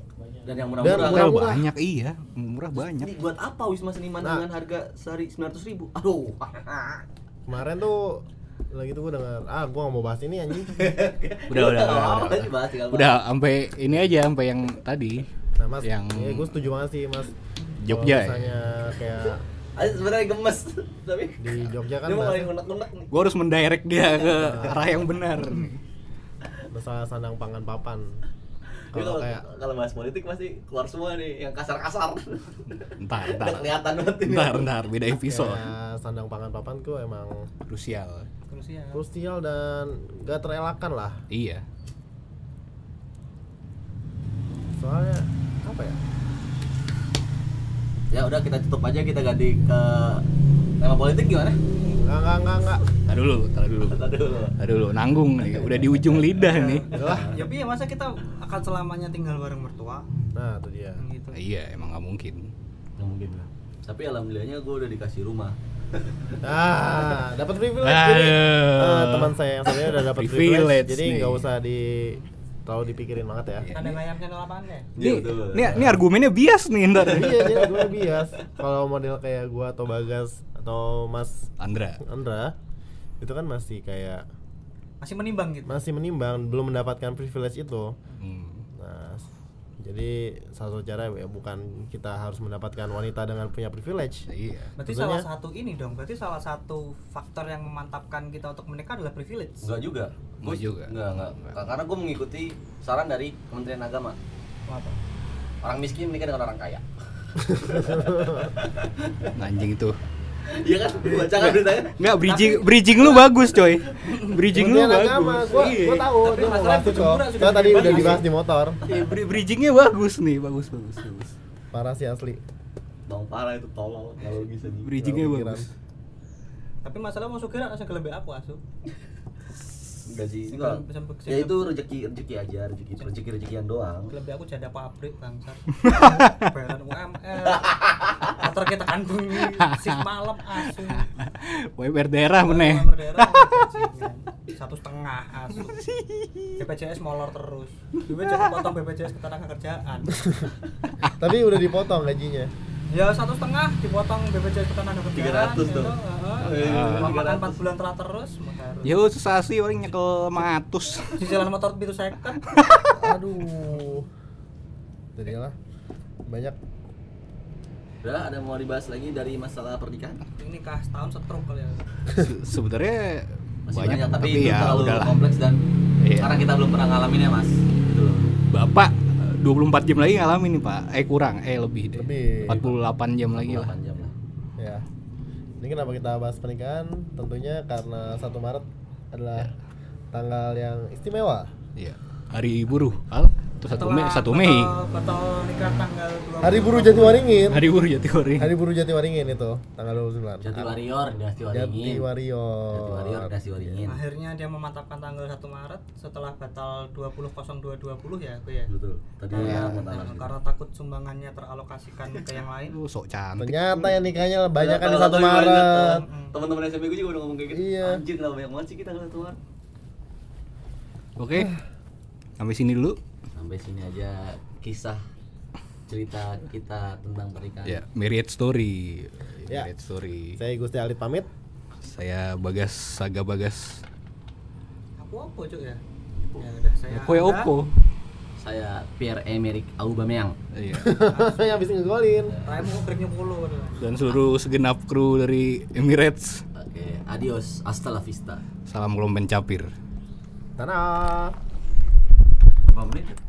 [SPEAKER 2] dan yang
[SPEAKER 3] Dan
[SPEAKER 1] murah
[SPEAKER 2] murah-murah.
[SPEAKER 3] murah.
[SPEAKER 1] banyak iya murah banyak
[SPEAKER 2] Jadi buat apa wisma seniman
[SPEAKER 3] Nah.
[SPEAKER 2] dengan harga sehari 900 ribu? Aduh.
[SPEAKER 3] kemarin tuh lagi tuh gue dengar ah gue gak mau bahas ini anjing
[SPEAKER 1] udah udah udah
[SPEAKER 2] Apa
[SPEAKER 1] udah,
[SPEAKER 2] sih bahas tinggal
[SPEAKER 1] udah sampai ini aja sampai yang tadi
[SPEAKER 3] nah mas
[SPEAKER 1] Yang-
[SPEAKER 3] ya, gue setuju banget sih mas
[SPEAKER 1] Jogja ya?
[SPEAKER 3] Kalau misalnya kayak
[SPEAKER 2] bahas. Ah, Sebenarnya gemes tapi
[SPEAKER 3] di Jogja kan
[SPEAKER 2] dia mau
[SPEAKER 3] bahas-
[SPEAKER 2] ngalahin unek-unek nih.
[SPEAKER 1] gue harus mendirect dia ke arah yang benar
[SPEAKER 3] masalah sandang pangan papan
[SPEAKER 2] Dia
[SPEAKER 3] kalau
[SPEAKER 2] Kalau
[SPEAKER 3] kayak
[SPEAKER 2] kalau bahas politik pasti keluar semua nih yang kasar-kasar.
[SPEAKER 1] ntar ntar
[SPEAKER 2] Udah kelihatan banget ini.
[SPEAKER 1] ntar ntar beda episode
[SPEAKER 3] kayak sandang pangan papan tuh emang
[SPEAKER 1] krusial
[SPEAKER 4] Krusial.
[SPEAKER 3] krusial dan gak terelakkan lah
[SPEAKER 1] iya
[SPEAKER 3] soalnya apa ya
[SPEAKER 2] Ya udah kita tutup aja kita ganti ke tema politik gimana?
[SPEAKER 3] nggak nggak nggak nggak
[SPEAKER 1] tar dulu tar dulu
[SPEAKER 2] Tadi dulu.
[SPEAKER 1] tar dulu nanggung nih udah di ujung lidah nih
[SPEAKER 3] Udah.
[SPEAKER 4] Ya piye masa kita akan selamanya tinggal bareng mertua
[SPEAKER 3] nah itu dia
[SPEAKER 4] Yang gitu.
[SPEAKER 1] iya emang nggak mungkin
[SPEAKER 2] Nggak mungkin lah. Tapi alhamdulillahnya gue udah dikasih rumah.
[SPEAKER 3] ah dapat privilege jadi
[SPEAKER 1] Aduh.
[SPEAKER 3] eh, teman saya yang sebenarnya udah dapat privilege,
[SPEAKER 1] Privilege
[SPEAKER 3] jadi
[SPEAKER 1] nih.
[SPEAKER 3] nggak usah di terlalu dipikirin banget ya
[SPEAKER 1] Iya.
[SPEAKER 4] Ada ngayamnya lapangannya.
[SPEAKER 2] Iya,
[SPEAKER 1] ini ini, ini argumennya bias nih ntar
[SPEAKER 3] iya jadi gue bias kalau model kayak gue atau Bagas atau Mas
[SPEAKER 1] Andra
[SPEAKER 3] Andra itu kan masih kayak
[SPEAKER 4] Masih menimbang gitu.
[SPEAKER 3] masih menimbang belum mendapatkan privilege itu
[SPEAKER 1] Hmm.
[SPEAKER 3] nah s- jadi salah satu cara ya bukan kita harus mendapatkan wanita dengan punya privilege
[SPEAKER 1] iya
[SPEAKER 4] Berarti
[SPEAKER 3] Sebenarnya-
[SPEAKER 4] salah satu ini dong. Berarti salah satu faktor yang memantapkan kita untuk menikah adalah privilege.
[SPEAKER 2] Enggak juga.
[SPEAKER 1] Nggak
[SPEAKER 2] Gua-
[SPEAKER 1] juga.
[SPEAKER 2] Nggak, nggak. Karena gue mengikuti saran dari Kementerian Agama.
[SPEAKER 4] Apa?
[SPEAKER 2] Orang miskin menikah dengan orang kaya.
[SPEAKER 1] anjing itu
[SPEAKER 2] Iya kan? Baca kan beritanya?
[SPEAKER 5] Enggak, bridging bridging lu bagus, coy. Bridging lu
[SPEAKER 3] Kementerian Agama,
[SPEAKER 5] bagus.
[SPEAKER 3] gua
[SPEAKER 5] Iya.
[SPEAKER 3] gua tahu
[SPEAKER 2] Tapi
[SPEAKER 3] dia mau
[SPEAKER 2] masalah
[SPEAKER 3] bahas itu,
[SPEAKER 2] pencemburuan
[SPEAKER 3] Cok.
[SPEAKER 2] sudah
[SPEAKER 3] Soalnya tadi
[SPEAKER 2] dibahas
[SPEAKER 3] udah
[SPEAKER 2] sih.
[SPEAKER 3] dibahas di motor.
[SPEAKER 5] Iya, bri- bridgingnya bagus nih, bagus bagus bagus.
[SPEAKER 3] Parah sih asli.
[SPEAKER 2] Bang parah itu tolol kalau bisa di.
[SPEAKER 5] Bridgingnya
[SPEAKER 3] Kalau
[SPEAKER 5] bagus.
[SPEAKER 4] Tapi masalah mau sugih langsung gelembek aku asu.
[SPEAKER 2] Enggak sih.
[SPEAKER 4] Enggak.
[SPEAKER 2] Enggak. Ya itu rezeki rezeki aja, rezeki rezeki rezekian doang.
[SPEAKER 4] Gelembek aku janda pabrik bangsat. Bayaran UMR. Motor kita kan bunyi sik malam asu.
[SPEAKER 5] WMR daerah meneh.
[SPEAKER 4] Nomor daerah, bajingan. Satu setengah asu. BPJS molor terus. BPJS potong BPJS ketenaga kerjaan.
[SPEAKER 3] Tapi udah dipotong gajinya.
[SPEAKER 4] Ya satu setengah dipotong BPJS ketenaga kerjaan.
[SPEAKER 2] 300
[SPEAKER 4] gitu.
[SPEAKER 2] tuh.
[SPEAKER 5] Ah.
[SPEAKER 4] Makan 4 bulan telat terus. maka harus.
[SPEAKER 5] Yo susah sih orang nyekel matus.
[SPEAKER 4] Di jalan motor itu second.
[SPEAKER 3] Aduh. Jadilah banyak
[SPEAKER 2] Udah ada mau dibahas lagi dari masalah pernikahan?
[SPEAKER 4] Ini kah setahun setrum kali ya.
[SPEAKER 5] Se- Sebenarnya
[SPEAKER 2] Masih
[SPEAKER 5] banyak,
[SPEAKER 2] banyak, tapi,
[SPEAKER 5] tapi,
[SPEAKER 2] itu
[SPEAKER 5] ya
[SPEAKER 2] terlalu
[SPEAKER 5] udahlah.
[SPEAKER 2] kompleks dan
[SPEAKER 5] Iya.
[SPEAKER 2] karena kita belum pernah ngalamin ya, Mas. Gitu loh.
[SPEAKER 5] Bapak eh, 24 jam lagi ngalamin nih, Pak. Eh kurang, eh lebih deh.
[SPEAKER 3] Lebih.
[SPEAKER 5] 48 jam lagi lah.
[SPEAKER 2] 8 jam lah.
[SPEAKER 3] ya. Ini kenapa kita bahas pernikahan? Tentunya karena 1 Maret
[SPEAKER 5] Ya.
[SPEAKER 3] adalah tanggal yang istimewa.
[SPEAKER 5] Iya. Hari buruh, Al. Itu 1 Mei, 1 Mei.
[SPEAKER 4] Batal, batal nikah tanggal 20.
[SPEAKER 3] Hari Buruh Jatiwaringin.
[SPEAKER 5] Hari buruh ya teori.
[SPEAKER 3] Hari Buruh Jatiwaringin itu tanggal 29.
[SPEAKER 2] Jati Warrior, Dasti Waringin. Jati Warrior,
[SPEAKER 3] Jatiwaringin.
[SPEAKER 2] Dasti Waringin.
[SPEAKER 4] Akhirnya dia mematapkan tanggal 1 Maret setelah batal 20.02.20 ya aku ya.
[SPEAKER 2] Betul. Tadi ya, mau tanya gitu.
[SPEAKER 4] Karena takut sumbangannya teralokasikan ke yang lain.
[SPEAKER 5] Lu sok cantik.
[SPEAKER 3] Ternyata yang nikahnya banyak kan di
[SPEAKER 2] Kalau
[SPEAKER 3] 1
[SPEAKER 2] tadi banyak,
[SPEAKER 3] Maret.
[SPEAKER 2] teman- Teman-teman SMP gue juga udah ngomong kayak gitu.
[SPEAKER 3] Iya.
[SPEAKER 2] Anjir, kenapa banyak banget sih kita ngeliat Maret?
[SPEAKER 5] Oke. Sampai sini dulu.
[SPEAKER 2] Sampai sini aja kisah cerita kita tentang pernikahan.
[SPEAKER 5] Ya, marriage story.
[SPEAKER 3] Ya.
[SPEAKER 5] Marriage story.
[SPEAKER 3] Saya Gusti Alit pamit.
[SPEAKER 5] Saya Bagas Saga Bagas.
[SPEAKER 4] Aku opo cuk ya? Ya udah saya.
[SPEAKER 5] Koe opo?
[SPEAKER 2] Saya Pierre Emerick Aubameyang.
[SPEAKER 5] Iya.
[SPEAKER 3] yang habis
[SPEAKER 5] Ya.
[SPEAKER 3] ngegolin.
[SPEAKER 4] Saya mau break nyepuluh.
[SPEAKER 5] Dan seluruh segenap kru dari Emirates.
[SPEAKER 2] Oke, adios, hasta la vista.
[SPEAKER 5] Salam gelombang capir.
[SPEAKER 3] Tanah.
[SPEAKER 2] Berapa menit? ya?